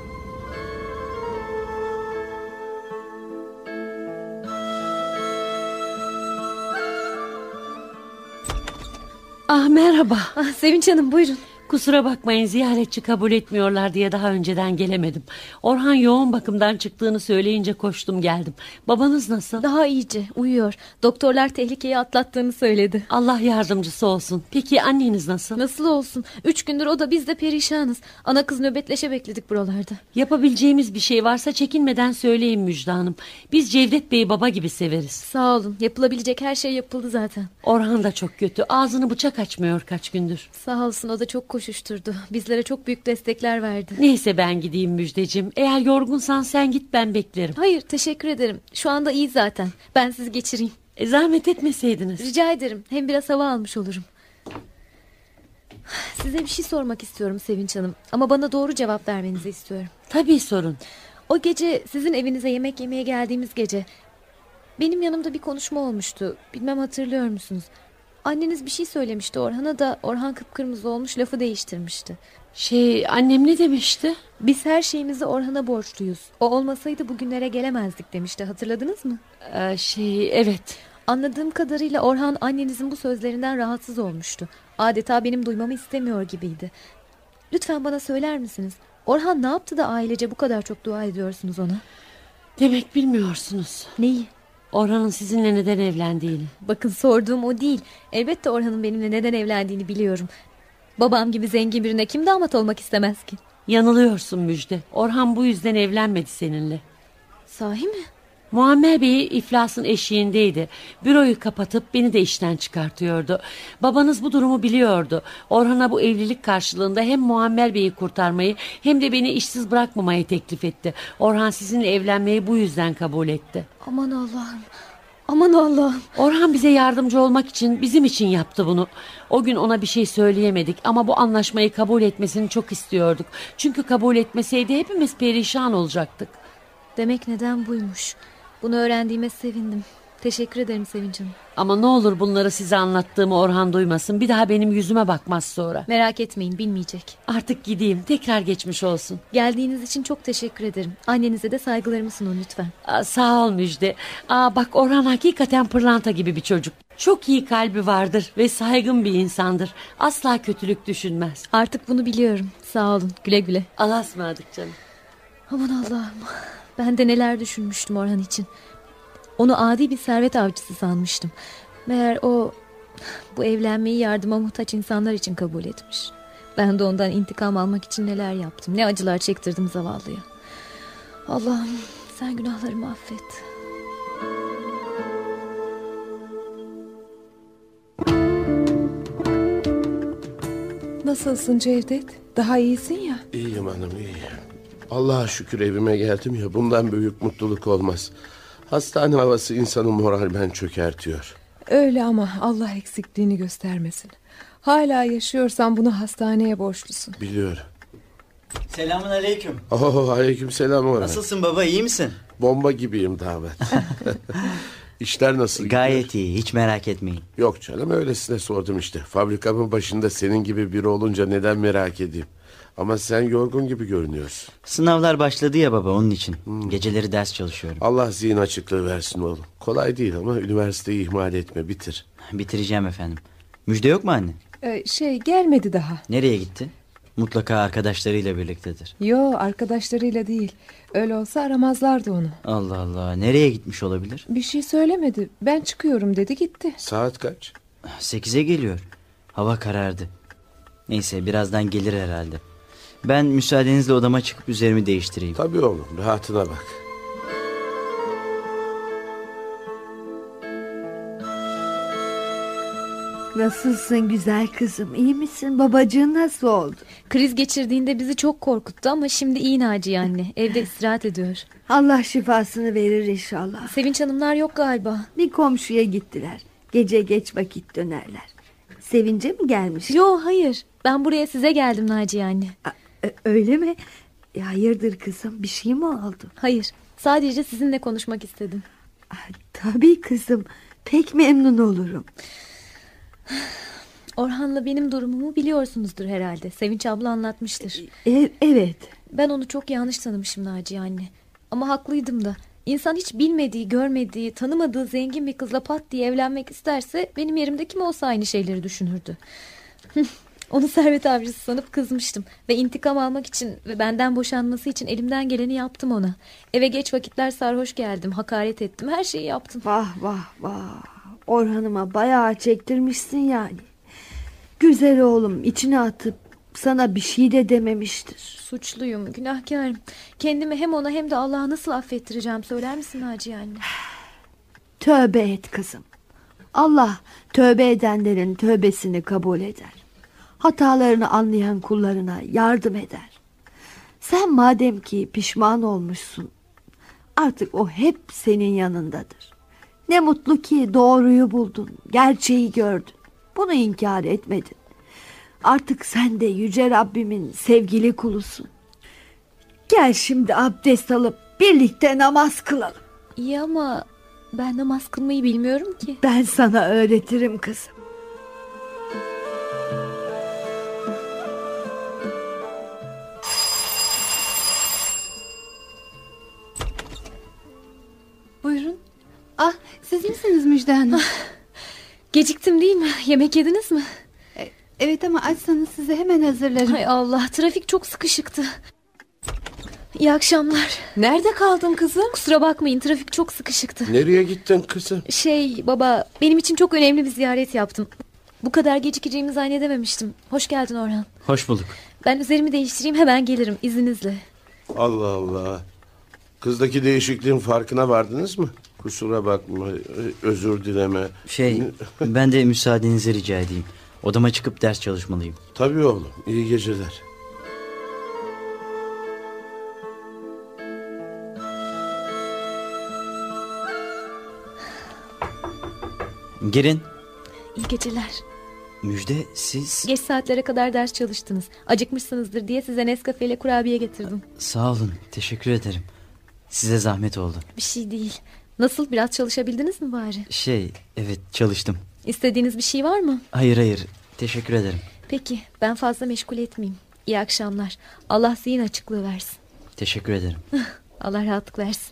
Ah merhaba. Ah, Sevinç Hanım buyurun.
Kusura bakmayın ziyaretçi kabul etmiyorlar diye daha önceden gelemedim. Orhan yoğun bakımdan çıktığını söyleyince koştum geldim. Babanız nasıl?
Daha iyice uyuyor. Doktorlar tehlikeyi atlattığını söyledi.
Allah yardımcısı olsun. Peki anneniz nasıl?
Nasıl olsun? Üç gündür o da biz de perişanız. Ana kız nöbetleşe bekledik buralarda.
Yapabileceğimiz bir şey varsa çekinmeden söyleyin Müjde Hanım. Biz Cevdet Bey'i baba gibi severiz.
Sağ olun. Yapılabilecek her şey yapıldı zaten.
Orhan da çok kötü. Ağzını bıçak açmıyor kaç gündür.
Sağ olsun o da çok koşuşturdu. Bizlere çok büyük destekler verdi.
Neyse ben gideyim Müjdeciğim. Eğer yorgunsan sen git ben beklerim.
Hayır teşekkür ederim. Şu anda iyi zaten. Ben sizi geçireyim.
E, zahmet etmeseydiniz.
Rica ederim. Hem biraz hava almış olurum. Size bir şey sormak istiyorum Sevinç Hanım. Ama bana doğru cevap vermenizi istiyorum.
Tabii sorun.
O gece sizin evinize yemek yemeye geldiğimiz gece... ...benim yanımda bir konuşma olmuştu. Bilmem hatırlıyor musunuz? Anneniz bir şey söylemişti Orhan'a da Orhan kıpkırmızı olmuş lafı değiştirmişti.
Şey annem ne demişti?
Biz her şeyimizi Orhan'a borçluyuz. O olmasaydı bugünlere gelemezdik demişti hatırladınız mı?
Ee, şey evet.
Anladığım kadarıyla Orhan annenizin bu sözlerinden rahatsız olmuştu. Adeta benim duymamı istemiyor gibiydi. Lütfen bana söyler misiniz? Orhan ne yaptı da ailece bu kadar çok dua ediyorsunuz ona?
Demek bilmiyorsunuz.
Neyi?
Orhan'ın sizinle neden evlendiğini.
Bakın sorduğum o değil. Elbette Orhan'ın benimle neden evlendiğini biliyorum. Babam gibi zengin birine kim damat olmak istemez ki?
Yanılıyorsun Müjde. Orhan bu yüzden evlenmedi seninle.
Sahi mi?
Muammer Bey iflasın eşiğindeydi. Büroyu kapatıp beni de işten çıkartıyordu. Babanız bu durumu biliyordu. Orhan'a bu evlilik karşılığında hem Muammer Bey'i kurtarmayı hem de beni işsiz bırakmamayı teklif etti. Orhan sizinle evlenmeyi bu yüzden kabul etti.
Aman Allah'ım. Aman Allah'ım.
Orhan bize yardımcı olmak için bizim için yaptı bunu. O gün ona bir şey söyleyemedik ama bu anlaşmayı kabul etmesini çok istiyorduk. Çünkü kabul etmeseydi hepimiz perişan olacaktık.
Demek neden buymuş. Bunu öğrendiğime sevindim. Teşekkür ederim Sevinç Hanım.
Ama ne olur bunları size anlattığımı Orhan duymasın. Bir daha benim yüzüme bakmaz sonra.
Merak etmeyin bilmeyecek.
Artık gideyim. Tekrar geçmiş olsun.
Geldiğiniz için çok teşekkür ederim. Annenize de saygılarımı sunun lütfen.
Aa, sağ ol Müjde. Aa, bak Orhan hakikaten pırlanta gibi bir çocuk. Çok iyi kalbi vardır ve saygın bir insandır. Asla kötülük düşünmez.
Artık bunu biliyorum. Sağ olun. Güle güle.
Allah'a ısmarladık canım.
Aman Allah'ım. Ben de neler düşünmüştüm Orhan için. Onu adi bir servet avcısı sanmıştım. Meğer o bu evlenmeyi yardıma muhtaç insanlar için kabul etmiş. Ben de ondan intikam almak için neler yaptım. Ne acılar çektirdim zavallıya. Allah'ım sen günahlarımı affet.
Nasılsın Cevdet? Daha iyisin ya.
İyiyim hanım iyiyim. Allah'a şükür evime geldim ya bundan büyük mutluluk olmaz. Hastane havası insanı moralmen çökertiyor.
Öyle ama Allah eksikliğini göstermesin. Hala yaşıyorsan bunu hastaneye borçlusun.
Biliyorum.
Selamun aleyküm.
Oh aleyküm selam Orhan.
Nasılsın baba iyi misin?
Bomba gibiyim davet. İşler nasıl gidiyor?
Gayet iyi hiç merak etmeyin.
Yok canım öylesine sordum işte. Fabrikamın başında senin gibi biri olunca neden merak edeyim? Ama sen yorgun gibi görünüyorsun.
Sınavlar başladı ya baba onun için. Geceleri ders çalışıyorum.
Allah zihin açıklığı versin oğlum. Kolay değil ama üniversiteyi ihmal etme bitir.
Bitireceğim efendim. Müjde yok mu anne?
Ee, şey gelmedi daha.
Nereye gitti? Mutlaka arkadaşlarıyla birliktedir.
Yo arkadaşlarıyla değil. Öyle olsa aramazlardı onu.
Allah Allah nereye gitmiş olabilir?
Bir şey söylemedi. Ben çıkıyorum dedi gitti.
Saat kaç?
Sekize geliyor. Hava karardı. Neyse birazdan gelir herhalde. Ben müsaadenizle odama çıkıp üzerimi değiştireyim.
Tabii oğlum rahatına bak.
Nasılsın güzel kızım iyi misin babacığın nasıl oldu?
Kriz geçirdiğinde bizi çok korkuttu ama şimdi iyi Naciye anne. Evde istirahat ediyor.
Allah şifasını verir inşallah.
Sevinç Hanımlar yok galiba.
Bir komşuya gittiler. Gece geç vakit dönerler. Sevince mi gelmiş?
Yo hayır. Ben buraya size geldim Naciye anne.
Ö- e, Öyle mi? Ya hayırdır kızım bir şey mi oldu? Ah,
Hayır. Sadece sizinle konuşmak istedim.
Tabii kızım pek memnun olurum.
Orhan'la benim durumumu biliyorsunuzdur herhalde. Sevinç abla anlatmıştır.
E- evet.
Ben onu çok yanlış tanımışım Naciye anne. Ama haklıydım da. İnsan hiç bilmediği, görmediği, tanımadığı zengin bir kızla pat diye evlenmek isterse benim yerimde kim olsa aynı şeyleri düşünürdü. Onu servet avcısı sanıp kızmıştım. Ve intikam almak için ve benden boşanması için elimden geleni yaptım ona. Eve geç vakitler sarhoş geldim. Hakaret ettim. Her şeyi yaptım.
Vah vah vah. Orhan'ıma bayağı çektirmişsin yani. Güzel oğlum içine atıp sana bir şey de dememiştir.
Suçluyum, günahkarım. Kendimi hem ona hem de Allah'a nasıl affettireceğim söyler misin Naciye anne?
Tövbe et kızım. Allah tövbe edenlerin tövbesini kabul eder. Hatalarını anlayan kullarına yardım eder. Sen madem ki pişman olmuşsun, artık o hep senin yanındadır. Ne mutlu ki doğruyu buldun, gerçeği gördün. Bunu inkar etmedin. Artık sen de yüce Rabbimin sevgili kulusun. Gel şimdi abdest alıp birlikte namaz kılalım.
İyi ama ben namaz kılmayı bilmiyorum ki.
Ben sana öğretirim kızım.
Buyurun. Ah siz misiniz Müjde Hanım?
Ah, Geciktim değil mi? Yemek yediniz mi?
E, Evet ama açsanız size hemen hazırlarım.
Hay Allah trafik çok sıkışıktı. İyi akşamlar.
Nerede kaldın kızım?
Kusura bakmayın trafik çok sıkışıktı.
Nereye gittin kızım?
Şey baba benim için çok önemli bir ziyaret yaptım. Bu kadar gecikeceğimi zannedememiştim. Hoş geldin Orhan.
Hoş bulduk.
Ben üzerimi değiştireyim hemen gelirim izninizle.
Allah Allah. Kızdaki değişikliğin farkına vardınız mı? Kusura bakma, özür dileme.
Şey ben de müsaadenizi rica edeyim. Odama çıkıp ders çalışmalıyım.
Tabii oğlum, iyi geceler.
Girin.
İyi geceler.
Müjde siz...
Geç saatlere kadar ders çalıştınız. Acıkmışsınızdır diye size Nescafe ile kurabiye getirdim.
Sağ olun, teşekkür ederim. Size zahmet oldu.
Bir şey değil. Nasıl biraz çalışabildiniz mi bari?
Şey, evet çalıştım.
İstediğiniz bir şey var mı?
Hayır hayır, teşekkür ederim.
Peki ben fazla meşgul etmeyeyim. İyi akşamlar. Allah zihin açıklığı versin.
Teşekkür ederim.
Allah rahatlık versin.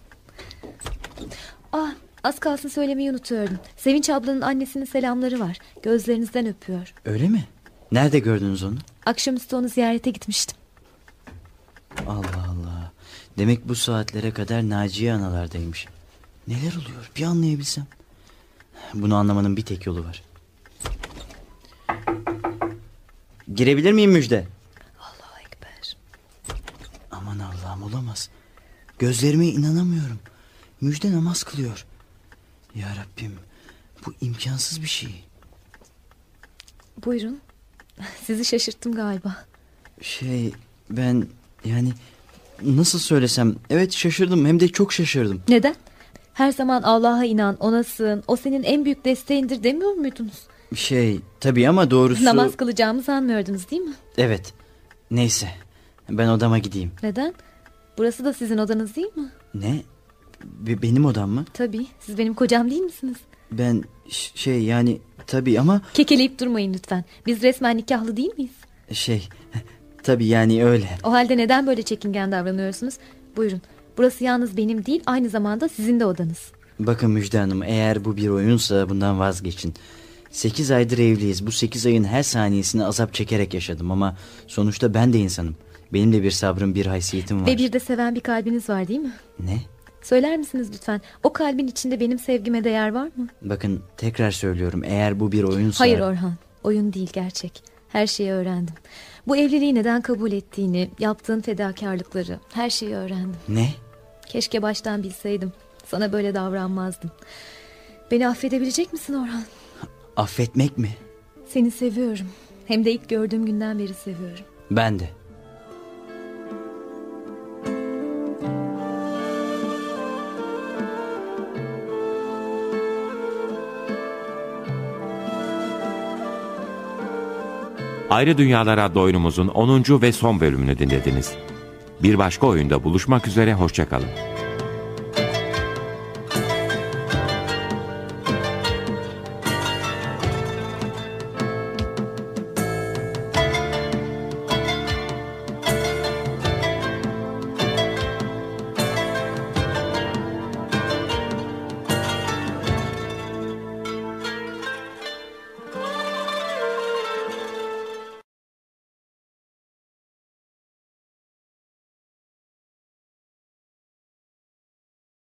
Ah az kalsın söylemeyi unutuyordum. Sevinç ablanın annesinin selamları var. Gözlerinizden öpüyor.
Öyle mi? Nerede gördünüz onu?
Akşamüstü onu ziyarete gitmiştim.
Allah Allah. Demek bu saatlere kadar Naciye analardaymış. Neler oluyor bir anlayabilsem. Bunu anlamanın bir tek yolu var. Girebilir miyim Müjde?
Allahu Ekber.
Aman Allah'ım olamaz. Gözlerime inanamıyorum. Müjde namaz kılıyor. Ya Rabbim bu imkansız bir şey.
Buyurun. Sizi şaşırttım galiba.
Şey ben yani nasıl söylesem evet şaşırdım hem de çok şaşırdım.
Neden? Her zaman Allah'a inan, ona sığın, o senin en büyük desteğindir demiyor muydunuz?
Şey tabii ama doğrusu...
Namaz kılacağımı sanmıyordunuz değil mi?
Evet. Neyse ben odama gideyim.
Neden? Burası da sizin odanız değil mi?
Ne? Be- benim odam mı?
Tabii. Siz benim kocam değil misiniz?
Ben ş- şey yani tabii ama...
Kekeleyip durmayın lütfen. Biz resmen nikahlı değil miyiz?
Şey tabii yani öyle.
O halde neden böyle çekingen davranıyorsunuz? Buyurun. Burası yalnız benim değil aynı zamanda sizin de odanız.
Bakın Müjde Hanım eğer bu bir oyunsa bundan vazgeçin. Sekiz aydır evliyiz. Bu sekiz ayın her saniyesini azap çekerek yaşadım ama sonuçta ben de insanım. Benim de bir sabrım, bir haysiyetim var.
Ve bir de seven bir kalbiniz var değil mi?
Ne?
Söyler misiniz lütfen? O kalbin içinde benim sevgime değer var mı?
Bakın tekrar söylüyorum eğer bu bir oyunsa...
Hayır Orhan, oyun değil gerçek. Her şeyi öğrendim. Bu evliliği neden kabul ettiğini, yaptığın fedakarlıkları, her şeyi öğrendim.
Ne?
Keşke baştan bilseydim. Sana böyle davranmazdım. Beni affedebilecek misin Orhan?
Affetmek mi?
Seni seviyorum. Hem de ilk gördüğüm günden beri seviyorum.
Ben de.
Ayrı Dünyalar adlı oyunumuzun 10. ve son bölümünü dinlediniz. Bir başka oyunda buluşmak üzere, hoşçakalın.